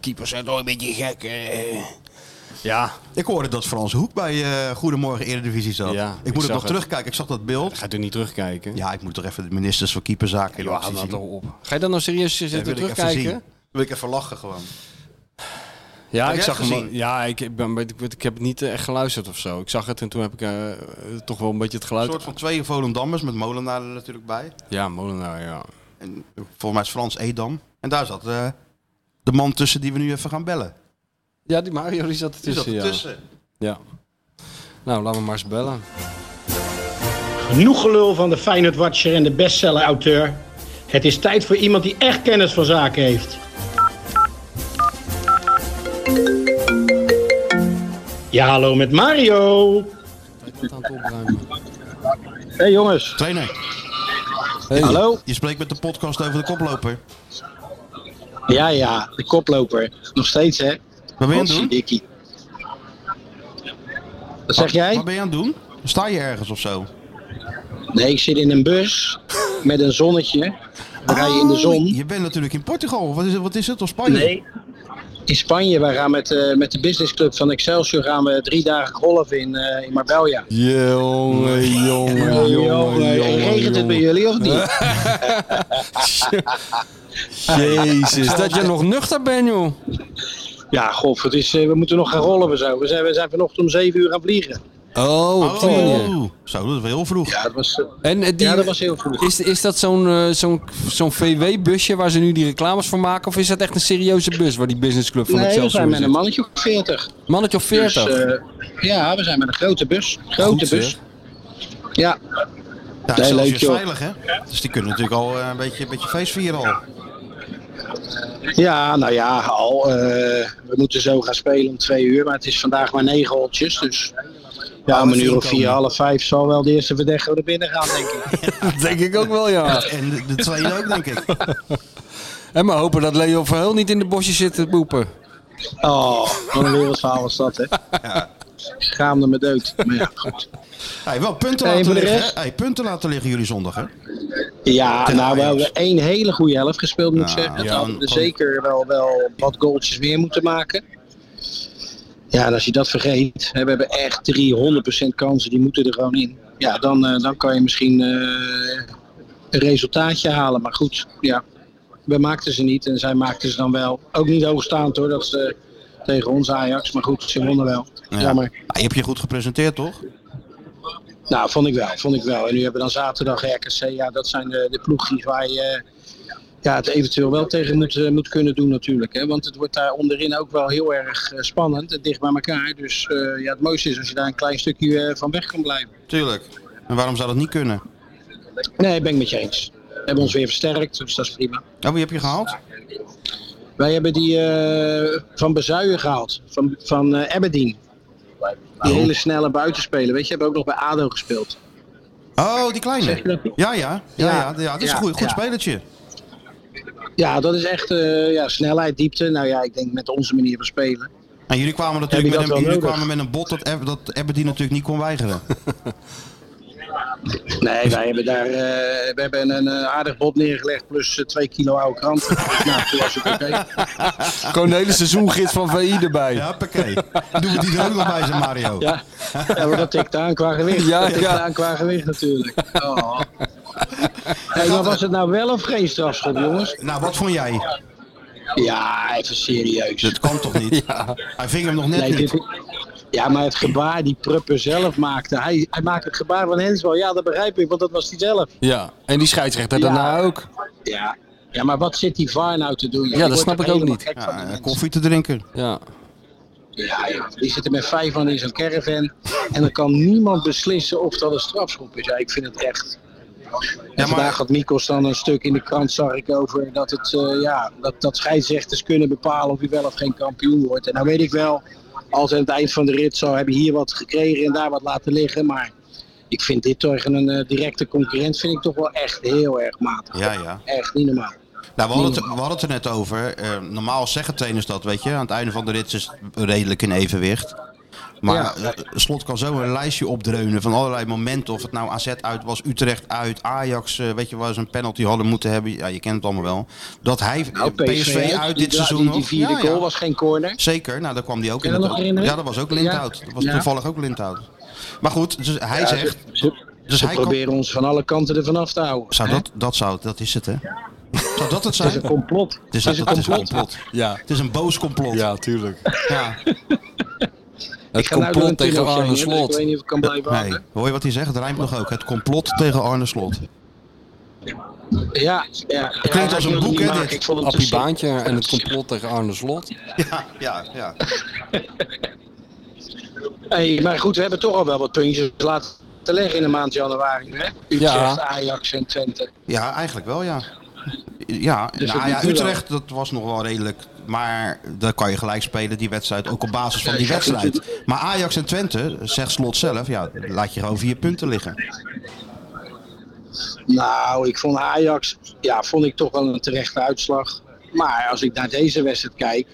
Keepers zijn toch een beetje gek. hè.
Ja,
Ik hoorde dat Frans Hoek bij eh, Goedemorgen Eredivisie zat.
Ja,
ik
ik
moet het
zag
nog
het.
terugkijken. Ik zag dat beeld.
gaat u niet terugkijken.
Ja, ik moet toch even de ministers van Keeperzaken in de
Joh,
actie
haal dat
zien.
toch op. Ga je dan nou serieus zitten
Dat wil ik even zien.
terugkijken?
Wil ik even lachen gewoon.
Ja,
Heb
ik
jij
zag
het
hem. al-
gezien?
Ja, ik, ik, ben, ik, ik heb het niet eh, echt geluisterd of zo. Ik zag het en toen heb ik eh, eh, toch wel een beetje het
Een
geluid.
soort van twee Volendammers met Molenaar er natuurlijk bij.
Ja, Molenaar, ja.
En volgens mij is Frans Edam. En daar zat eh, de man tussen die we nu even gaan bellen.
Ja, die Mario die zat
Die
ertussen.
zat ertussen.
Ja. ja. Nou, laten we maar eens bellen.
Genoeg gelul van de Feyenoord Watcher en de bestseller-auteur. Het is tijd voor iemand die echt kennis van zaken heeft. Ja, hallo met Mario.
Wat aan het opruimen.
Hey jongens.
Trainer,
Hey.
Hallo.
je spreekt met de podcast over de koploper.
Ja, ja, de koploper. Nog steeds, hè?
Wat ben je aan het doen?
Dikkie. Wat zeg jij?
Wat ben je aan het doen? Sta je ergens of zo?
Nee, ik zit in een bus met een zonnetje. We rijden in de
Oh,
zon.
Je bent natuurlijk in Portugal. Wat is, het- wat is het? Of Spanje?
Nee. In Spanje, wij gaan met, eh, met de businessclub van Excelsior gaan we drie dagen golven in, eh in Marbella.
Jongen, jongen, jongen,
eh, regent het bij jullie of niet?
[LAUGHS] Jezus, dat je nog nuchter bent, joh.
Ja, gof, het is, eh, we moeten nog gaan rollen en zo. We zijn, we zijn vanochtend om 7 uur gaan vliegen.
Oh, op die manier.
Oh, zo, dat is wel heel vroeg.
Ja, dat was, eh,
En eh, die,
ja, dat was heel vroeg.
is, is dat zo'n eh, zo'n zo'n VW-busje waar ze nu die reclames voor maken? Of is dat echt een serieuze bus waar die businessclub van
Nee, we
Excelsior
zijn met
in
een
zit?
mannetje op 40.
Mannetje of 40?
Dus, eh, ja, we zijn met een grote bus. Grote
Goed,
bus. Ja,
Ja,
Nee,
zelfs
leuk,
je is
joh.
veilig, hè? Dus die kunnen natuurlijk al eh, een beetje, een beetje feest vieren al.
ja nou ja, al. eh, we moeten zo gaan spelen om 2 uur. Maar het is vandaag maar 9 holtjes. Dus ja, om een uur of vier,
inkomen.
half vijf zal wel de eerste verdediger er binnen gaan, denk ik.
Dat denk ik ook wel, ja.
En de, de tweede ook, denk ik.
[LAUGHS]
En maar hopen dat Leo Verheul niet in de bosjes zit te boepen.
[LAUGHS] Oh, wat een wereldverhaal was dat, hè? Schaamde me dood. Maar ja, goed.
Hey, wel punten
Hey,
laten
voor de
liggen.
rest?
hè? Hey, punten laten liggen jullie zondag, hè?
Ja,
Tegen
nou, we
Ajax.
hebben één hele goede helft gespeeld, moet ik
Nou,
zeggen.
ja,
Dan hadden we
gewoon-
zeker wel, wel wat goaltjes meer moeten maken. Ja, en als je dat vergeet, hè, we hebben echt 300% kansen, die moeten er gewoon in. Ja, dan, eh, dan kan je misschien eh, een resultaatje halen. Maar goed, ja, we maakten ze niet en zij maakten ze dan wel. Ook niet hoogstaand hoor, dat is eh, tegen ons Ajax. Maar goed, ze wonnen wel.
Ja.
Jammer.
Ah, je hebt je goed gepresenteerd, toch?
Nou, vond ik wel, vond ik wel. En nu hebben we dan zaterdag RKC. Ja, dat zijn eh, de, de ploegjes waar je eh, ja, het eventueel wel tegen moet, eh, moet kunnen doen natuurlijk. Hè? Want het wordt daar onderin ook wel heel erg eh, spannend en dicht bij elkaar. Dus eh, ja, het mooiste is als je daar een klein stukje eh, van weg kan blijven.
Tuurlijk. En waarom zou dat niet kunnen?
Nee, ben ik met je eens. We hebben ons weer versterkt, dus dat is prima.
Oh, wie heb je gehaald?
Wij hebben die eh, van Bezuijen gehaald, van, van eh Aberdeen. Die hele snelle buitenspeler. Weet je, hebben ook nog bij ADO gespeeld.
Oh, die
Zeg je
kleine.
dat nog?
Ja, ja. Ja, ja.
Ja.
ja, dat is
Ja,
een goed, goed
ja.
spelertje.
Ja, dat is echt eh, ja, snelheid, diepte. Nou ja, ik denk met onze manier van spelen.
En jullie kwamen
Heb je
natuurlijk
dat
met een,
wel
jullie
nodig?
kwamen met een bot dat, Ab- dat Aberdeen natuurlijk niet kon weigeren.
Nee, wij hebben daar eh, we hebben een eh, aardig bot neergelegd plus eh, twee kilo oude krant. Dus nou, toen was het oké.
Gewoon de hele seizoengids van VI erbij.
Ja, pakket. Doen we die er ook nog bij zijn, Mario.
Ja. ja, maar dat tikt aan qua gewicht.
Ja,
dat tikt
ja.
aan qua gewicht natuurlijk. Oh. Hey, maar was het nou wel of geen strafschop, jongens?
Nou, wat vond jij?
Ja, even serieus.
Dat kan toch niet? Hij ving hem nog net
Nee,
niet.
dit, ja, maar het gebaar die Prupper zelf maakte. Hij, hij maakt het gebaar van Hensbal. Ja, dat begrijp ik, want dat was hij zelf.
Ja, en die scheidsrechter
Ja.
daarna ook.
Ja. Ja, maar wat zit die VAR nou te doen?
Ja, dat snap ik ook niet.
Ja, eh, koffie te drinken.
Ja.
Ja, joh. die zitten met vijf man in zo'n caravan. En dan kan niemand beslissen of dat een strafschop is. Ja, ik vind het echt. En
maar-
vandaag had Mikos dan een stuk in de krant, zag ik over dat, het, eh, ja, dat, dat scheidsrechters kunnen bepalen of je wel of geen kampioen wordt. En nou weet ik wel, als aan het eind van de rit zou hebben hier wat gekregen en daar wat laten liggen. Maar ik vind dit tegen een eh, directe concurrent vind ik toch wel echt heel erg matig.
Ja, ja.
Echt niet normaal.
Nou, we hadden, het, we hadden het er net over. Eh, normaal zeggen trainers dat, weet je. Aan het einde van de rit is het redelijk in evenwicht. Maar eh, Slot kan zo een lijstje opdreunen van allerlei momenten. Of het nou AZ uit was, Utrecht uit, Ajax, eh, weet je waar ze een penalty hadden moeten hebben. Ja, je kent het allemaal wel. Dat hij
Nou,
PSV,
hè,
uit
die-
dit
die-
seizoen
Die,
nog.
die vierde
Ja, ja.
goal was geen corner.
Zeker, nou daar kwam die ook
Kan je
in.
dat
het-
nog herinneren?
Ja, dat was ook Lindhout.
Ja.
Dat was
Ja.
toevallig ook Lindhout. Maar goed, dus hij
Ja,
zegt...
ze- ze,
Dus
ze
hij kan-
proberen ons van alle kanten ervan af te houden.
Zou
hè?
dat, dat, zou, dat is het, hè? Zou dat het
Het is
zijn?
een complot.
Het is,
het is een
dat is een
complot.
complot.
Ja,
Het is een boos complot.
ja tuurlijk.
Ja.
Het
Ik ga nou door een
complot tegen
tunneltje
Arne
heen, dus Ik
Slot.
weet niet of ik kan blijven
Nee,
hangen.
hoor je wat hij zegt? Het rijmt nog ook. Het complot tegen Arne Slot.
Ja, ja. Het
klinkt als een boek, hè, dit?
Ik vond hem te
Appie
simpel.
Baantje en het complot tegen Arne Slot.
Ja, ja, ja.
Hey, maar goed, we hebben toch al wel wat puntjes laten leggen in de maand januari. Hè? Utrecht,
Ja.
Ajax en Twente.
Ja, eigenlijk wel, ja. Ja,
Dus
nou
het
ja,
duel.
Utrecht, dat was nog wel redelijk. Maar daar kan je gelijk spelen, die wedstrijd. Ook op basis van die wedstrijd. Maar Ajax en Twente, zegt Slot zelf, ja, laat je gewoon vier punten liggen.
Nou, ik vond Ajax, ja, vond ik toch wel een terechte uitslag. Maar als ik naar deze wedstrijd kijk,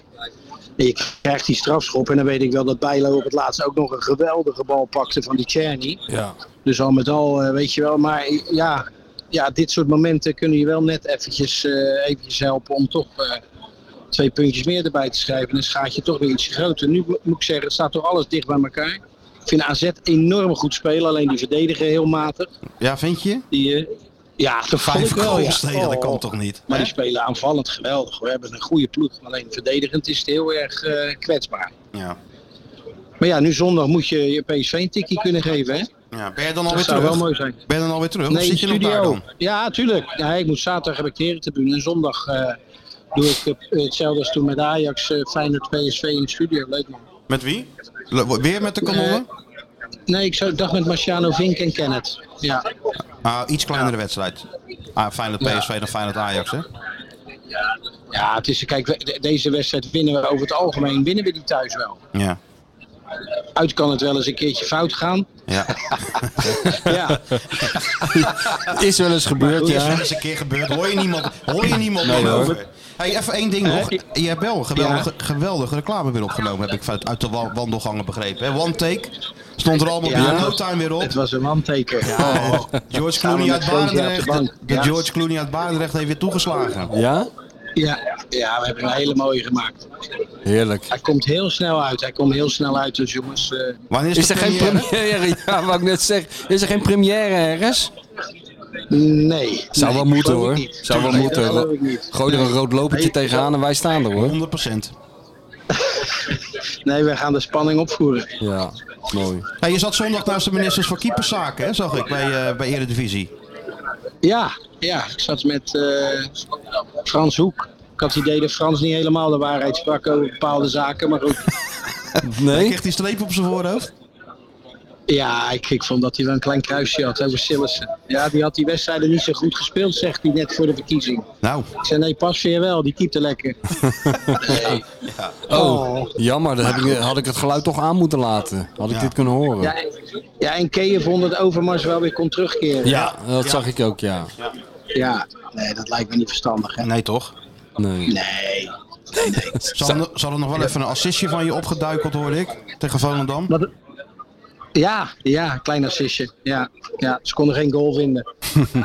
ik krijg die strafschop en dan weet ik wel dat Bijlo op het laatst ook nog een geweldige bal pakte van die Czerny.
Ja.
Dus al met al, eh, weet je wel, maar ja, ja, dit soort momenten kunnen je wel net eventjes, eh, eventjes helpen om toch eh, twee puntjes meer erbij te schrijven. Dan schaat je toch weer iets groter. Nu mo- moet ik zeggen, het staat toch alles dicht bij elkaar. Ik vind AZ enorm goed spelen, alleen die verdedigen heel matig.
Ja, vind je?
Die, eh, ja, dat vond
Vijf
ik wel.
goals
ja.
tegen, dat kan
Oh.
toch niet?
Maar die spelen aanvallend geweldig. We hebben een goede ploeg. Alleen verdedigend is het heel erg eh, kwetsbaar.
Ja.
Maar ja, nu zondag moet je je PSV een tikkie kunnen geven. Hè?
ja. Ben je dan
Dat
alweer
zou wel
terug?
mooi zijn.
Ben je dan alweer terug? of
Nee, in
zit je nog daar
studio.
dan?
Ja, tuurlijk. Nee, ik moet zaterdag heb ik de herentebune. En zondag eh, doe ik eh, hetzelfde als toen met Ajax. eh Feyenoord PSV in de studio. Leuk man.
Met wie? Le- Weer met de kanonnen?
Nee, ik zou, dacht met Marciano Vink en Kenneth. Ja,
Ah, iets kleinere wedstrijd. Ah, Feyenoord PSV dan Feyenoord Ajax, hè?
ja het is, kijk, we- de- deze wedstrijd winnen we over het algemeen. Winnen we die thuis wel.
Ja.
Uit kan het wel eens een keertje fout gaan.
Ja.
Ja.
Is wel eens gebeurd,
Het is wel
ja.
eens een keer gebeurd. Hoor je niemand, hoor je niemand
Nee,
meer
hoor.
over. Hey, even één ding nog. Je hebt wel geweldige, geweldige reclame weer opgenomen, heb ik uit, uit de wa- wandelgangen begrepen. Hè? One take. Stond er allemaal
Ja.
binnen no time weer
Het
op.
was een wanteken.
Oh, George
Samen
Clooney
met
uit
Frenkie op de
Barendrecht.
bank.
de
Ja.
George Clooney uit Barendrecht heeft weer toegeslagen.
Ja?
Ja, ja, we hebben een hele mooie gemaakt.
Heerlijk.
Hij komt heel snel uit. Hij komt heel snel uit, dus jongens. eh,
Wanneer is,
Is
de
er geen
première?
première? [LAUGHS] Ja, wou ik net zeggen. Is er geen première ergens?
nee.
Zou
Nee,
wel moeten
geloof ik
hoor.
niet.
Zou wel
Nee,
moeten.
Dat geloof ik niet.
Gooi er een rood lopertje
Nee.
tegenaan en wij staan er hoor.
100%.
Nee, wij gaan de spanning opvoeren.
Ja, mooi.
Hey, je zat zondag naast de ministers van Keeperszaken, hè, zag ik, bij, eh bij Eredivisie.
Ja, ja. Ik zat met eh, Frans Hoek. Ik had het idee dat Frans niet helemaal de waarheid sprak over bepaalde zaken, maar goed.
Nee?
Kreeg die streep op zijn voorhoofd?
Ja, ik, ik vond dat hij wel een klein kruisje had over Sillissen. Ja, die had die wedstrijden niet zo goed gespeeld, zegt hij net voor de verkiezing.
Nou,
Ik zei, nee, pas weer wel, die keepte lekker. Nee.
Oh, jammer. Dan heb ik, had ik het geluid toch aan moeten laten. Had ik dit kunnen horen.
Ja,
Ja,
en- ja, en Keeën vond dat Overmars wel weer kon terugkeren.
dat zag ik ook, ja.
Ja, nee, dat lijkt me niet verstandig, hè?
nee toch?
Nee.
Nee.
Zal er, zal er nog wel even een assistje van je opgeduikeld, hoorde ik, tegen Volendam?
Wat? Ja, ja, klein assistje. Ja, ja, ze konden geen goal vinden.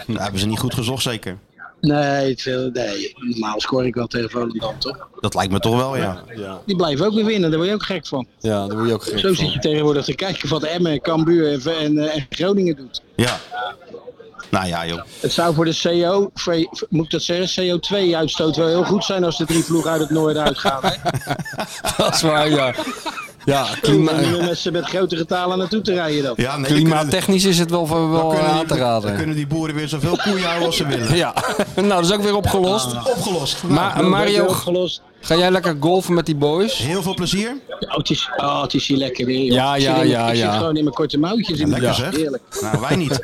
Nou, hebben ze niet goed gezocht, zeker.
Nee, het viel- nee, normaal scoor ik wel tegen Volendam, toch?
Dat lijkt me toch wel, ja.
Ja,
Die blijven ook weer winnen, daar word je ook gek van.
ja daar word je ook gek
Zo zit
van.
je tegenwoordig te kijken wat Emmen, Cambuur en, en, eh, en Groningen doet.
Ja. Nou ja, joh.
Het zou voor de CO, voor- voor- moet ik dat zeggen, E CO2-uitstoot wel heel goed zijn als de drie ploegen uit het noorden uitgaan. Hè?
[LAUGHS] Dat is waar, ja. Ja, [LAUGHS]
Om
klima
er met, z'n- met grote getalen naartoe te rijden dan.
Ja, nee, dan
klimaattechnisch is het wel, wel
kunnen die-
aan te
dan
raden.
kunnen die boeren weer zoveel koeien houden als ze willen.
Ja, [LAUGHS] nou dat is ook weer opgelost.
Opgelost. Nou,
Maar
Dat werd weer
Mario,
opgelost.
ga jij lekker golfen met die boys?
heel veel plezier.
Oh, het is, oh, het is hier lekker weer. joh.
Ja,
Ik zit
ja,
in mijn-
ja,
Ik zit
ja.
gewoon in mijn korte mouwtjes. in
Lekker
Ja.
zeg.
Heerlijk.
Nou, wij niet.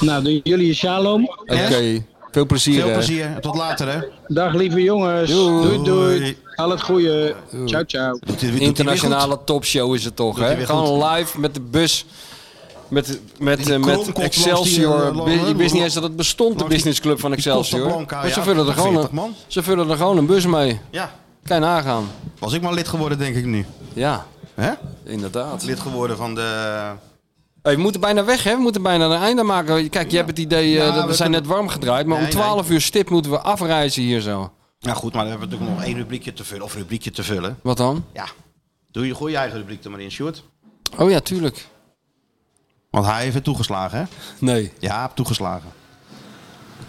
Nou, doen jullie een shalom.
Oké, veel plezier.
Veel
hè.
plezier. Tot later, hè.
Dag lieve jongens.
Doei.
Doei doei. Al het goede. Ciao ciao.
Doet hij- doet hij weer goed?
Internationale topshow is het toch,
hij
hè?
weer
Gewoon live met de bus. Met, met,
die
eh, met
kromkop langs
Excelsior.
die, eh,
Bu-
langs-
Je wist niet eens dat het bestond, de
langs die-
businessclub van
die
Excelsior.
Costa Blanca,
Maar ze,
ja,
vullen er gewoon
40
een,
man.
ze vullen er gewoon een bus mee.
Ja.
Kan je nagaan.
Was ik maar lid geworden, denk ik nu.
Ja.
Hè?
inderdaad.
Lid geworden van de...
Hey, we moeten bijna weg, hè? We moeten bijna een einde maken. Kijk, je hebt het idee, eh,
Ja,
dat we,
we
zijn
kunnen-
net warm gedraaid, maar om
Nee, nee.
12 uur stip moeten we afreizen hier zo.
Nou goed, maar dan hebben we natuurlijk nog één rubriekje te vullen. Of rubriekje te vullen.
Wat dan?
Ja, doe je goede eigen rubriek er maar in, Sjoerd.
Oh ja, tuurlijk.
Want hij heeft het toegeslagen, hè?
Nee.
Ja, hij heeft toegeslagen.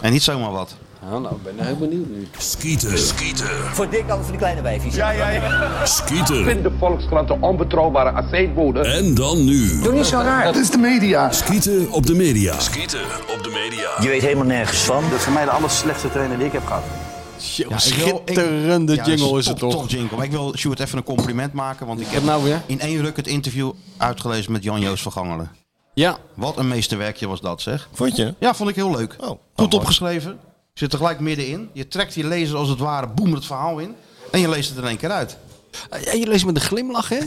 En niet zomaar wat.
Nou, nou, ik ben heel benieuwd nu.
Skieten. Skieten.
Voor dik alles voor die kleine wijfjes. Ja, ja, ja.
Skieten.
de Volkskrant de onbetrouwbare aceetbode.
En dan nu.
Niet zo raar.
Skieten op de media. Skieten op de media.
Je weet helemaal nergens van.
Dat is voor mij de aller slechtste trainer die ik heb gehad.
schitterende
Ja, dat
jingle
een
is het
top,
toch?
top jingle. Maar ik wil Sjoerd even een compliment maken. Want ik heb
nou weer?
in één ruk het interview uitgelezen met Jan-Joos van Gangelen.
Ja,
Wat een meesterwerkje was dat, zeg.
Vond je?
Ja, vond ik heel leuk.
Oh,
Goed
oh,
opgeschreven. Zit er gelijk middenin. Je trekt die lezer als het ware boem het verhaal in. En je leest het in één keer [LAUGHS] uit.
Ja, je leest met een glimlach, hè?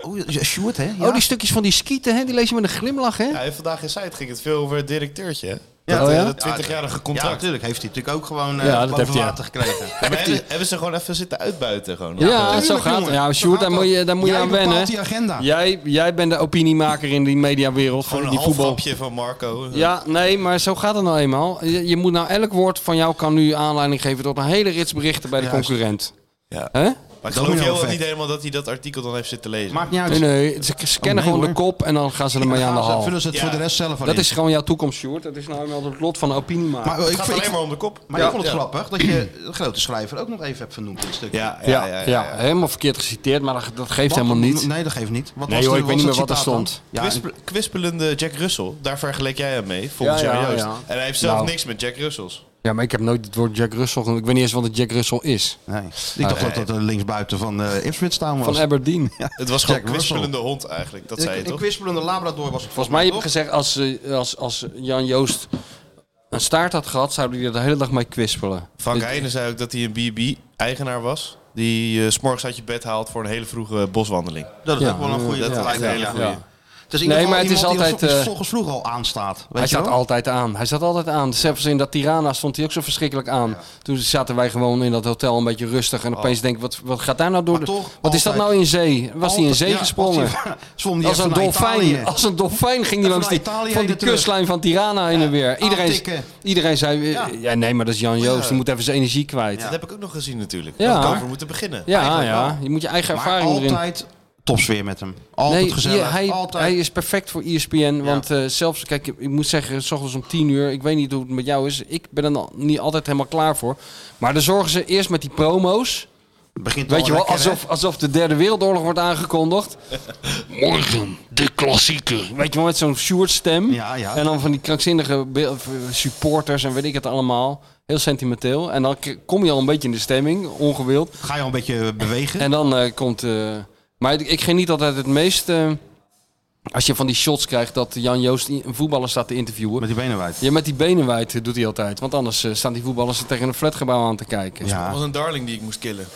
Oh, Sjoerd, hè? Ja.
Oh, die stukjes van die skieten, hè? Die lees je met een glimlach, hè?
Ja, en vandaag in site ging het veel over het directeurtje. hè?
Ja.
dat,
Oh, ja?
eh, dat 20-jarige
Ja,
contract.
natuurlijk. Heeft hij natuurlijk ook gewoon eh
Ja, dat
boven
heeft hij,
water
[LAUGHS]
gekregen.
Maar hebben, hebben ze gewoon even zitten uitbuiten? Gewoon.
Ja, zo
Tuurlijk,
gaat het.
jongen.
Ja,
Zo
Sjoerd,
gaat
daar moet
dat.
je, daar moet je
Jij
aan wennen.
bepaalt die agenda.
Jij, jij bent de opiniemaker in die mediawereld,
Gewoon
van
een
die
half
voetbal.
hapje van Marco.
Ja, nee, maar zo gaat het nou eenmaal. Je, je moet nou, elk woord van jou kan nu aanleiding geven tot een hele rits berichten bij de
Juist.
concurrent.
Ja.
Hè?
Maar ik geloof
Domino
heel
effect.
niet helemaal dat hij dat artikel dan heeft zitten lezen.
Maakt niet uit.
Nee, nee, ze, ze
nee,
kennen gewoon de
hoor.
kop en dan gaan ze ermee aan de
Gaan ze-
haal.
Vullen ze het
Ja.
voor de rest zelf al
Dat
in.
is gewoon jouw toekomst, Sjoerd. Dat is nou eenmaal het lot van een opiniemaker.
Maar eh, ik,
het gaat
vind- ik-
alleen maar om de kop.
maar ik vond het grappig dat je de grote schrijver ook nog even hebt vernoemd in het stukje.
Ja, ja,
ja,
ja. ja, ja.
helemaal verkeerd geciteerd, maar dat, dat geeft
Wat?
helemaal niet.
Nee, dat geeft niet. Wat
Nee,
was
joh,
er-
ik weet
was
niet
het
meer
citaat
wat er
dan?
stond.
Ja, en-
Kwispe- kwispelende Jack Russell, daar vergeleek jij hem mee, volgens
Ja,
jou
ja,
Joost.
ja.
En hij heeft zelf
Nou.
niks met Jack Russells.
Ja, maar ik heb nooit het woord Jack Russell genoemd. Ik weet niet eens wat het Jack Russell is.
nee. Ik dacht dat dat eh, linksbuiten van eh Ipswich Town was.
Van Aberdeen.
Het was gewoon
Jack
kwispelende hond eigenlijk, dat zei je
een, een
toch?
kwispelende labrador was het
[LAUGHS] Volgens mij heb ik
toch?
gezegd, als, eh, als, als Jan Joost een staart had gehad, zou hij er de hele dag mee kwispelen.
Frank
Dus-
Heijnen zei ook dat hij een B&B-eigenaar was. Die eh, s s'morgens uit je bed haalt voor een hele vroege boswandeling.
Dat is
Ja.
ook wel een goede.
Ja,
dat lijkt me een hele
ja,
goeie.
ja.
Het is in ieder
Nee, maar
geval
het is
iemand die
altijd,
er
eh,
vro- volgens vroeg al aanstaat. Weet
Hij
je
staat
wel?
altijd aan. Hij staat altijd aan. Zelfs in dat Tirana stond hij ook zo verschrikkelijk aan. Toen zaten wij gewoon in dat hotel een beetje rustig. En opeens denk ik, wat, wat gaat daar nou door?
Oh. Maar
de-
toch
wat is dat
altijd-
nou in zee? Was hij in zee
Ja,
gesprongen?
was hij- [LAUGHS] zwom die
[LAUGHS] Als
even
een,
naar Italië.
dolfijn, als een dolfijn ging hij
Even
langs
naar
die,
Italië
van die
heen en
kustlijn van Tirana heen en weer. Iedereen,
aantikken.
iedereen zei, eh, ja.
Ja.
nee, maar dat is Jan Joost. Die moet even zijn energie kwijt.
Dat heb ik ook nog gezien natuurlijk.
Ja.
Dat we over moeten beginnen.
Ja, ja,
wel.
je moet je eigen
Maar
ervaring erin.
altijd topsfeer met hem. Altijd gezellig.
je- hij,
altijd.
hij is perfect voor ESPN. Want eh, zelfs, kijk, ik moet zeggen, s ochtends om 10 uur. Ik weet niet hoe het met jou is. Ik ben er al- niet altijd helemaal klaar voor. Maar dan zorgen ze eerst met die promo's.
Het begint
Weet je wel,
lekker, hè?
alsof, alsof de derde wereldoorlog wordt aangekondigd. [LAUGHS] Morgen, de klassieke. Weet je wel, met zo'n Sjoerd stem.
Ja, ja.
En dan van die krankzinnige be- of, eh, supporters en weet ik het allemaal. Heel sentimenteel. En dan k- kom je al een beetje in de stemming, ongewild.
Ga je al een beetje bewegen?
En dan eh, komt. eh, maar ik- ik geniet altijd het meest. eh, als je van die shots krijgt dat Jan Joost i- een voetballer staat te interviewen.
Met die benen wijd.
Ja, met die benen wijd eh, doet hij altijd. Want anders eh, staan die voetballers er tegen een flatgebouw aan te kijken.
Dat
Ja.
was een darling die ik moest killen.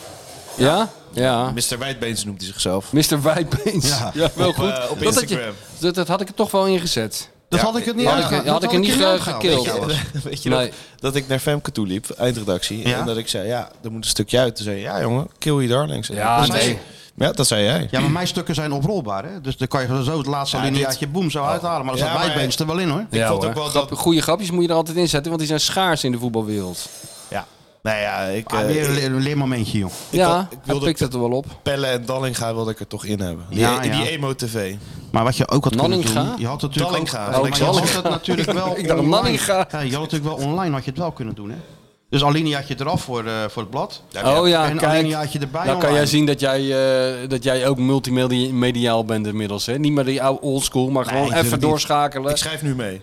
Ja? Ja.
Mr. Wijdbeens noemt hij zichzelf.
Mr. Wijdbeens. Ja,
Ja.
wel
Op,
goed.
eh, op
dat, had je-
Instagram.
dat, dat had ik er toch wel in gezet.
Dat
Ja,
had ik het niet
had ik-
uitgehaald.
had ik
Dat
er niet
niet
ge-
uitgehaald.
gekild.
Weet je wel.
[LAUGHS] Weet je
Nee.
nog, dat ik naar Femke toe liep, eindredactie.
Ja?
En dat ik zei, ja, er moet een stukje uit. Toen zei je, ja jongen, kill je darlings.
Ja,
dat
nee.
Zei, ja, dat zei jij.
Ja, maar mijn stukken zijn oprolbaar, hè? Dus dan kan je zo het laatste
Ja,
alineaatje boem zo uithalen. Oh. Maar dan
Ja,
staat
maar-
Wijbeens er wel in, hoor.
Ik vond
hoor.
ook wel
Grap-
dat-
Goede grapjes moet je er altijd in zetten, want die zijn schaars in de voetbalwereld.
Ja. Nou ja, ik,
Ah,
eh,
weer
ik-
een le- een leermomentje, joh.
ja,
had- ik
hij
wilde-
pikt het er wel op.
Pelle en Dallinga wilde ik er toch in hebben. Die,
Ja,
die
ja.
emo-tv.
Maar wat je ook had
Nanninga?
kunnen doen, je had natuurlijk
Dallinga.
ook,
Oh,
maar je
Dallinga.
had het natuurlijk
[LAUGHS]
wel
Ik dacht
online.
Nanninga.
Ja, je had natuurlijk wel online had je het wel kunnen doen, hè? Dus Alinea had je eraf voor, eh, voor het blad.
Oh ja,
en
kijk.
Alinea had je erbij.
Nou kan
online.
jij zien dat jij, eh, dat jij ook multimediaal bent inmiddels. Hè? Niet meer die oude oldschool, maar gewoon
natuurlijk
even
niet.
doorschakelen.
Ik schrijf nu mee.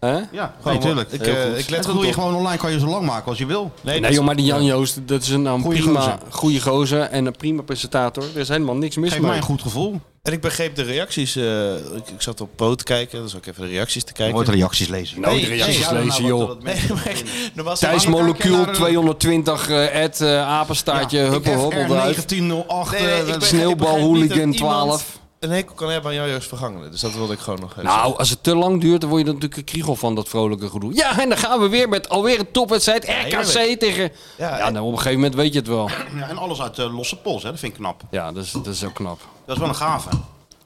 Hè?
Ja,
Gewoon,
natuurlijk.
ik, eh, Heel goed. ik let
en dat
goed
doe je
op.
gewoon online, kan je zo lang maken als je wil.
Nee joh, maar die Jan Joost, dat is een nou,
Goeie
prima
gozer.
goede gozer en een prima presentator. Er is helemaal niks mis
Geef
mee.
mij een goed gevoel.
En ik begreep de reacties. eh, ik, ik zat op poot te kijken, dus ook even de reacties te kijken.
Nooit reacties lezen.
Nou,
Nee,
die
nee,
reacties
ja,
nou,
lezen,
wat-
joh.
wat-
Nee, maar [LAUGHS] ik- normaal staat-
Thijs
maar dan kijk je
Molecuul
naar de-
220, eh Ed, eh, apenstaartje, huppelhobbel eruit.
1908.
Nee, nee, ik begrijp- ik
Sneeuwbal
begrijp niet dat
Hooligan
iemand
12.
Een hekel kan hebben aan jouw juist vergangenen. Dus dat wilde ik gewoon nog even
Nou, als het te lang duurt, dan word je er natuurlijk een kriegel van dat vrolijke gedoe. Ja, en dan gaan we weer met alweer een topwedstrijd. RKC
heerlijk.
tegen... Ja,
Ja,
nou, op een gegeven moment weet je het wel.
Ja, en alles uit de losse eh, pols, hè? dat vind ik knap.
Ja, dat is, dat is ook knap.
Dat is wel een gave.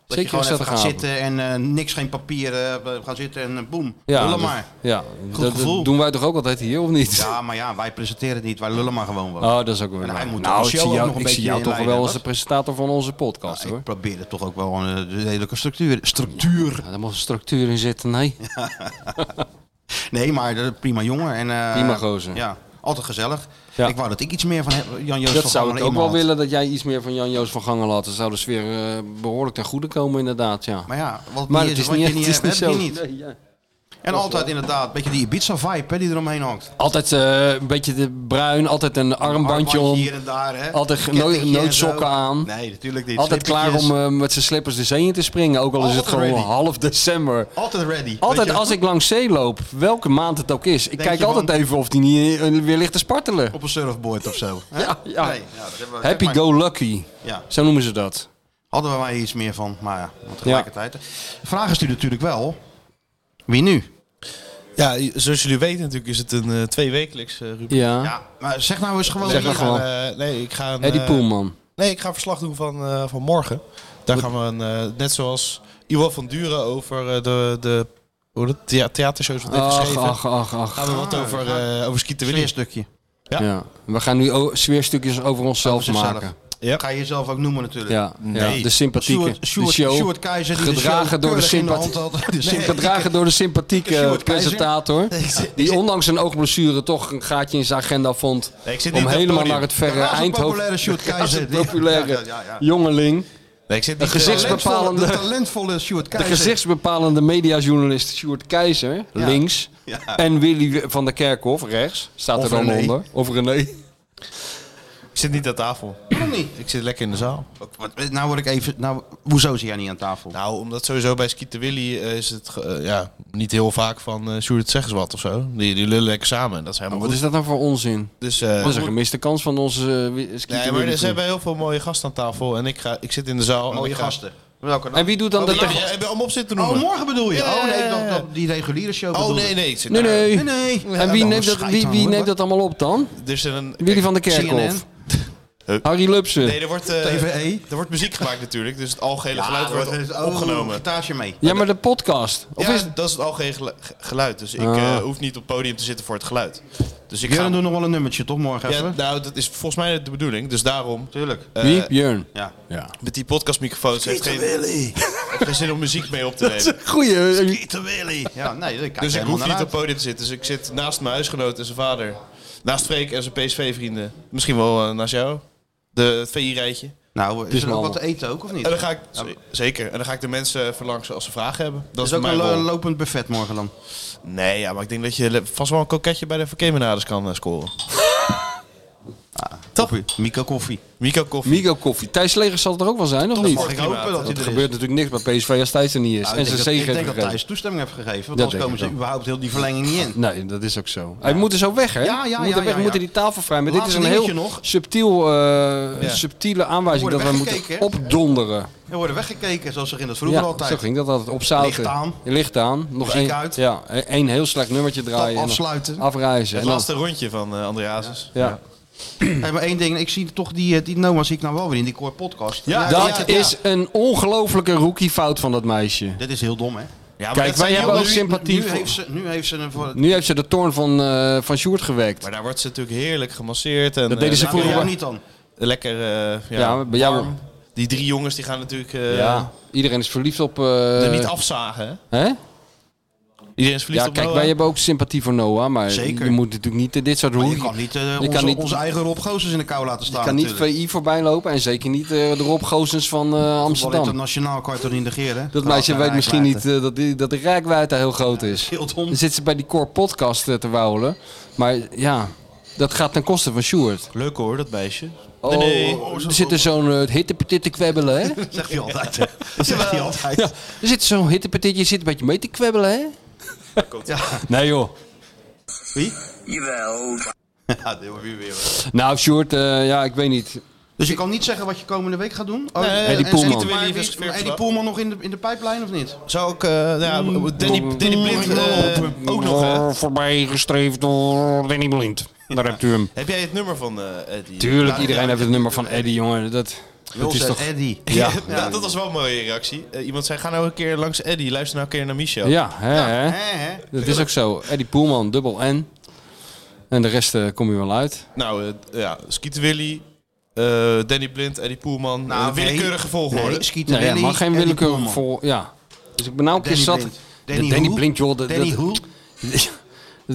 Dat
Zeker
je gewoon even gaat
zaterdagavond.
zitten en eh, niks, geen papier, eh, gaan zitten en eh, boem.
Ja,
lullen
dus- dat-
maar.
Ja,
Goed
dat, dat
gevoel.
doen wij toch ook altijd hier, of niet?
Ja, maar ja, wij presenteren het niet. Wij lullen maar gewoon wat.
[LAUGHS] Oh, dat is ook wel
En
weer
hij
waar.
moet
Nou,
toch de
ik
show
zie
ook
jou,
nog een
ik zie
beetje
jou toch
inleiden,
wel als
wat?
de presentator van onze podcast, hoor.
Ik probeer het toch ook wel eh, de redelijke structuur. Structuur.
Ja, daar moet een structuur in zitten, nee.
Nee, maar eh, prima jongen. En, eh,
Prima gozer.
Ja, altijd gezellig.
Ja.
Ik wou dat ik iets meer van heb- Jan Joost
Dat
van
zou
Gangelen
ik
in
ook
me
wel
had.
willen, dat jij iets meer van Jan-Joos van Gangen laat. Dan zou de sfeer eh, behoorlijk ten goede komen, inderdaad, ja.
Maar ja, wat,
Maar
niet
het
is,
is
wat
niet-
je niet
het is
hebt,
niet
heb je
zo.
niet. En altijd inderdaad, een beetje die Ibiza-vibe hè, die eromheen hangt.
Altijd eh, een beetje de bruin, altijd een armbandje om.
hier en daar, hè.
Altijd ge-
Kettingje
nood-
en zo.
noodsokken aan.
Nee, natuurlijk niet.
Altijd klaar
Slippertjes.
om eh, met zijn slippers de zee in te springen, ook al is het
Altijd
gewoon
ready.
half december.
Altijd ready.
eh, Altijd als ik langs zee loop, welke maand het ook is, ik kijk
je
altijd
van-
even of die niet eh, weer ligt te spartelen.
Op een surfboard of zo. hè?
Ja, ja.
Nee, ja, dat hebben we-
Happy
zeg maar.
go lucky.
Ja.
Zo noemen ze dat.
Hadden we maar iets meer van, maar ja, want tegelijkertijd. De vraag is nu natuurlijk wel, wie nu?
Ja, zoals jullie weten natuurlijk is het een eh tweewekelijks eh rubriek.
Ja.
Ja, maar zeg nou eens gewoon...
Zeg
Ik
maar
ga,
gewoon.
eh, nee, ik ga een,
Eddie
eh,
Poelman.
Nee, ik ga een verslag doen van, eh, van morgen. Daar gaan we, een, eh, net zoals Iwan van Duren over eh, de, de hoe dat, thea- theatershows wat heeft
Ach,
geschreven.
ach, ach, ach.
Gaan we wat over, eh over Skeeter
Weer een
nou
Willy.
stukje.
Ja.
Ja. We gaan nu o- sfeerstukjes over onszelf
Over zichzelf.
maken.
Ja.
Ga je jezelf ook noemen natuurlijk.
Ja, ja. de sympathieke.
Sjoerd,
De
Sjoerd,
show.
Sjoerd Keizer die
Gedragen
de show
door [LAUGHS] de
keurig in
sympathie-
hand had. De
Nee,
sympathie-
Gedragen door de sympathieke
Sjoerd Keizer.
presentator. Die ondanks een oogblessure toch een gaatje in zijn agenda vond.
Nee, ik zit niet
Om
op dat
helemaal
podium.
naar het verre
Ja, zo'n
Eindhoven.
populaire Sjoerd
Ja, zo'n
Keizer. Ja, ja, ja,
[LAUGHS] populaire
ja.
jongeling.
Nee, ik zit
Een
niet
gezichts-
eh,
Bepalende-
De talentvolle Sjoerd
De
Keizer.
gezichtsbepalende mediajournalist Sjoerd Keizer, links.
Ja.
En Willy van der Kerkhof, rechts. Staat
Of
er dan
René.
onder. Of René.
ik zit niet aan tafel.
Waarom niet?
Ik zit lekker in de zaal.
Wat- wat- Nou word ik even... Nou, hoezo zit jij niet aan tafel?
Nou, omdat sowieso bij Skeeter Willy eh, is het ge- eh, ja, niet heel vaak van eh Sjoerd zeg eens wat of zo. Die, die lullen lekker samen. en Dat is helemaal
Wat
goed.
is dat nou voor onzin?
Dus, eh,
Dat is een gemiste kans van onze uh,
nee, maar
dus
er zijn heel veel mooie gasten aan tafel. En ik, ga, ik zit in de zaal. en
Mooie
ik ga-
gasten. Welke dan?
En wie doet dan de
Oh,
techniek?
ja, ja, om op zit te
Oh,
noemen.
morgen bedoel je?
Ja,
Oh nee,
ja, ja,
dat- dat- die reguliere show
Oh
bedoelde.
nee, nee. Ik zit
Nee, nee.
Nee, nee.
En wie
Ja,
neemt, dat,
scheid
wie,
dan,
wie
hoor.
neemt dat allemaal op dan?
Er zit een,
Willy van der Kerkhof.
CNN.
Harry Lupsen.
Nee, er wordt, eh,
E.
TVE.
er wordt muziek gemaakt natuurlijk, dus het algehele
Ja,
geluid
dat
wordt dus
is- oh,
opgenomen.
Gitaartje mee.
ja, maar de podcast. Of
ja,
eh,
is
dat is het algehele gelu- ge- geluid, dus ik
Ah.
eh, hoef niet op het podium te zitten voor het geluid. Dus ik ga...
Jurgen doet nog wel een nummertje, toch? Morgen
Ja,
even.
nou, dat is volgens mij de bedoeling, dus daarom...
Tuurlijk.
eh,
wie? Björn.
Ja.
Ja.
met die podcastmicrofoons heeft geen, [LAUGHS] heeft geen zin om muziek mee op te
[LAUGHS]
nemen.
Goeie.
Willy. Ja, nee, dat
Dus ik hoef niet op het podium te zitten. Dus ik zit naast mijn huisgenoot en zijn vader. Naast Freek en zijn PSV-vrienden. Misschien wel eh, naast jou. De, het VI-rijtje.
Nou,
is
is er ook
normaal.
wat te eten ook, of niet?
En dan ga ik, zeker, en dan ga ik de mensen verlangen als ze vragen hebben. Dat
Dat
is,
is ook
mijn
een lo-
rol.
lopend buffet morgen dan.
Nee, ja, maar ik denk dat je le- vast wel een koketje bij de verkeermenaders kan eh, scoren.
Top. Mico Koffie.
Mico Koffie.
Migo Koffie. Thijs Legers zal er ook wel zijn, of
Toch
niet?
mag ik hopen
dat hij
Want er
er is.
gebeurt natuurlijk niks bij PSV als Thijs er niet is.
Nou,
en
ik
zijn
denk dat-
zegen
Ik denk
heeft
dat
gegeven.
Thijs toestemming heeft gegeven.
Dat
Want anders
denk
komen
ik
ze überhaupt heel die verlenging niet in.
Nee, dat is ook zo. Hij moet er zo weg, hè?
Ja, ja,
We
ja,
moeten
ja,
weg, we
ja.
moeten die tafel vrij. Maar dit is
Laatste
een heel
dingetje nog.
subtiel, eh,
Ja.
subtiele aanwijzing
We
dat we
worden
moeten
weggekeken, hè?
opdonderen.
Er worden weggekeken, zoals er in het vroeger
ja, zo
altijd.
ging dat altijd. Opzouten.
Licht aan.
Licht aan. Nog
Muziek
één,
uit.
ja, e- één heel slecht nummertje draaien. en dan
afsluiten.
Afreizen.
Het
En dan-
laatste rondje van eh André Hazes.
ja.
Hey, maar één ding, ik zie toch die, eh, die Noma zie ik nou wel weer in die core podcast.
Ja,
Dat
ja,
is een ongelofelijke rookiefout van dat meisje.
Dit is heel dom, hè?
Ja, maar
Kijk,
dat
wij
zijn
hebben
heel
ook
leuk-
sympathie
Nu
voor-
heeft ze, nu heeft ze een voor. Nou,
Nu heeft ze de toorn van, eh van Sjoerd gewekt.
Maar daar wordt ze natuurlijk heerlijk gemasseerd. En,
Dat deden ze
eh,
Nou,
vroeger
bij jou
wel.
niet dan.
Lekker, eh, ja,
Ja, bij jou-
warm. Die drie jongens die gaan natuurlijk eh,
ja. Iedereen is verliefd op... eh,
er niet afzagen. Hè?
Hè?
Iedereen is verliefd
Ja,
op
kijk,
Noah.
wij hebben ook sympathie voor Noah, maar
Zeker.
je moet natuurlijk niet eh, dit soort
Maar
roekie...
je kan niet, eh,
je
onze,
kan niet-
onze eigen Rob Gozens in de kou laten staan.
Ik kan niet
natuurlijk.
VI voorbij lopen en zeker niet eh, de Rob Goossens van eh,
Voetbal
Amsterdam.
internationaal kan je toch niet negeren? hè?
Dat meisje
Raad-
weet misschien niet
raakwijde.
eh, dat, die, dat de rijkwijde heel groot is.
Heel dom.
Dan zit ze bij die core podcast eh, te wouwen. Maar ja, dat gaat ten koste van Sjoerd.
Leuk hoor, dat meisje.
Oh, er zit er zo'n eh, hittepetitje kwebbelen, hè?
[LAUGHS]
[LAUGHS]
Zegt hij altijd. hè? Dat zegt hij altijd.
ja, er zit zo'n hittepetitje, je zit een beetje mee te kwebbelen, hè? Nee joh.
Wie?
Jawel.
Ja, dit wordt weer weer. hoor.
Nou, Sjoerd, eh, ja, ik weet niet.
Dus je kan niet zeggen wat je komende week gaat doen? Oh, en-
Eddie
en-
Poelman.
en-
Willy
maar wie-
is weer
Eddie
verslag.
Poelman nog in de, in de pijplijn of niet?
Zou ook, eh, nou ja,
Mm.
Danny, Danny Blind eh, ook nog. hè?
Voorbij gestreefd door Danny Blind. Daar hebt u hem.
Heb jij het nummer van eh Eddie? [LAUGHS]
Tuurlijk, iedereen heeft het nummer van Eddie, jongen. Dat...
Het is
Wilson
toch-
Eddy.
Ja, nou, dat was wel een mooie reactie. Eh, iemand zei, ga nou een keer langs Eddie, luister nou een keer naar Michel.
Ja, hè, hè?
hè, hè?
Dat is ook zo. Eddie Poelman, dubbel N. En de rest eh, kom je wel uit.
Nou, eh, ja, Skeeter Willy, eh, Danny Blind, Eddie Poelman.
Nou,
Nou, willekeurige volgorde.
Nee, Skeeter
Nee, Nou ja,
Willy,
maar geen
Eddie
willekeur
Poelman.
voor. Ja. Dus ik ben nou een
Danny
keer zat.
Blind.
Ja,
Danny
Danny
hoe?
Blind, joh. dat-
Danny
dat-
hoe?
Dat,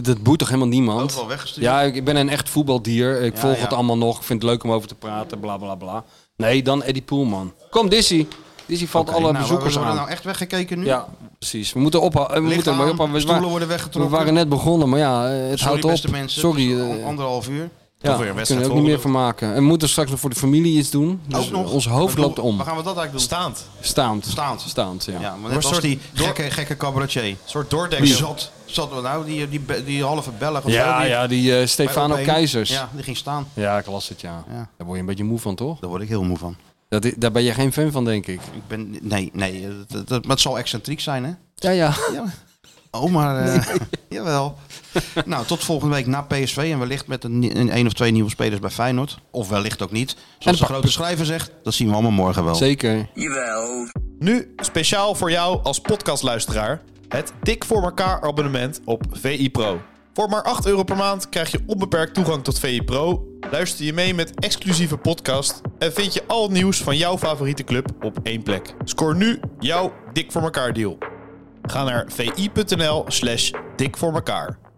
[LAUGHS] dat boeit toch helemaal niemand?
Ook wel weggestuurd.
Ja, ik ik ben een echt voetbaldier. Ik volg
ja.
het allemaal nog. Ik vind het leuk om over te praten. Bla bla bla. Nee, dan Eddie Poelman. Kom, Dizzy. Dizzy valt
Oké,
alle
nou,
bezoekers
We
aan.
worden nou echt weggekeken nu.
Ja, precies. We moeten ophouden. We
Licht
moeten maar
aan,
ophouden. We,
stoelen
wa-
worden
we
weggetrokken.
waren net begonnen, maar ja, eh, het
Sorry,
houdt
beste
op.
mensen.
Sorry.
Het is
eh,
al anderhalf uur.
weer
ja,
een
we
wedstrijd
kunnen er ook niet meer
voor
van maken. En we moeten straks nog voor de familie iets doen. Dus
Ook nog.
Ons hoofd
Ik bedoel,
loopt om.
Waar gaan we dat eigenlijk doen?
Staand.
Staand.
Staand.
Staand, ja.
Ja, maar
een
net was
soort
die
door-
gekke, gekke cabaretier.
Een soort
Die
doordekker.
zat, zat er nou, die, die, die, halve Belg of zo,
Ja,
die-
ja, die eh, Stefano
bij OP.
Keizers.
Ja, die ging staan.
Ja, ik las het, ja.
Ja.
Daar word je een beetje moe van, toch?
Daar word ik heel moe van.
Dat, i- daar ben je geen fan van, denk ik.
Ik ben, nee, nee, eh, dat, dat, maar het zal excentriek zijn, hè?
Ja, ja.
Ja. Oh, maar... eh, [LAUGHS] jawel. nou, tot volgende week na PSV. En wellicht met een, ni- een één of twee nieuwe spelers bij Feyenoord. Of wellicht ook niet. Zoals de
pak-
grote schrijver zegt, dat zien we allemaal morgen wel.
Zeker.
Jawel.
Nu speciaal voor jou als podcastluisteraar het Dik voor elkaar abonnement op VI Pro. Voor maar 8 euro per maand krijg je onbeperkt toegang tot VI Pro. Luister je mee met exclusieve podcast en vind je al het nieuws van jouw favoriete club op één plek. Scoor nu jouw Dik voor elkaar deal. Ga naar vi.nl/slash dik voor elkaar.